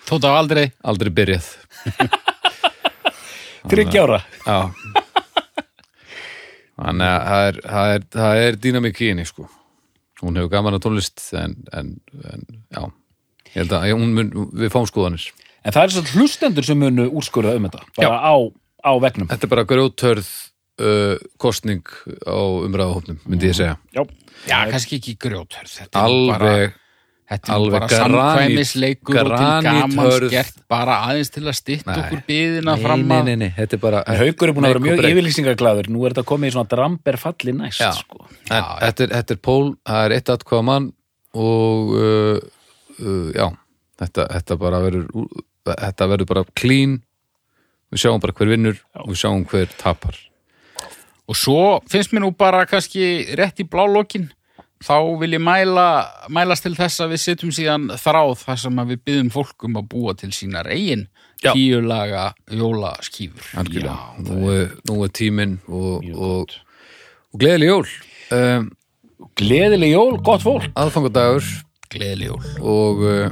Speaker 3: Tóta á aldrei.
Speaker 1: aldrei byrjað
Speaker 2: Tryggjára.
Speaker 1: Já Þannig að það er, það er, það er dýnamik í henni sko Hún hefur gaman að tónlist en, en, en já Ég held að ég- hún mun, við fáum skoðanir
Speaker 2: En það er svo hlustendur sem munu úrskurða um þetta, bara á, á vegnum.
Speaker 1: Þetta er bara grjótörð uh, kostning á umræðahófnum myndi ég segja
Speaker 2: Já,
Speaker 3: Já, kannski ekki grjóthörð. Þetta er nú bara,
Speaker 1: Eh, Alveg,
Speaker 3: þetta er nú
Speaker 1: alveg granít-
Speaker 3: bara samkvæmisleikur og til gamans
Speaker 1: graníthörð.
Speaker 3: gert bara aðeins til að stytta
Speaker 1: Nei.
Speaker 3: okkur byðina fram að.
Speaker 1: nei, þetta er bara
Speaker 2: Haukur er búin að vera
Speaker 1: Make or
Speaker 2: mjög
Speaker 1: break.
Speaker 2: yfirlýsingaglæður, nú er þetta komið í svona dramber falli næst,
Speaker 1: Já.
Speaker 2: sko.
Speaker 1: En þetta er, þetta er pól, það er eitt atkvæða mann og uh, uh, já, þetta, þetta bara verður ú- þetta verður bara clean við sjáum bara hver vinnur og við sjáum hver tapar
Speaker 3: Og svo finnst mér nú bara kannski rétt í blálókin, þá vil ég mæla, mælast til þess að við setjum síðan þráð þar sem að við byðum fólkum að búa til sínar eigin
Speaker 1: Já.
Speaker 3: tíulaga jólaskýfur.
Speaker 1: algjörlega, nú er, nú er tíminn og, og, og gleðileg jól um,
Speaker 2: Gleðileg jól, gott fólk.
Speaker 1: aðfangadagur
Speaker 3: Gleðileg jól.
Speaker 1: og uh,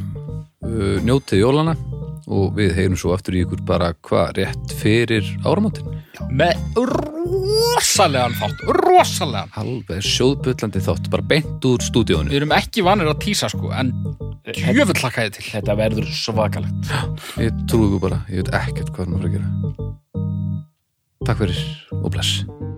Speaker 1: uh, njótið jólana og við heyrum svo aftur í ykkur bara hvað rétt fyrir áramótin
Speaker 3: Með rosalegan þátt, rosalegan.
Speaker 1: alveg sjóðbullandi þátt, bara beint úr stúdíónu
Speaker 3: Við erum ekki vanir að tísa sko, en
Speaker 1: Eh,
Speaker 3: djöfull hlakka ég til.
Speaker 2: Þetta verður svakalegt.
Speaker 1: Ég trúi ykkur bara, ég veit ekkert hvað maður að gera. Takk fyrir og bless.